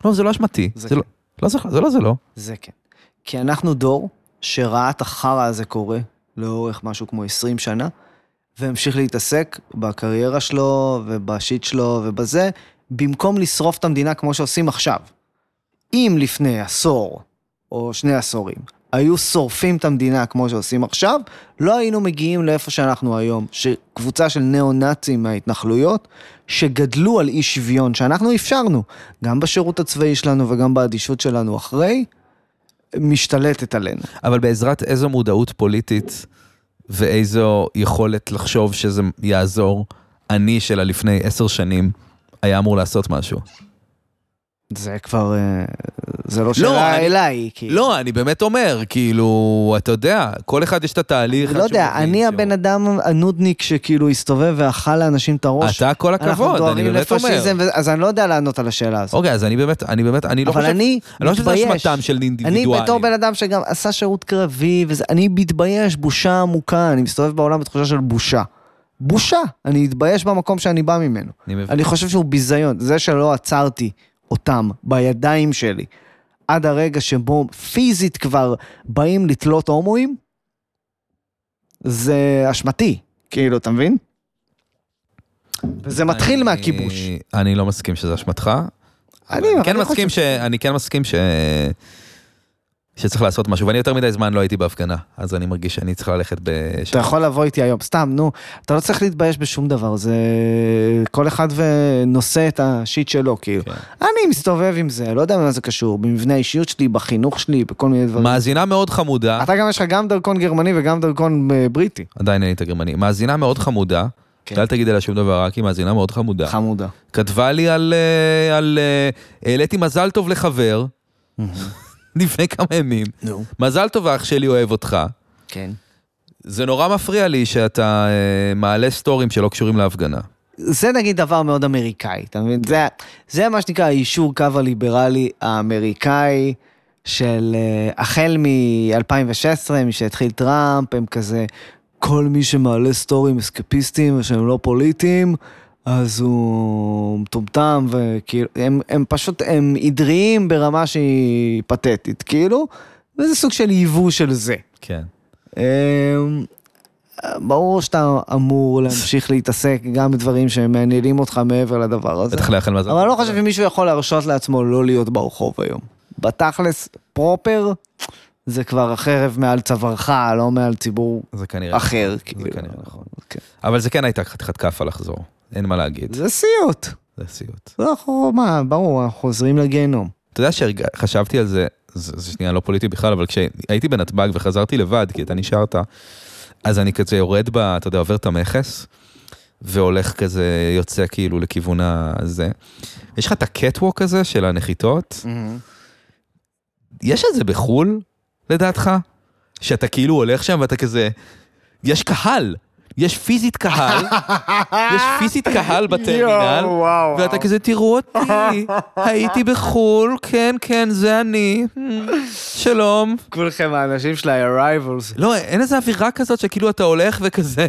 [SPEAKER 2] לא, זה לא אשמתי.
[SPEAKER 4] זה
[SPEAKER 2] זה,
[SPEAKER 4] כן.
[SPEAKER 2] לא, לא, זה, זה לא, זה לא.
[SPEAKER 4] זה כן. כי אנחנו דור שראה את החרא הזה קורה לאורך משהו כמו 20 שנה, והמשיך להתעסק בקריירה שלו ובשיט שלו ובזה, במקום לשרוף את המדינה כמו שעושים עכשיו. אם לפני עשור או שני עשורים היו שורפים את המדינה כמו שעושים עכשיו, לא היינו מגיעים לאיפה שאנחנו היום, שקבוצה של ניאו-נאצים מההתנחלויות, שגדלו על אי שוויון, שאנחנו אפשרנו, גם בשירות הצבאי שלנו וגם באדישות שלנו אחרי, משתלטת עלינו.
[SPEAKER 2] אבל בעזרת איזו מודעות פוליטית ואיזו יכולת לחשוב שזה יעזור, אני שלה לפני עשר שנים היה אמור לעשות משהו.
[SPEAKER 4] זה כבר, אה, זה לא שאלה
[SPEAKER 2] אני-
[SPEAKER 4] אליי, כי...
[SPEAKER 2] לא, אני באמת אומר, כאילו, אתה יודע, כל אחד יש את התהליך.
[SPEAKER 4] לא יודע,
[SPEAKER 2] שהוא מבין
[SPEAKER 4] אני
[SPEAKER 2] שהוא-
[SPEAKER 4] הבן אדם הנודניק שכאילו הסתובב ואכל לאנשים את הראש.
[SPEAKER 2] אתה כל הכבוד, אני באמת אומר.
[SPEAKER 4] לפשיזם, ו- אז אני לא יודע לענות על השאלה הזאת.
[SPEAKER 2] אוקיי, אז אני באמת, אני באמת, אני לא
[SPEAKER 4] אבל
[SPEAKER 2] חושב...
[SPEAKER 4] אני
[SPEAKER 2] אני לא חושב שזה
[SPEAKER 4] מתבייש.
[SPEAKER 2] אשמתם של
[SPEAKER 4] אני
[SPEAKER 2] אינדיבידואלים.
[SPEAKER 4] בתור בן אדם שגם עשה שירות קרבי, וזה, אני מתבייש, בושה עמוקה, אני מסתובב בעולם בתחושה של בושה. בושה, אני מתבייש במקום שאני בא ממנו.
[SPEAKER 2] אני מבין.
[SPEAKER 4] אני חושב שהוא ביזיון, זה שלא עצרתי אותם בידיים שלי, עד הרגע שבו פיזית כבר באים לתלות הומואים, זה אשמתי, כאילו, אתה מבין? וזה מתחיל
[SPEAKER 2] אני-
[SPEAKER 4] מהכיבוש.
[SPEAKER 2] אני לא מסכים שזה אשמתך.
[SPEAKER 4] אני,
[SPEAKER 2] אני
[SPEAKER 4] אבל
[SPEAKER 2] כן
[SPEAKER 4] אני
[SPEAKER 2] מסכים ש... אני כן מסכים ש... שצריך לעשות משהו, ואני יותר מדי זמן לא הייתי בהפגנה, אז אני מרגיש שאני צריך ללכת בש...
[SPEAKER 4] אתה יכול לבוא איתי היום, סתם, נו, אתה לא צריך להתבייש בשום דבר, זה כל אחד ונושא את השיט שלו, כאילו.
[SPEAKER 2] כן.
[SPEAKER 4] אני מסתובב עם זה, לא יודע מה זה קשור, במבנה האישיות שלי, בחינוך שלי, בכל מיני דברים.
[SPEAKER 2] מאזינה מאוד חמודה,
[SPEAKER 4] אתה גם יש לך גם דרכון גרמני וגם דרכון אה, בריטי.
[SPEAKER 2] עדיין אין לי את הגרמני, מאזינה מאוד חמודה,
[SPEAKER 4] כן.
[SPEAKER 2] אל תגיד עליה שום דבר רע, כי היא מאזינה מאוד חמודה.
[SPEAKER 4] חמודה.
[SPEAKER 2] כתבה לי על... אה, על... אה, העליתי מזל טוב לחבר, לפני כמה ימים.
[SPEAKER 4] נו.
[SPEAKER 2] מזל טוב, אח שלי אוהב אותך.
[SPEAKER 4] כן.
[SPEAKER 2] זה נורא מפריע לי שאתה אה, מעלה סטורים שלא קשורים להפגנה.
[SPEAKER 4] זה נגיד דבר מאוד אמריקאי, אתה מבין? זה, זה מה שנקרא היישור קו הליברלי האמריקאי של אה, החל מ-2016, משהתחיל טראמפ, הם כזה, כל מי שמעלה סטורים אסקפיסטים ושהם לא פוליטיים, אז הוא מטומטם, וכאילו, הם, הם פשוט, הם עדריים ברמה שהיא פתטית, כאילו, וזה סוג של ייבוא של זה.
[SPEAKER 2] כן.
[SPEAKER 4] אמ, ברור שאתה אמור להמשיך להתעסק גם בדברים שמעניינים אותך מעבר לדבר הזה.
[SPEAKER 2] בטח לאחל מזל
[SPEAKER 4] אבל אני לא
[SPEAKER 2] טוב.
[SPEAKER 4] חושב שמישהו יכול להרשות לעצמו לא להיות ברחוב היום. בתכלס, פרופר, זה כבר החרב מעל צווארך, לא מעל ציבור
[SPEAKER 2] זה כנראה.
[SPEAKER 4] אחר.
[SPEAKER 2] כן, זה
[SPEAKER 4] כאילו.
[SPEAKER 2] כנראה נכון.
[SPEAKER 4] כן.
[SPEAKER 2] אבל זה כן הייתה חתיכת כאפה לחזור, אין מה להגיד,
[SPEAKER 4] זה סיוט.
[SPEAKER 2] זה סיוט.
[SPEAKER 4] אנחנו, מה, ברור, אנחנו חוזרים לגיהנום. אתה
[SPEAKER 2] אתה יודע שחשבתי על זה, זה זה שנייה לא פוליטי בכלל, אבל כשהייתי בנתב"ג וחזרתי לבד, כי אתה נשארת, אז אני כזה יורד ב... אתה יודע, עובר את המכס, והולך כזה, יוצא כאילו לכיוון הזה. יש לך את הקטווק הזה של הנחיתות?
[SPEAKER 4] Mm-hmm.
[SPEAKER 2] יש את זה בחו"ל, לדעתך? שאתה כאילו הולך שם ואתה כזה, יש קהל, יש פיזית קהל, יש פיזית קהל בטרמינל,
[SPEAKER 4] יואו, וואו,
[SPEAKER 2] ואתה
[SPEAKER 4] וואו.
[SPEAKER 2] כזה, תראו אותי, הייתי בחו"ל, כן, כן, זה אני, שלום.
[SPEAKER 4] כולכם האנשים של ה-arrivals.
[SPEAKER 2] לא, אין איזו אווירה כזאת שכאילו אתה הולך וכזה,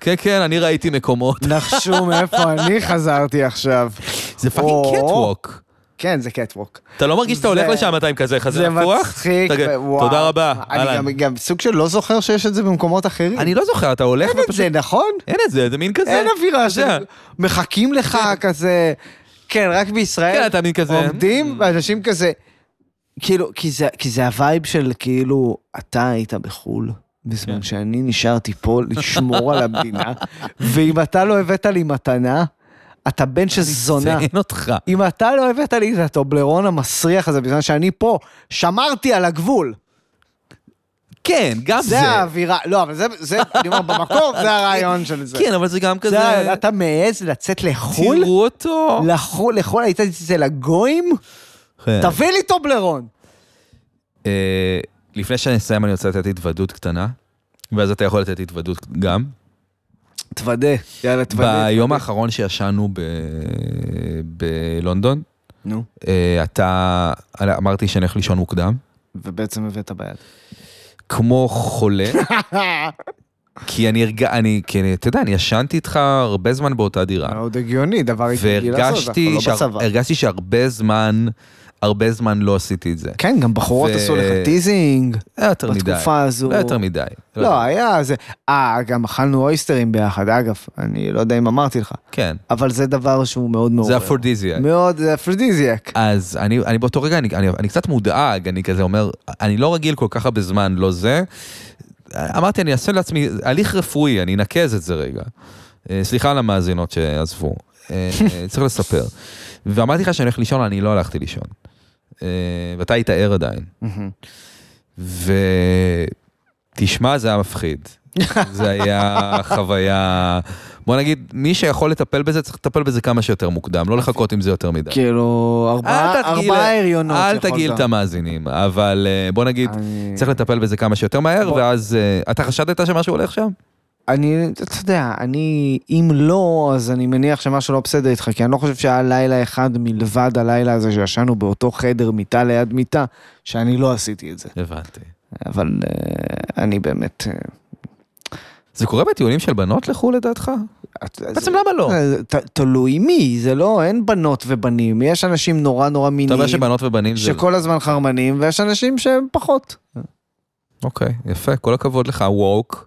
[SPEAKER 2] כן, כן, אני ראיתי מקומות.
[SPEAKER 4] נחשו מאיפה אני חזרתי עכשיו.
[SPEAKER 2] זה פאקינג
[SPEAKER 4] או.
[SPEAKER 2] קטווק.
[SPEAKER 4] כן, זה קטווק.
[SPEAKER 2] אתה לא מרגיש שאתה הולך
[SPEAKER 4] זה-
[SPEAKER 2] לשם, אתה עם כזה חזה
[SPEAKER 4] זה
[SPEAKER 2] רפוח?
[SPEAKER 4] מצחיק,
[SPEAKER 2] אתה כזה,
[SPEAKER 4] וואו.
[SPEAKER 2] תודה רבה,
[SPEAKER 4] אני
[SPEAKER 2] אהלן.
[SPEAKER 4] גם, גם סוג של לא זוכר שיש את זה במקומות אחרים.
[SPEAKER 2] אני לא זוכר, אתה הולך
[SPEAKER 4] אין את
[SPEAKER 2] ופשוט...
[SPEAKER 4] זה, נכון?
[SPEAKER 2] אין את זה, זה מין כזה.
[SPEAKER 4] אין אווירה
[SPEAKER 2] אתה יודע.
[SPEAKER 4] שמחכים לך כזה, כן, רק בישראל.
[SPEAKER 2] כן, אתה מין כזה. Mm.
[SPEAKER 4] עומדים, ואנשים כזה, כאילו, כי זה, כי זה הווייב של כאילו, אתה היית בחו"ל, בזמן
[SPEAKER 2] כן.
[SPEAKER 4] שאני נשארתי פה לשמור על המדינה, ואם אתה לא הבאת לי מתנה, אתה בן של זונה.
[SPEAKER 2] אין אותך.
[SPEAKER 4] אם אתה לא הבאת לי את הטובלרון המסריח הזה, בזמן שאני פה, שמרתי על הגבול.
[SPEAKER 2] כן, גם זה.
[SPEAKER 4] זה האווירה, לא, אבל זה, זה, אני אומר, במקור זה הרעיון של זה.
[SPEAKER 2] כן, אבל זה גם כזה...
[SPEAKER 4] זה, אתה מעז לצאת לחו"ל?
[SPEAKER 2] תראו אותו.
[SPEAKER 4] לחו"ל, לחו"ל, היית אצל הגויים?
[SPEAKER 2] כן.
[SPEAKER 4] תביא לי טובלרון.
[SPEAKER 2] אה, לפני שנסיים אני רוצה לתת התוודות קטנה, ואז אתה יכול לתת התוודות גם.
[SPEAKER 4] תוודה, יאללה, תוודה.
[SPEAKER 2] ביום האחרון שישנו ב- בלונדון,
[SPEAKER 4] נו,
[SPEAKER 2] אה, אתה, אמרתי שאני הולך לישון מוקדם,
[SPEAKER 4] ובעצם הבאת ביד.
[SPEAKER 2] כמו חולה, כי אני הרגע, אני, כי אני- אתה יודע, אני ישנתי איתך הרבה זמן באותה דירה,
[SPEAKER 4] מאוד הגיוני, דבר רגיל לעשות, אנחנו
[SPEAKER 2] אה. והרגשתי
[SPEAKER 4] לא
[SPEAKER 2] שהר-
[SPEAKER 4] בצבא.
[SPEAKER 2] הרגשתי שהרבה זמן, הרבה זמן לא עשיתי את זה.
[SPEAKER 4] כן, גם בחורות
[SPEAKER 2] ו-
[SPEAKER 4] עשו לך טיזינג.
[SPEAKER 2] לא יותר מדי.
[SPEAKER 4] בתקופה הזו.
[SPEAKER 2] לא יותר מדי.
[SPEAKER 4] לא, היה זה. אה, גם אכלנו אויסטרים ביחד, אגב, אני לא יודע אם אמרתי לך.
[SPEAKER 2] כן.
[SPEAKER 4] אבל זה דבר שהוא מאוד מעורר.
[SPEAKER 2] זה אפרודיזיאק.
[SPEAKER 4] מאוד, זה אפרודיזיאק.
[SPEAKER 2] אז אני, אני באותו רגע, אני, אני, אני קצת מודאג, אני כזה אומר, אני לא רגיל כל כך הרבה זמן, לא זה. אמרתי, אני אעשה לעצמי הליך רפואי, אני אנקז את זה רגע. אה, סליחה על המאזינות שעזבו, אה, אה, צריך לספר. ואמרתי לך שאני הולך לישון, אני לא הלכתי לישון. אה, ואתה היית ער עדיין. ותשמע, זה היה מפחיד. זה היה חוויה... בוא נגיד, מי שיכול לטפל בזה, צריך לטפל בזה כמה שיותר מוקדם, לא לחכות עם זה יותר מדי.
[SPEAKER 4] כאילו,
[SPEAKER 2] אל
[SPEAKER 4] ארבעה
[SPEAKER 2] תגעיל-
[SPEAKER 4] ארבעה הריונות
[SPEAKER 2] אל
[SPEAKER 4] יכולת.
[SPEAKER 2] תגעיל את המאזינים, אבל אה, בוא נגיד,
[SPEAKER 4] אני-
[SPEAKER 2] צריך לטפל בזה כמה שיותר מהר, ואז... אה, אתה חשדת שמשהו הולך שם?
[SPEAKER 4] אני, אתה יודע, אני, אם לא, אז אני מניח שמשהו לא בסדר איתך, כי אני לא חושב שהיה לילה אחד מלבד הלילה הזה שישנו באותו חדר מיטה ליד מיטה, שאני לא עשיתי את זה.
[SPEAKER 2] הבנתי.
[SPEAKER 4] אבל אה, אני באמת... אה,
[SPEAKER 2] זה קורה בטיולים של בנות לחו"ל לדעתך?
[SPEAKER 4] את-
[SPEAKER 2] בעצם
[SPEAKER 4] זה-
[SPEAKER 2] למה לא?
[SPEAKER 4] אה, ת- תלוי מי, זה לא, אין בנות ובנים, יש אנשים נורא נורא
[SPEAKER 2] אתה
[SPEAKER 4] מיניים,
[SPEAKER 2] אומר שבנות ובנים זה... לא.
[SPEAKER 4] שכל הזמן חרמנים, ויש אנשים שהם פחות.
[SPEAKER 2] אוקיי, יפה, כל הכבוד לך, ווק.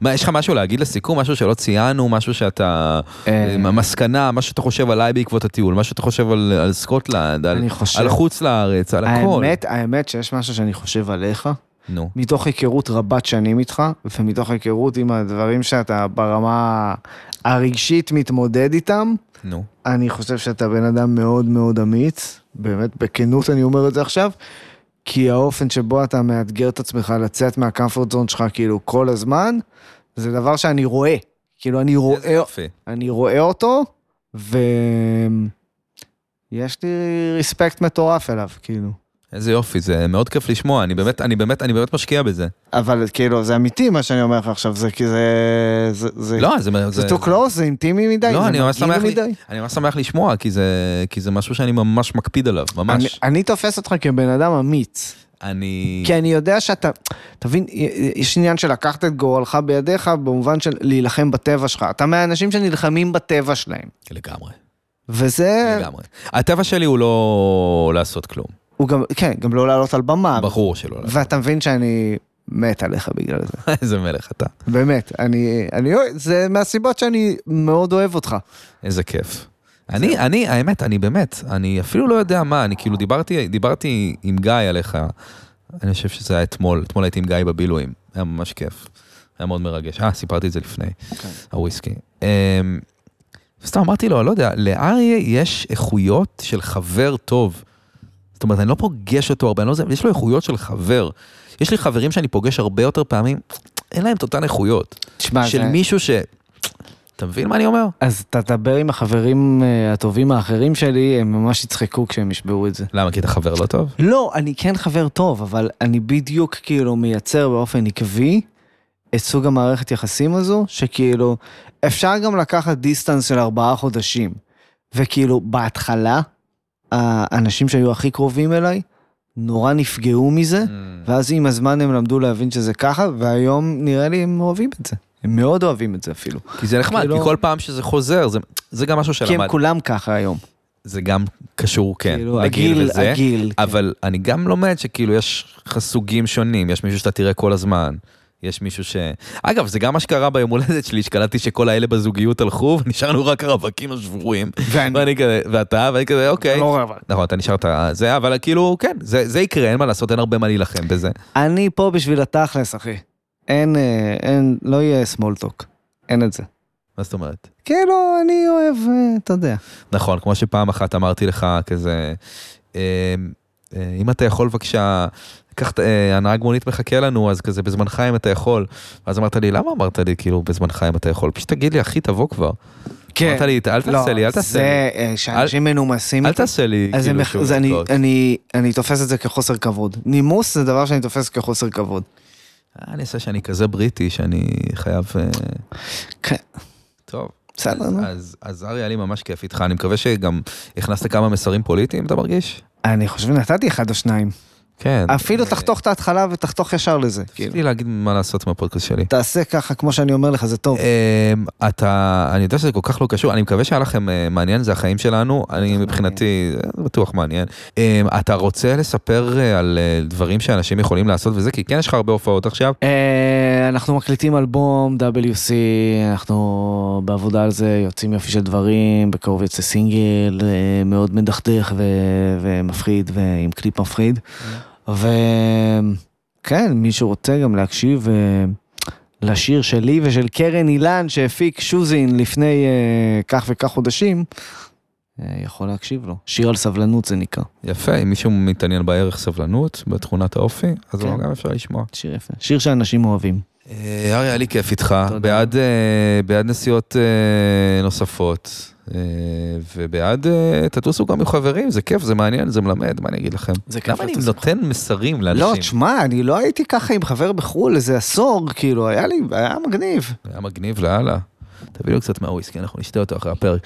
[SPEAKER 2] מה, יש לך משהו להגיד לסיכום? משהו שלא ציינו? משהו שאתה...
[SPEAKER 4] אה,
[SPEAKER 2] מסקנה, מה שאתה חושב עליי בעקבות הטיול, מה שאתה חושב על על סקוטלנד, על-
[SPEAKER 4] אני חושב-
[SPEAKER 2] על חוץ לארץ, על הכל.
[SPEAKER 4] האמת, האמת שיש משהו שאני חושב עליך,
[SPEAKER 2] נו,
[SPEAKER 4] מתוך היכרות רבת שנים איתך, ומתוך היכרות עם הדברים שאתה ברמה הרגשית מתמודד איתם,
[SPEAKER 2] נו.
[SPEAKER 4] אני חושב שאתה בן אדם מאוד מאוד אמיץ, באמת, בכנות אני אומר את זה עכשיו, כי האופן שבו אתה מאתגר את עצמך לצאת מהקמפורט זון שלך כאילו כל הזמן, זה דבר שאני רואה. כאילו, אני
[SPEAKER 2] איזה
[SPEAKER 4] רואה,
[SPEAKER 2] יופי.
[SPEAKER 4] אני רואה אותו, ויש לי רספקט מטורף אליו, כאילו.
[SPEAKER 2] איזה יופי, זה מאוד כיף לשמוע, אני באמת, אני באמת, אני באמת משקיע בזה.
[SPEAKER 4] אבל כאילו, זה אמיתי מה שאני אומר לך עכשיו, זה כי זה... זה, זה
[SPEAKER 2] לא, זה...
[SPEAKER 4] זה too close, זה אינטימי מדי,
[SPEAKER 2] לא,
[SPEAKER 4] זה
[SPEAKER 2] אני ממש
[SPEAKER 4] מגעיל
[SPEAKER 2] שמח, לי- אני ממש שמח לשמוע, כי זה, כי זה משהו שאני ממש מקפיד עליו,
[SPEAKER 4] אני,
[SPEAKER 2] ממש.
[SPEAKER 4] אני תופס אותך כבן אדם אמיץ,
[SPEAKER 2] אני...
[SPEAKER 4] כי אני יודע שאתה, תבין, יש עניין של לקחת את גורלך בידיך במובן של להילחם בטבע שלך. אתה מהאנשים שנלחמים בטבע שלהם,
[SPEAKER 2] לגמרי,
[SPEAKER 4] וזה,
[SPEAKER 2] לגמרי. הטבע שלי הוא לא לעשות כלום,
[SPEAKER 4] הוא גם, כן, גם לא לעלות על במה,
[SPEAKER 2] ברור שלא. לעשות.
[SPEAKER 4] ואתה מבין שאני מת עליך בגלל זה,
[SPEAKER 2] איזה מלך אתה,
[SPEAKER 4] באמת, אני, אני, אוהב- זה מהסיבות שאני מאוד אוהב אותך.
[SPEAKER 2] איזה כיף. אני, אני, האמת, אני באמת, אני אפילו לא יודע מה, אני כאילו דיברתי, דיברתי עם גיא עליך, אני חושב שזה היה אתמול, אתמול הייתי עם גיא בבילויים, היה ממש כיף, היה מאוד מרגש. אה, סיפרתי את זה לפני, הוויסקי. אמ, סתם אמרתי לו, לא יודע, לאריה יש איכויות של חבר טוב. זאת אומרת, אני לא פוגש אותו הרבה, אני לא זה, אבל יש לו איכויות של חבר. יש לי חברים שאני פוגש הרבה יותר פעמים, אין להם את אותן איכויות.
[SPEAKER 4] תשמע,
[SPEAKER 2] של
[SPEAKER 4] זה-
[SPEAKER 2] מישהו ש... אתה מבין מה אני אומר?
[SPEAKER 4] אז אתה תדבר עם החברים אה, הטובים האחרים שלי, הם ממש יצחקו כשהם ישבעו את זה.
[SPEAKER 2] למה? כי אתה חבר לא טוב?
[SPEAKER 4] לא, אני כן חבר טוב, אבל אני בדיוק כאילו מייצר באופן עקבי את סוג המערכת יחסים הזו, שכאילו, אפשר גם לקחת דיסטנס של ארבעה חודשים. וכאילו, בהתחלה, האנשים שהיו הכי קרובים אליי, נורא נפגעו מזה,
[SPEAKER 2] Mm.
[SPEAKER 4] ואז עם הזמן הם למדו להבין שזה ככה, והיום נראה לי הם אוהבים את זה. הם מאוד אוהבים את זה אפילו.
[SPEAKER 2] כי זה נחמד,
[SPEAKER 4] כאילו-
[SPEAKER 2] כי כל פעם שזה חוזר, זה- זה גם משהו
[SPEAKER 4] כי הם
[SPEAKER 2] שלמד.
[SPEAKER 4] כולם ככה היום.
[SPEAKER 2] זה גם קשור, כן,
[SPEAKER 4] כאילו,
[SPEAKER 2] לגיל
[SPEAKER 4] הגיל-
[SPEAKER 2] וזה.
[SPEAKER 4] הגיל, כן.
[SPEAKER 2] אבל אני גם לומד שכאילו יש לך סוגים שונים, יש מישהו שאתה תראה כל הזמן, יש מישהו ש... אגב, זה גם מה שקרה ביום הולדת שלי, שקלטתי שכל האלה בזוגיות הלכו, ונשארנו רק הרווקים השבורים.
[SPEAKER 4] ואני.
[SPEAKER 2] ואני כזה, ואתה, ואני כזה, אוקיי.
[SPEAKER 4] לא רווק.
[SPEAKER 2] נכון, אתה נשארת זה, אבל כאילו, כן, זה זה יקרה, אין מה לעשות, אין הרבה מה להילחם בזה.
[SPEAKER 4] אני פה בשביל התכלס, אחי. אין, אה, אין, לא יהיה small talk. אין את זה.
[SPEAKER 2] מה זאת אומרת?
[SPEAKER 4] כאילו, אני אוהב, אה, אתה יודע.
[SPEAKER 2] נכון, כמו שפעם אחת אמרתי לך כזה, אה, אה, אם אתה יכול בבקשה, קח, את- אה, הנהג מונית מחכה לנו, אז כזה בזמנך אם אתה יכול. ואז אמרת לי, למה אמרת לי כאילו בזמנך אם אתה יכול? פשוט תגיד לי, אחי, תבוא כבר. אמרת לי, אל תעשה לי, אל תעשה לי.
[SPEAKER 4] כן. לא, זה אה, שאנשים מנומסים.
[SPEAKER 2] אל תעשה לי,
[SPEAKER 4] אז זה
[SPEAKER 2] כאילו,
[SPEAKER 4] מח-
[SPEAKER 2] שוב
[SPEAKER 4] זה אני-
[SPEAKER 2] להתראות.
[SPEAKER 4] אני- אני תופס את זה כחוסר כבוד. נימוס זה דבר שאני תופס כחוסר כבוד.
[SPEAKER 2] אה, אני עושה שאני כזה בריטי, שאני חייב... אה,
[SPEAKER 4] כן,
[SPEAKER 2] טוב.
[SPEAKER 4] בסדר, נו.
[SPEAKER 2] אז- אז- אז אריה, היה לי ממש כיף איתך, אני מקווה שגם הכנסת כמה מסרים פוליטיים, אתה מרגיש?
[SPEAKER 4] אני חושב שנתתי אחד או שניים.
[SPEAKER 2] כן.
[SPEAKER 4] אפילו תחתוך את ההתחלה ותחתוך ישר לזה. כאילו.
[SPEAKER 2] רציתי להגיד מה לעשות עם הפודקאסט שלי.
[SPEAKER 4] תעשה ככה, כמו שאני אומר לך, זה טוב.
[SPEAKER 2] אמ, אתה, אני יודע שזה כל כך לא קשור, אני מקווה שהיה לכם אה, מעניין, זה החיים שלנו, אני מבחינתי, זה בטוח מעניין. אמ, אתה רוצה לספר אה, על אה, דברים שאנשים יכולים לעשות וזה, כי כן יש לך הרבה הופעות עכשיו.
[SPEAKER 4] אה, אנחנו מקליטים אלבום WC, אנחנו בעבודה על זה, יוצאים יופי של דברים, בקרוב יוצא סינגל אה, מאוד מדכדך ו- ומפחיד, ועם קליפ מפחיד. וכן, מי שרוצה גם להקשיב אה, לשיר שלי ושל קרן אילן שהפיק שוזין לפני אה, כך וכך חודשים, אה, יכול להקשיב לו. שיר על סבלנות זה נקרא.
[SPEAKER 2] יפה, אם מישהו מתעניין בערך סבלנות, בתכונת האופי, אז
[SPEAKER 4] כן.
[SPEAKER 2] לא, גם אפשר לשמוע.
[SPEAKER 4] שיר יפה. שיר שאנשים אוהבים.
[SPEAKER 2] אה, אריה, היה לי כיף איתך,
[SPEAKER 4] תודה.
[SPEAKER 2] בעד, אה, בעד נסיעות אה, נוספות, אה, ובעד אה, תטוסו גם עם חברים, זה כיף, זה מעניין, זה מלמד, מה אני אגיד לכם?
[SPEAKER 4] זה כיף
[SPEAKER 2] למה אני
[SPEAKER 4] לטוס עם
[SPEAKER 2] נותן מסרים
[SPEAKER 4] לא,
[SPEAKER 2] לאנשים?
[SPEAKER 4] תשמע, אני לא הייתי ככה עם חבר בחו"ל איזה עשור, כאילו, היה לי, היה מגניב.
[SPEAKER 2] היה מגניב לאללה. תביא לו קצת מהוויסקי, אנחנו נשתה אותו אחרי הפרק.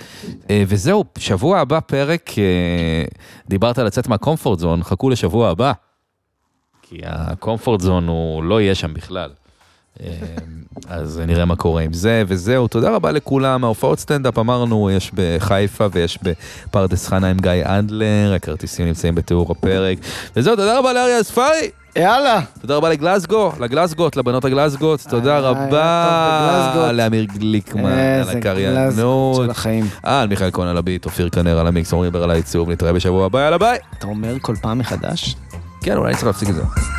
[SPEAKER 2] אה, וזהו, שבוע הבא פרק, אה, דיברת על לצאת מהקומפורט זון, חכו לשבוע הבא. כי הקומפורט זון הוא לא יהיה שם בכלל. אה, אז נראה מה קורה עם זה, וזהו, תודה רבה לכולם. ההופעות סטנדאפ אמרנו, יש בחיפה ויש בפרדס חנה עם גיא אנדלר, הכרטיסים נמצאים בתיאור הפרק. וזהו, תודה רבה לאריה אספאי!
[SPEAKER 4] יאללה.
[SPEAKER 2] תודה רבה לגלזגו, לגלזגות, לבנות הגלזגות, תודה
[SPEAKER 4] היה טוב
[SPEAKER 2] רבה
[SPEAKER 4] בגלזגות.
[SPEAKER 2] לאמיר גליקמן, על
[SPEAKER 4] איזה גלזגות
[SPEAKER 2] הקריינות,
[SPEAKER 4] של החיים.
[SPEAKER 2] אה, על מיכאל כהן על הביט, אופיר כנר על המיקס, עומרי בר על העיצוב, נתראה בשבוע הבא, יאללה ביי.
[SPEAKER 4] אתה אומר כל פעם מחדש?
[SPEAKER 2] כן, אולי אני צריך להפסיק את זה.